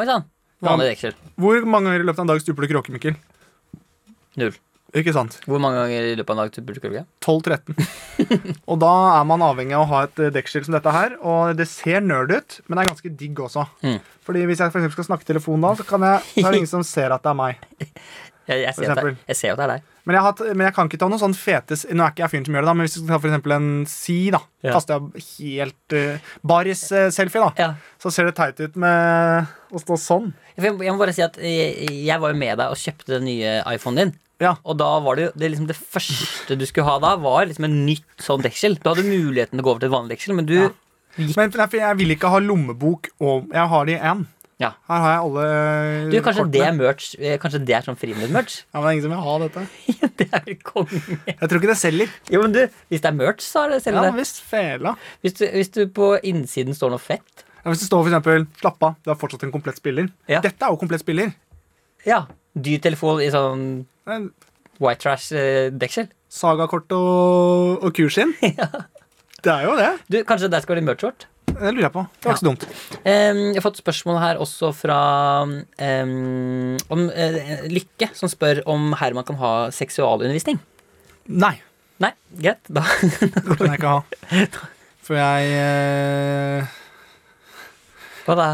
[SPEAKER 2] Oi sann.
[SPEAKER 3] Ja.
[SPEAKER 2] Vanlig deksel.
[SPEAKER 3] Hvor mange ganger i løpet av en dag stuper du kråke, Mikkel?
[SPEAKER 2] Null.
[SPEAKER 3] Ikke sant?
[SPEAKER 2] Hvor mange ganger i løpet av en dag burde du ikke? [LAUGHS]
[SPEAKER 3] 12-13. og da er man avhengig av å ha et eh, dekkskilt som dette her. Og det ser nerd ut, men det er ganske digg også.
[SPEAKER 2] Mm.
[SPEAKER 3] Fordi hvis jeg for eksempel skal snakke i telefonen da, så, kan jeg,
[SPEAKER 2] [LAUGHS]
[SPEAKER 3] så er det ingen som ser at det er meg.
[SPEAKER 2] Jeg, jeg, ser
[SPEAKER 3] For
[SPEAKER 2] at det,
[SPEAKER 3] eksempel.
[SPEAKER 2] jeg ser jo at det er deg.
[SPEAKER 3] Men jeg, har, hatt- men jeg kan ikke ta noe sånn fete s- Nå er ikke jeg fyren som gjør det, da, men hvis jeg skal ta for eksempel en si, da,
[SPEAKER 2] Ja.
[SPEAKER 3] kaster jeg helt eh, Baris-selfie, da,
[SPEAKER 2] Ja.
[SPEAKER 3] så ser det teit ut med å stå sånn.
[SPEAKER 2] Jeg jeg må bare si at jeg, jeg var jo med deg og kjøpte den nye iPhonen din.
[SPEAKER 3] Ja.
[SPEAKER 2] Og da var det jo det, er liksom det første du skulle ha da, var liksom en nytt sånn deksel. Du hadde muligheten til å gå over til et vanlig deksel, men du
[SPEAKER 3] Ja. Men nei, for jeg vil ikke ha lommebok og Jeg har det i én.
[SPEAKER 2] Ja.
[SPEAKER 3] Her har jeg alle
[SPEAKER 2] Du, kanskje det
[SPEAKER 3] kortene.
[SPEAKER 2] er merch eh, Kanskje det er sånn friminutt-merch? [LAUGHS]
[SPEAKER 3] Ja, men det er ingen som vil ha dette.
[SPEAKER 2] Det er vel konge.
[SPEAKER 3] Jeg tror ikke det
[SPEAKER 2] [LAUGHS]
[SPEAKER 3] selger.
[SPEAKER 2] Jo, men du, hvis det er merch, så er det selv
[SPEAKER 3] Ja,
[SPEAKER 2] det.
[SPEAKER 3] visst, fela.
[SPEAKER 2] Hvis du, hvis du på innsiden står noe fett
[SPEAKER 3] Ja, hvis det står for eksempel, slapp av, du er fortsatt en komplett spiller.
[SPEAKER 2] Ja.
[SPEAKER 3] Dette er jo komplett spiller.
[SPEAKER 2] Ja. Dyr telefon i sånn
[SPEAKER 3] Det er
[SPEAKER 2] white eh, trash-deksel.
[SPEAKER 3] Sagakort og, og
[SPEAKER 2] [LAUGHS]
[SPEAKER 3] kursin. Det er jo det.
[SPEAKER 2] Du, Kanskje der skal det bli merch-short?
[SPEAKER 3] Det lurer jeg på. Det var ikke så dumt.
[SPEAKER 2] Em, jeg har fått spørsmål her også fra em, om, eh, Lykke, som spør om Herman kan ha seksualundervisning.
[SPEAKER 3] Nei,
[SPEAKER 2] Nei, greit. Da. [LAUGHS]
[SPEAKER 3] det kan jeg ikke ha. For jeg eh,
[SPEAKER 2] Hva da?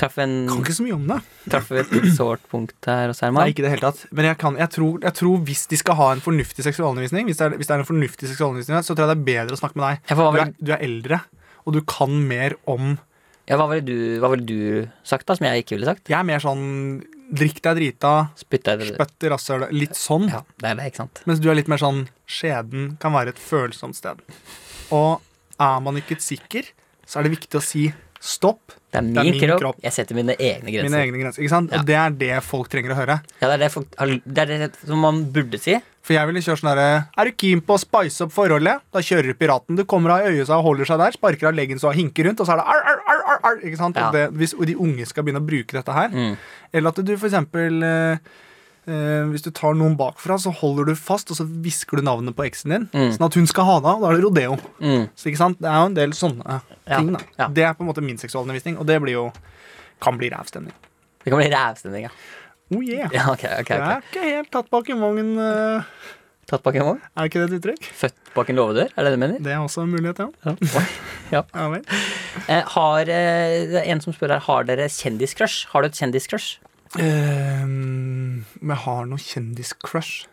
[SPEAKER 2] Traff en,
[SPEAKER 3] Kan ikke så mye om det.
[SPEAKER 2] traff et sårt punkt der hos
[SPEAKER 3] Nei,
[SPEAKER 2] Herman.
[SPEAKER 3] ikke i det hele tatt. Men jeg, kan, jeg, tror, jeg tror hvis de skal ha en fornuftig seksualundervisning, hvis det er, hvis det er en fornuftig seksualundervisning, så tror jeg det er bedre å snakke med deg.
[SPEAKER 2] Ja, for hva
[SPEAKER 3] Du
[SPEAKER 2] ville
[SPEAKER 3] er, du er eldre, og du kan mer om
[SPEAKER 2] ja, hva ville du, hva ville du sagt, da, som jeg ikke ville sagt?
[SPEAKER 3] Jeg er mer sånn drikk deg drita,
[SPEAKER 2] Spytta jeg det?
[SPEAKER 3] spytt i rasshølet, litt sånn.
[SPEAKER 2] Ja, det er det, ikke sant?
[SPEAKER 3] Mens du er litt mer sånn skjeden kan være et følsomt sted. Og er man ikke sikker, så er det viktig å si stopp.
[SPEAKER 2] Det er min,
[SPEAKER 3] min
[SPEAKER 2] kropp.
[SPEAKER 3] kropp.
[SPEAKER 2] Jeg setter mine egne grenser.
[SPEAKER 3] Mine egne grenser. Ikke sant?
[SPEAKER 2] Ja.
[SPEAKER 3] Og det er det folk trenger å høre.
[SPEAKER 2] Ja, det er det, folk, har- det er det som man burde si.
[SPEAKER 3] For jeg ville kjøre sånn herre Er du keen på å spice opp forholdet? Da kjører du piraten. Du kommer av øyet og holder seg der, sparker av leggen så han hinker rundt, og så er det ar, ar, ar, ar, ar, ikke sant?
[SPEAKER 2] Ja.
[SPEAKER 3] Og det, Hvis de unge skal begynne å bruke dette her,
[SPEAKER 2] Mm.
[SPEAKER 3] eller at du for eksempel eh, eh, hvis du tar noen bakfra, så holder du fast og så hvisker du navnet på eksen din.
[SPEAKER 2] Mm.
[SPEAKER 3] Sånn at hun skal ha deg, og da er det rodeo.
[SPEAKER 2] Mm.
[SPEAKER 3] Så ikke sant? Det er jo en del sånne eh,
[SPEAKER 2] Ja,
[SPEAKER 3] ting. da
[SPEAKER 2] ja.
[SPEAKER 3] Det er på en måte min seksualundervisning, og det blir jo kan bli rævstemning.
[SPEAKER 2] Det kan bli rævstemning, ja.
[SPEAKER 3] Oh yeah.
[SPEAKER 2] ja ok, ok,
[SPEAKER 3] Det
[SPEAKER 2] ok.
[SPEAKER 3] er ikke helt tatt bak i vognen, eh,
[SPEAKER 2] Tatt bak en vogn?
[SPEAKER 3] er ikke det et uttrykk?
[SPEAKER 2] Født bak en låvedør? Er det det du mener?
[SPEAKER 3] Det er også en mulighet, ja.
[SPEAKER 2] Oi.
[SPEAKER 3] ja vel.
[SPEAKER 2] Eh, har, eh, det er en som spør her, har dere kjendiscrush? Har du et kjendiscrush?
[SPEAKER 3] Ehm, Om jeg har noe kjendiscrush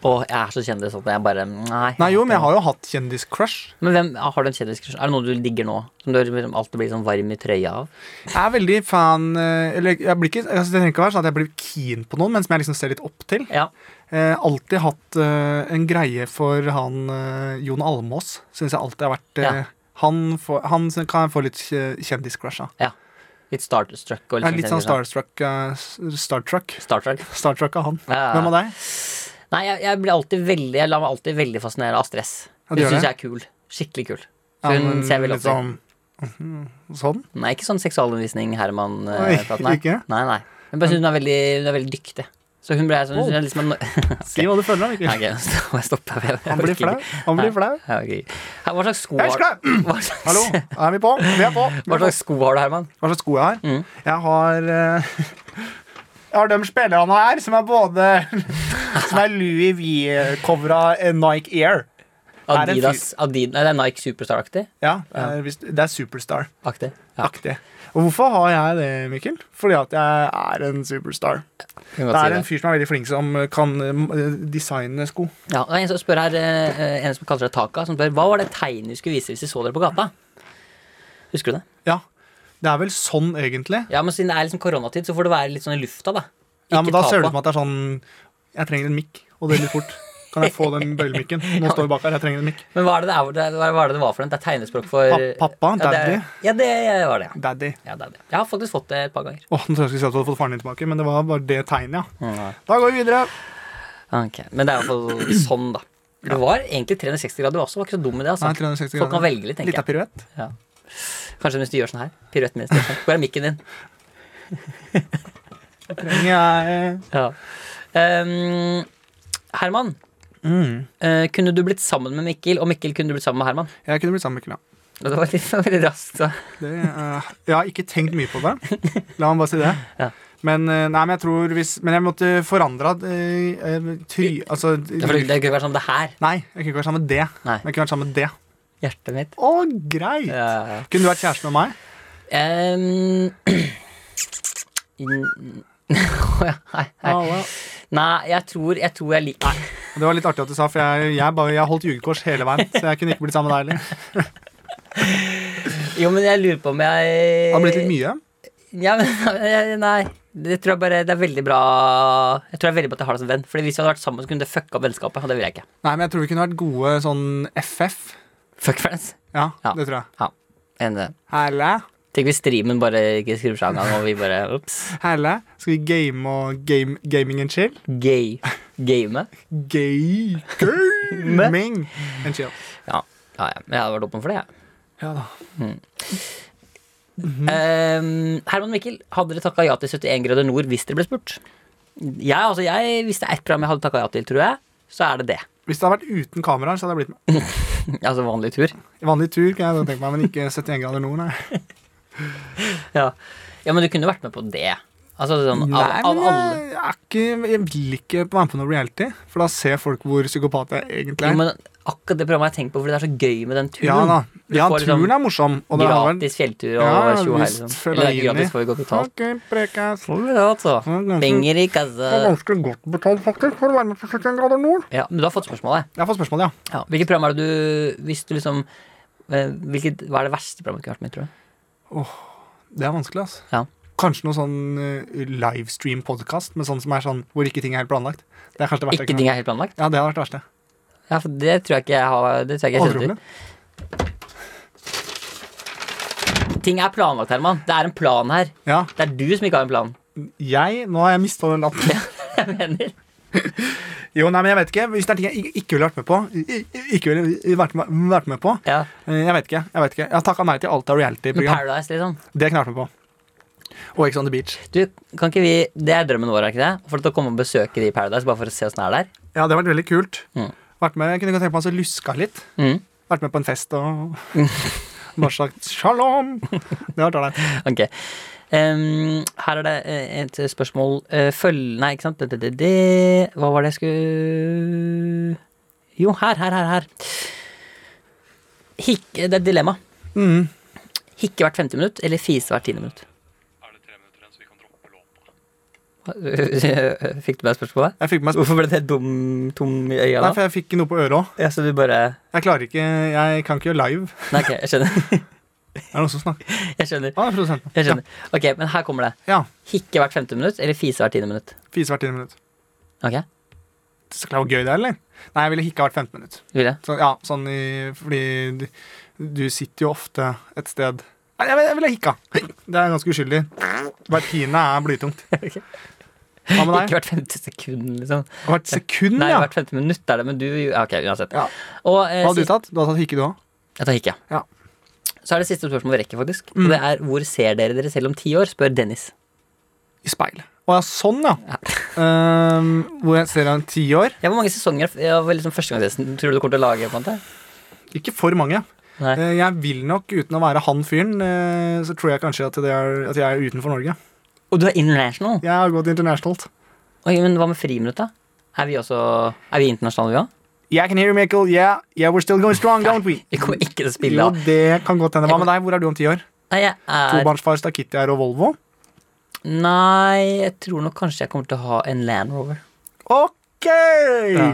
[SPEAKER 2] Å, jeg er så kjendis at jeg bare Nei.
[SPEAKER 3] Nei, jo, men jeg har jo hatt kjendiscrush.
[SPEAKER 2] Men hvem, har du en kjendiscrush? Er det noe du digger nå? Som du liksom alltid blir sånn varm i trøya av?
[SPEAKER 3] Jeg er veldig fan eh, Eller jeg blir ikke altså, Det trenger ikke å være sånn at jeg blir keen på noen, men som jeg liksom ser litt opp til.
[SPEAKER 2] Ja.
[SPEAKER 3] Eh, alltid hatt eh, en greie for han eh, Jon Almås. Syns jeg alltid har vært eh,
[SPEAKER 2] Ja.
[SPEAKER 3] han, får- han som kan jeg få litt eh, kjendiscrush av.
[SPEAKER 2] Litt starstruck og
[SPEAKER 3] Jeg er
[SPEAKER 2] liksom
[SPEAKER 3] litt sånn
[SPEAKER 2] kjendis-
[SPEAKER 3] starstruck. eh, s- starstruck.
[SPEAKER 2] Starstruck.
[SPEAKER 3] Starstruck av han.
[SPEAKER 2] Ja, ja, ja.
[SPEAKER 3] Hvem av deg?
[SPEAKER 2] Nei, jeg, jeg blir alltid veldig Jeg lar meg alltid veldig fascinere av stress.
[SPEAKER 3] Ja, du
[SPEAKER 2] Hun
[SPEAKER 3] gjør
[SPEAKER 2] syns jeg
[SPEAKER 3] det?
[SPEAKER 2] er kul. Skikkelig kul.
[SPEAKER 3] Ja,
[SPEAKER 2] Hun
[SPEAKER 3] men
[SPEAKER 2] ser veldig
[SPEAKER 3] litt
[SPEAKER 2] opp til
[SPEAKER 3] sånn mhm, Sånn?
[SPEAKER 2] Nei, ikke sånn seksualundervisning Herman
[SPEAKER 3] Oi,
[SPEAKER 2] eh, praten, nei.
[SPEAKER 3] ikke?
[SPEAKER 2] Nei, nei. Men bare synes hun er veldig, hun er veldig dyktig. Så hun ble sånn Hun
[SPEAKER 3] Wow.
[SPEAKER 2] er liksom en
[SPEAKER 3] [LAUGHS] Si hva du føler, da,
[SPEAKER 2] Nei,
[SPEAKER 3] Mikkel.
[SPEAKER 2] ok, [LAUGHS] nå må jeg stoppe her. Jeg
[SPEAKER 3] Han blir
[SPEAKER 2] orker
[SPEAKER 3] flau.
[SPEAKER 2] ikke.
[SPEAKER 3] Han
[SPEAKER 2] Nei.
[SPEAKER 3] blir flau.
[SPEAKER 2] Ja, ok. Her, Hva slags sko
[SPEAKER 3] Jeg er
[SPEAKER 2] har
[SPEAKER 3] flau!
[SPEAKER 2] Hva slags,
[SPEAKER 3] Hallo, er vi på? Vi [LAUGHS] er på.
[SPEAKER 2] [LAUGHS] hva
[SPEAKER 3] Vi er på.
[SPEAKER 2] slags sko har du, Herman?
[SPEAKER 3] Hva slags sko jeg har?
[SPEAKER 2] Mm.
[SPEAKER 3] Jeg har eh, [LAUGHS] Jeg har de spillerne her som er både [LAUGHS] Som er Louis V-covra Nike Air. Er det en fyr-
[SPEAKER 2] Adidas Adid, Nei, det er Nike Superstar-aktig.
[SPEAKER 3] Ja, eh, hvis- Det er Superstar-aktig.
[SPEAKER 2] Aktig. Ja,
[SPEAKER 3] Og hvorfor har jeg det, Mikkel? Fordi at jeg er en superstar.
[SPEAKER 2] kan
[SPEAKER 3] Det
[SPEAKER 2] godt si
[SPEAKER 3] er en fyr som er veldig flink som eh, kan eh, designe sko.
[SPEAKER 2] Ja, og en som spør her eh, eh, En som kaller seg Taka, som spør hva var det tegnet du skulle vise hvis vi så dere på gata? Husker du det?
[SPEAKER 3] Ja, det er vel sånn, egentlig.
[SPEAKER 2] Ja, men Siden det er liksom koronatid, så får det være litt sånn i lufta, da.
[SPEAKER 3] Ja, men da
[SPEAKER 2] ta
[SPEAKER 3] ser det
[SPEAKER 2] på.
[SPEAKER 3] ut som at det er sånn Jeg trenger en mikk, og det er litt fort. Kan jeg få den
[SPEAKER 2] [LAUGHS]
[SPEAKER 3] bøylemikken? Nå står vi bak her, jeg trenger en mikk.
[SPEAKER 2] Men hva er det det, er, det er- hva er det, det var for en? Det er tegnespråk for
[SPEAKER 3] Pa- pappa,
[SPEAKER 2] Eh, ja, det er-
[SPEAKER 3] daddy.
[SPEAKER 2] Ja, det var det, ja.
[SPEAKER 3] Daddy.
[SPEAKER 2] ja daddy. Jeg har faktisk fått det et par ganger.
[SPEAKER 3] Åh, nå tror jeg jeg skulle si at du hadde fått faren din tilbake, men det var bare det tegnet, ja.
[SPEAKER 2] Mm.
[SPEAKER 3] Da går vi videre.
[SPEAKER 2] Ok, Men det er iallfall sånn, da. Det var egentlig 360 grader også. Var ikke så dum i det. altså
[SPEAKER 3] Nei, 360
[SPEAKER 2] Folk kan
[SPEAKER 3] grader.
[SPEAKER 2] velge litt, tenker
[SPEAKER 3] Litt
[SPEAKER 2] jeg.
[SPEAKER 3] av piruett.
[SPEAKER 2] Kanskje hvis du gjør sånn her. Piruetten min.
[SPEAKER 3] [LAUGHS]
[SPEAKER 2] Stefan. Hvor er mikken din?
[SPEAKER 3] Trenger jeg
[SPEAKER 2] Ja. Ehm, Herman, eh, kunne du blitt sammen med Mikkel, og Mikkel kunne du blitt sammen med Herman?
[SPEAKER 3] Jeg kunne blitt sammen med Mikkel, ja.
[SPEAKER 2] Og Det var litt [LAUGHS] det var veldig raskt. Så.
[SPEAKER 3] Det, eh, jeg har ikke tenkt mye på det. La meg bare si det.
[SPEAKER 2] Ja.
[SPEAKER 3] Men, eh, nei, men jeg tror hvis Men jeg måtte forandra try... Altså
[SPEAKER 2] Det var- det kunne vært sånn det her.
[SPEAKER 3] Nei, jeg kunne ikke vært sammen med det.
[SPEAKER 2] Nei.
[SPEAKER 3] Men jeg kunne vært sammen med det.
[SPEAKER 2] Hjertet mitt.
[SPEAKER 3] Å, greit!
[SPEAKER 2] Ja, ja, ja.
[SPEAKER 3] Kunne du vært kjæreste med meg?
[SPEAKER 2] Ehm, [CLEARS THROAT] in- [LAUGHS] Å, ja, nei, nei.
[SPEAKER 3] Ja, ja.
[SPEAKER 2] Nei, jeg tror jeg, tror jeg liker
[SPEAKER 3] Det var litt artig at du sa, for jeg, jeg, bare, jeg holdt jugekors hele veien. Så jeg kunne ikke blitt sammen med deg heller.
[SPEAKER 2] Jo, men jeg lurer på om jeg
[SPEAKER 3] Det har blitt litt mye.
[SPEAKER 2] Ja, men, [LAUGHS] eh, nei, det tror jeg bare det er veldig bra Jeg tror det er veldig bra at jeg har deg som venn. Fordi hvis vi hadde vært sammen, så kunne det fucka opp vennskapet. Og det vil jeg ikke.
[SPEAKER 3] Nei, men jeg tror vi kunne vært gode sånn FF.
[SPEAKER 2] Fuck friends.
[SPEAKER 3] Ja,
[SPEAKER 2] Ja.
[SPEAKER 3] det tror jeg.
[SPEAKER 2] Enig.
[SPEAKER 3] Helle,
[SPEAKER 2] Tenk hvis streamen bare ikke skrur seg av engang, og vi bare ops.
[SPEAKER 3] helle. Skal vi game og game, gaming and chill?
[SPEAKER 2] Gay. Game.
[SPEAKER 3] Gay. Gaming and chill.
[SPEAKER 2] Ja, ja, ja. Men jeg hadde vært åpen for det, jeg.
[SPEAKER 3] Ja da.
[SPEAKER 2] Ehm, Herman og Mikkel, hadde dere takka ja til 71 grader nord hvis dere ble spurt? Jeg, altså, jeg, hvis det er ett program jeg hadde takka ja til, tror jeg, så er det det.
[SPEAKER 3] Hvis det hadde vært uten kameraer, så hadde jeg blitt med.
[SPEAKER 2] Altså vanlig tur.
[SPEAKER 3] Vanlig tur kan jeg da tenke meg, men ikke 71 grader nord, nei.
[SPEAKER 2] Ja, ja men du kunne vært med på det. Altså sånn av,
[SPEAKER 3] Nei, men
[SPEAKER 2] av alle
[SPEAKER 3] jeg, jeg, er ikke, jeg vil ikke være med på noe reality, for da ser folk hvor psykopat jeg egentlig
[SPEAKER 2] Jo,
[SPEAKER 3] er.
[SPEAKER 2] men akkurat det programmet jeg tenker på, fordi det er så gøy med den turen.
[SPEAKER 3] Ja da. Ja,
[SPEAKER 2] får liksom
[SPEAKER 3] turen er morsom. Og det har vel
[SPEAKER 2] Gratis fjelltur og
[SPEAKER 3] Ja,
[SPEAKER 2] tjo og hei,
[SPEAKER 3] visst,
[SPEAKER 2] liksom.
[SPEAKER 3] føler
[SPEAKER 2] Eller det er
[SPEAKER 3] jeg
[SPEAKER 2] ikke
[SPEAKER 3] inn i.
[SPEAKER 2] gratis, for vi går betalt.
[SPEAKER 3] Ok, prekes.
[SPEAKER 2] Får vi det, altså.
[SPEAKER 3] Ja, ganske-
[SPEAKER 2] Penger i
[SPEAKER 3] Det er
[SPEAKER 2] kassa.
[SPEAKER 3] ganske godt betalt, faktisk, for å være med på 71 grader nord.
[SPEAKER 2] Ja, men du har fått spørsmålet.
[SPEAKER 3] Jeg får spørsmål, ja.
[SPEAKER 2] Ja. Hvilket program er det du Hvis du liksom eh, hvilket, Hva er det verste programmet du kunne vært med i, tror du?
[SPEAKER 3] Det er vanskelig, altså.
[SPEAKER 2] Ja.
[SPEAKER 3] Kanskje noe sånn eh, livestream-podkast, men sånn som er sånn hvor ikke ting er helt planlagt. Det er kanskje det verste.
[SPEAKER 2] Ikke
[SPEAKER 3] jeg
[SPEAKER 2] ting
[SPEAKER 3] kunne-
[SPEAKER 2] er helt planlagt?
[SPEAKER 3] Ja, det har vært det verste.
[SPEAKER 2] Ja, for det tror jeg ikke jeg har Det tror jeg ikke jeg
[SPEAKER 3] Alderdommen.
[SPEAKER 2] kjenner til. Ting er planlagt, Herman. Det er en plan her.
[SPEAKER 3] Ja.
[SPEAKER 2] Det er du som ikke har en plan. [LAUGHS]
[SPEAKER 3] Jeg Nå har jeg mista den lappen.
[SPEAKER 2] Jeg mener
[SPEAKER 3] [LAUGHS] Jo, nei, men jeg vet ikke. Hvis det er ting jeg ikke- ikke ville vært med på i- i- Ikke ville vært med, vært med på
[SPEAKER 2] ja.
[SPEAKER 3] eh, Jeg vet ikke. Jeg vet ikke Jeg har takka nei til alt av reality-program.
[SPEAKER 2] Paradise, liksom.
[SPEAKER 3] Det kunne jeg vært med på. Og Ex on the Beach.
[SPEAKER 2] Du, kan ikke vi Det er drømmen vår, er ikke det? For å komme og besøke de i Paradise, bare for å se åssen det er der.
[SPEAKER 3] Ja, det har vært veldig kult.
[SPEAKER 2] Mm.
[SPEAKER 3] Vært med, jeg kunne godt tenkt meg å luska litt.
[SPEAKER 2] Mm.
[SPEAKER 3] Vært med på en fest
[SPEAKER 2] [LAUGHS]
[SPEAKER 3] og bare sagt shalom. Det var ålreit.
[SPEAKER 2] [LAUGHS] Ok. Ehm, her er det eh, et spørsmål Eh, Følg... Nei, ikke sant? Det, det, det, det. Hva var det jeg skulle Jo, her, her, her. her. Hik, det er et dilemma.
[SPEAKER 3] Mm.
[SPEAKER 2] Hikke hvert femte minutt eller fise hvert tiende minutt? Hva- [LAUGHS] Fikk du med spørsmålet?
[SPEAKER 3] Jeg fikk meg
[SPEAKER 2] Hvorfor ble det dum, tom i øya
[SPEAKER 3] Nei,
[SPEAKER 2] da?
[SPEAKER 3] for jeg fikk noe på øret òg.
[SPEAKER 2] Ja, så du bare
[SPEAKER 3] Jeg klarer ikke Jeg kan ikke gjøre live.
[SPEAKER 2] Nei, ok, jeg skjønner. [LAUGHS]
[SPEAKER 3] Er det noen som snakker?
[SPEAKER 2] Jeg skjønner.
[SPEAKER 3] Ah, produsenten.
[SPEAKER 2] Jeg skjønner. Ok, men her kommer det.
[SPEAKER 3] Ja.
[SPEAKER 2] Hikke hvert femte minutt eller fise hvert tiende minutt?
[SPEAKER 3] ja. Fise hvert tiende minutt.
[SPEAKER 2] Ok,
[SPEAKER 3] Så klart hvor gøy det er, eller? Nei, jeg ville hikka hvert femte minutt.
[SPEAKER 2] vil jeg?
[SPEAKER 3] Så, ja, sånn i Fordi du, du sitter jo ofte et sted Nei, jeg, vil- jeg ville hikka. Det er ganske uskyldig. Hvert tiende er
[SPEAKER 2] [LAUGHS]
[SPEAKER 3] blytungt.
[SPEAKER 2] Ok.
[SPEAKER 3] Hva med
[SPEAKER 2] Ikke
[SPEAKER 3] deg?
[SPEAKER 2] hvert femte sekund, liksom.
[SPEAKER 3] Hvert sekund,
[SPEAKER 2] Nei,
[SPEAKER 3] Mm, ja.
[SPEAKER 2] hvert femte minutt er det, men du ja, Ok, uansett.
[SPEAKER 3] Ja.
[SPEAKER 2] Og, eh,
[SPEAKER 3] Hva hadde du
[SPEAKER 2] sist-
[SPEAKER 3] tatt? Du hadde tatt hikke, du òg?
[SPEAKER 2] Jeg tar hikke.
[SPEAKER 3] Ja. Mm.
[SPEAKER 2] Så er det siste spørsmålet vi rekker, faktisk. Og det er hvor ser dere dere selv om ti år? spør Dennis.
[SPEAKER 3] I speil. Å ja, sånn, ja. [LAUGHS] Ehm, hvor jeg ser deg om ti år.
[SPEAKER 2] Ja, Hvor mange sesonger av liksom førstegangstesten tror du du kommer til å lage? på en måte?
[SPEAKER 3] Ikke for mange.
[SPEAKER 2] Nei.
[SPEAKER 3] Eh, Jeg vil nok, uten å være han fyren, eh, så tror jeg kanskje at, det er, at jeg er utenfor Norge.
[SPEAKER 2] Og du er international!
[SPEAKER 3] Jeg har gått internationalt.
[SPEAKER 2] Oi, men hva med friminutt, da? Er vi også Er vi internasjonale, vi òg?
[SPEAKER 3] Yeah, I can hear you, Michael. Yeah, yeah, we're still going strong, don't we?
[SPEAKER 2] Vi kommer ikke til å spille
[SPEAKER 3] [LAUGHS] Jo,
[SPEAKER 2] av.
[SPEAKER 3] det kan godt hende. Hva med deg? Hvor er du om ti år?
[SPEAKER 2] Nei, jeg er
[SPEAKER 3] Tobarnsfar, stakittier og Volvo?
[SPEAKER 2] Nei, jeg tror nok kanskje jeg kommer til å ha en Land Rover.
[SPEAKER 3] OK! Eh.
[SPEAKER 2] Ja.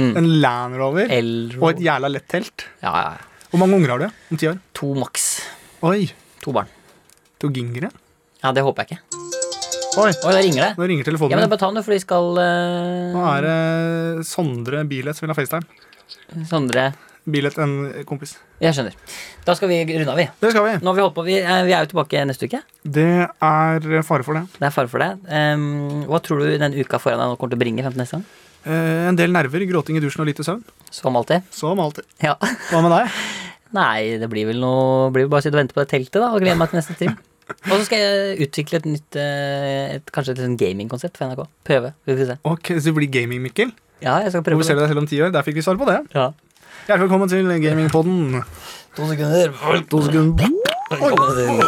[SPEAKER 2] Mm.
[SPEAKER 3] En Land Rover og
[SPEAKER 2] Elrover.
[SPEAKER 3] et jævla lett telt.
[SPEAKER 2] Ja, ja, ja.
[SPEAKER 3] Hvor mange unger har du om ti år?
[SPEAKER 2] To maks.
[SPEAKER 3] Oi,
[SPEAKER 2] To barn.
[SPEAKER 3] to gingere?
[SPEAKER 2] Ja, det håper jeg ikke.
[SPEAKER 3] Oi,
[SPEAKER 2] Oi, da ringer det.
[SPEAKER 3] nå
[SPEAKER 2] Ja, men
[SPEAKER 3] ringer telefonen
[SPEAKER 2] da
[SPEAKER 3] min.
[SPEAKER 2] bare ta den, du, for vi skal eh,
[SPEAKER 3] Nå er det Sondre Bilet som vil ha FaceTime.
[SPEAKER 2] Sondre
[SPEAKER 3] Bilet, en kompis.
[SPEAKER 2] Jeg skjønner. Da skal vi runde av, vi.
[SPEAKER 3] Det skal vi.
[SPEAKER 2] Nå har vi holdt på. Vi, eh, vi er jo tilbake neste uke.
[SPEAKER 3] Det er fare for det.
[SPEAKER 2] Det er fare for det. Ehm, hva tror du den uka foran deg nå kommer til å bringe frem til neste gang?
[SPEAKER 3] Eh, en del nerver, gråting i dusjen og lite søvn.
[SPEAKER 2] Som alltid. [LAUGHS]
[SPEAKER 3] Som alltid.
[SPEAKER 2] Ja.
[SPEAKER 3] Hva med deg?
[SPEAKER 2] Nei, det blir vel noe Blir vel bare å sitte og vente på det teltet, da, og glede meg til neste stream. Og så skal jeg utvikle et nytt eh, et, Kanskje et sånn gamingkonsept for NRK. Prøve. Vi får se.
[SPEAKER 3] Ok, så det blir gaming, Mikkel.
[SPEAKER 2] Ja, jeg skal prøve.
[SPEAKER 3] Hvor ser du deg selv om ti år? Der fikk vi svar på det.
[SPEAKER 2] Ja.
[SPEAKER 3] Hjertelig velkommen til gamingpodden.
[SPEAKER 2] To sekunder.
[SPEAKER 4] To sekunder.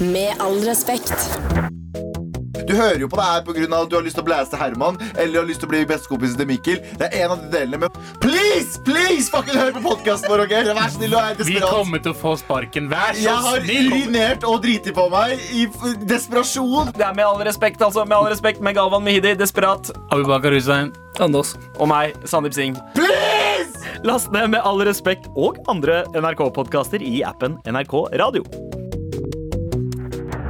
[SPEAKER 6] Med all respekt.
[SPEAKER 7] Du hører jo på det her pga. at du har lyst til å blæse til Herman eller har lyst til å bli bestekompisen til Mikkel. Det er en av de delene, men please, please, fucking hør på podkasten vår, OK? Vær så snill og er
[SPEAKER 5] Vi
[SPEAKER 7] desperat.
[SPEAKER 5] kommer til å få sparken. Vær så
[SPEAKER 7] Jeg har
[SPEAKER 5] snill!
[SPEAKER 7] urinert og driti på meg i f- desperasjon.
[SPEAKER 8] Det er med all respekt, altså. Med all respekt med Galvan Mehidi, desperat.
[SPEAKER 5] Abubakar Hussein.
[SPEAKER 8] Og meg, Sandeep Singh.
[SPEAKER 7] Please!
[SPEAKER 8] Last ned Med all respekt og andre NRK-podkaster i appen NRK Radio.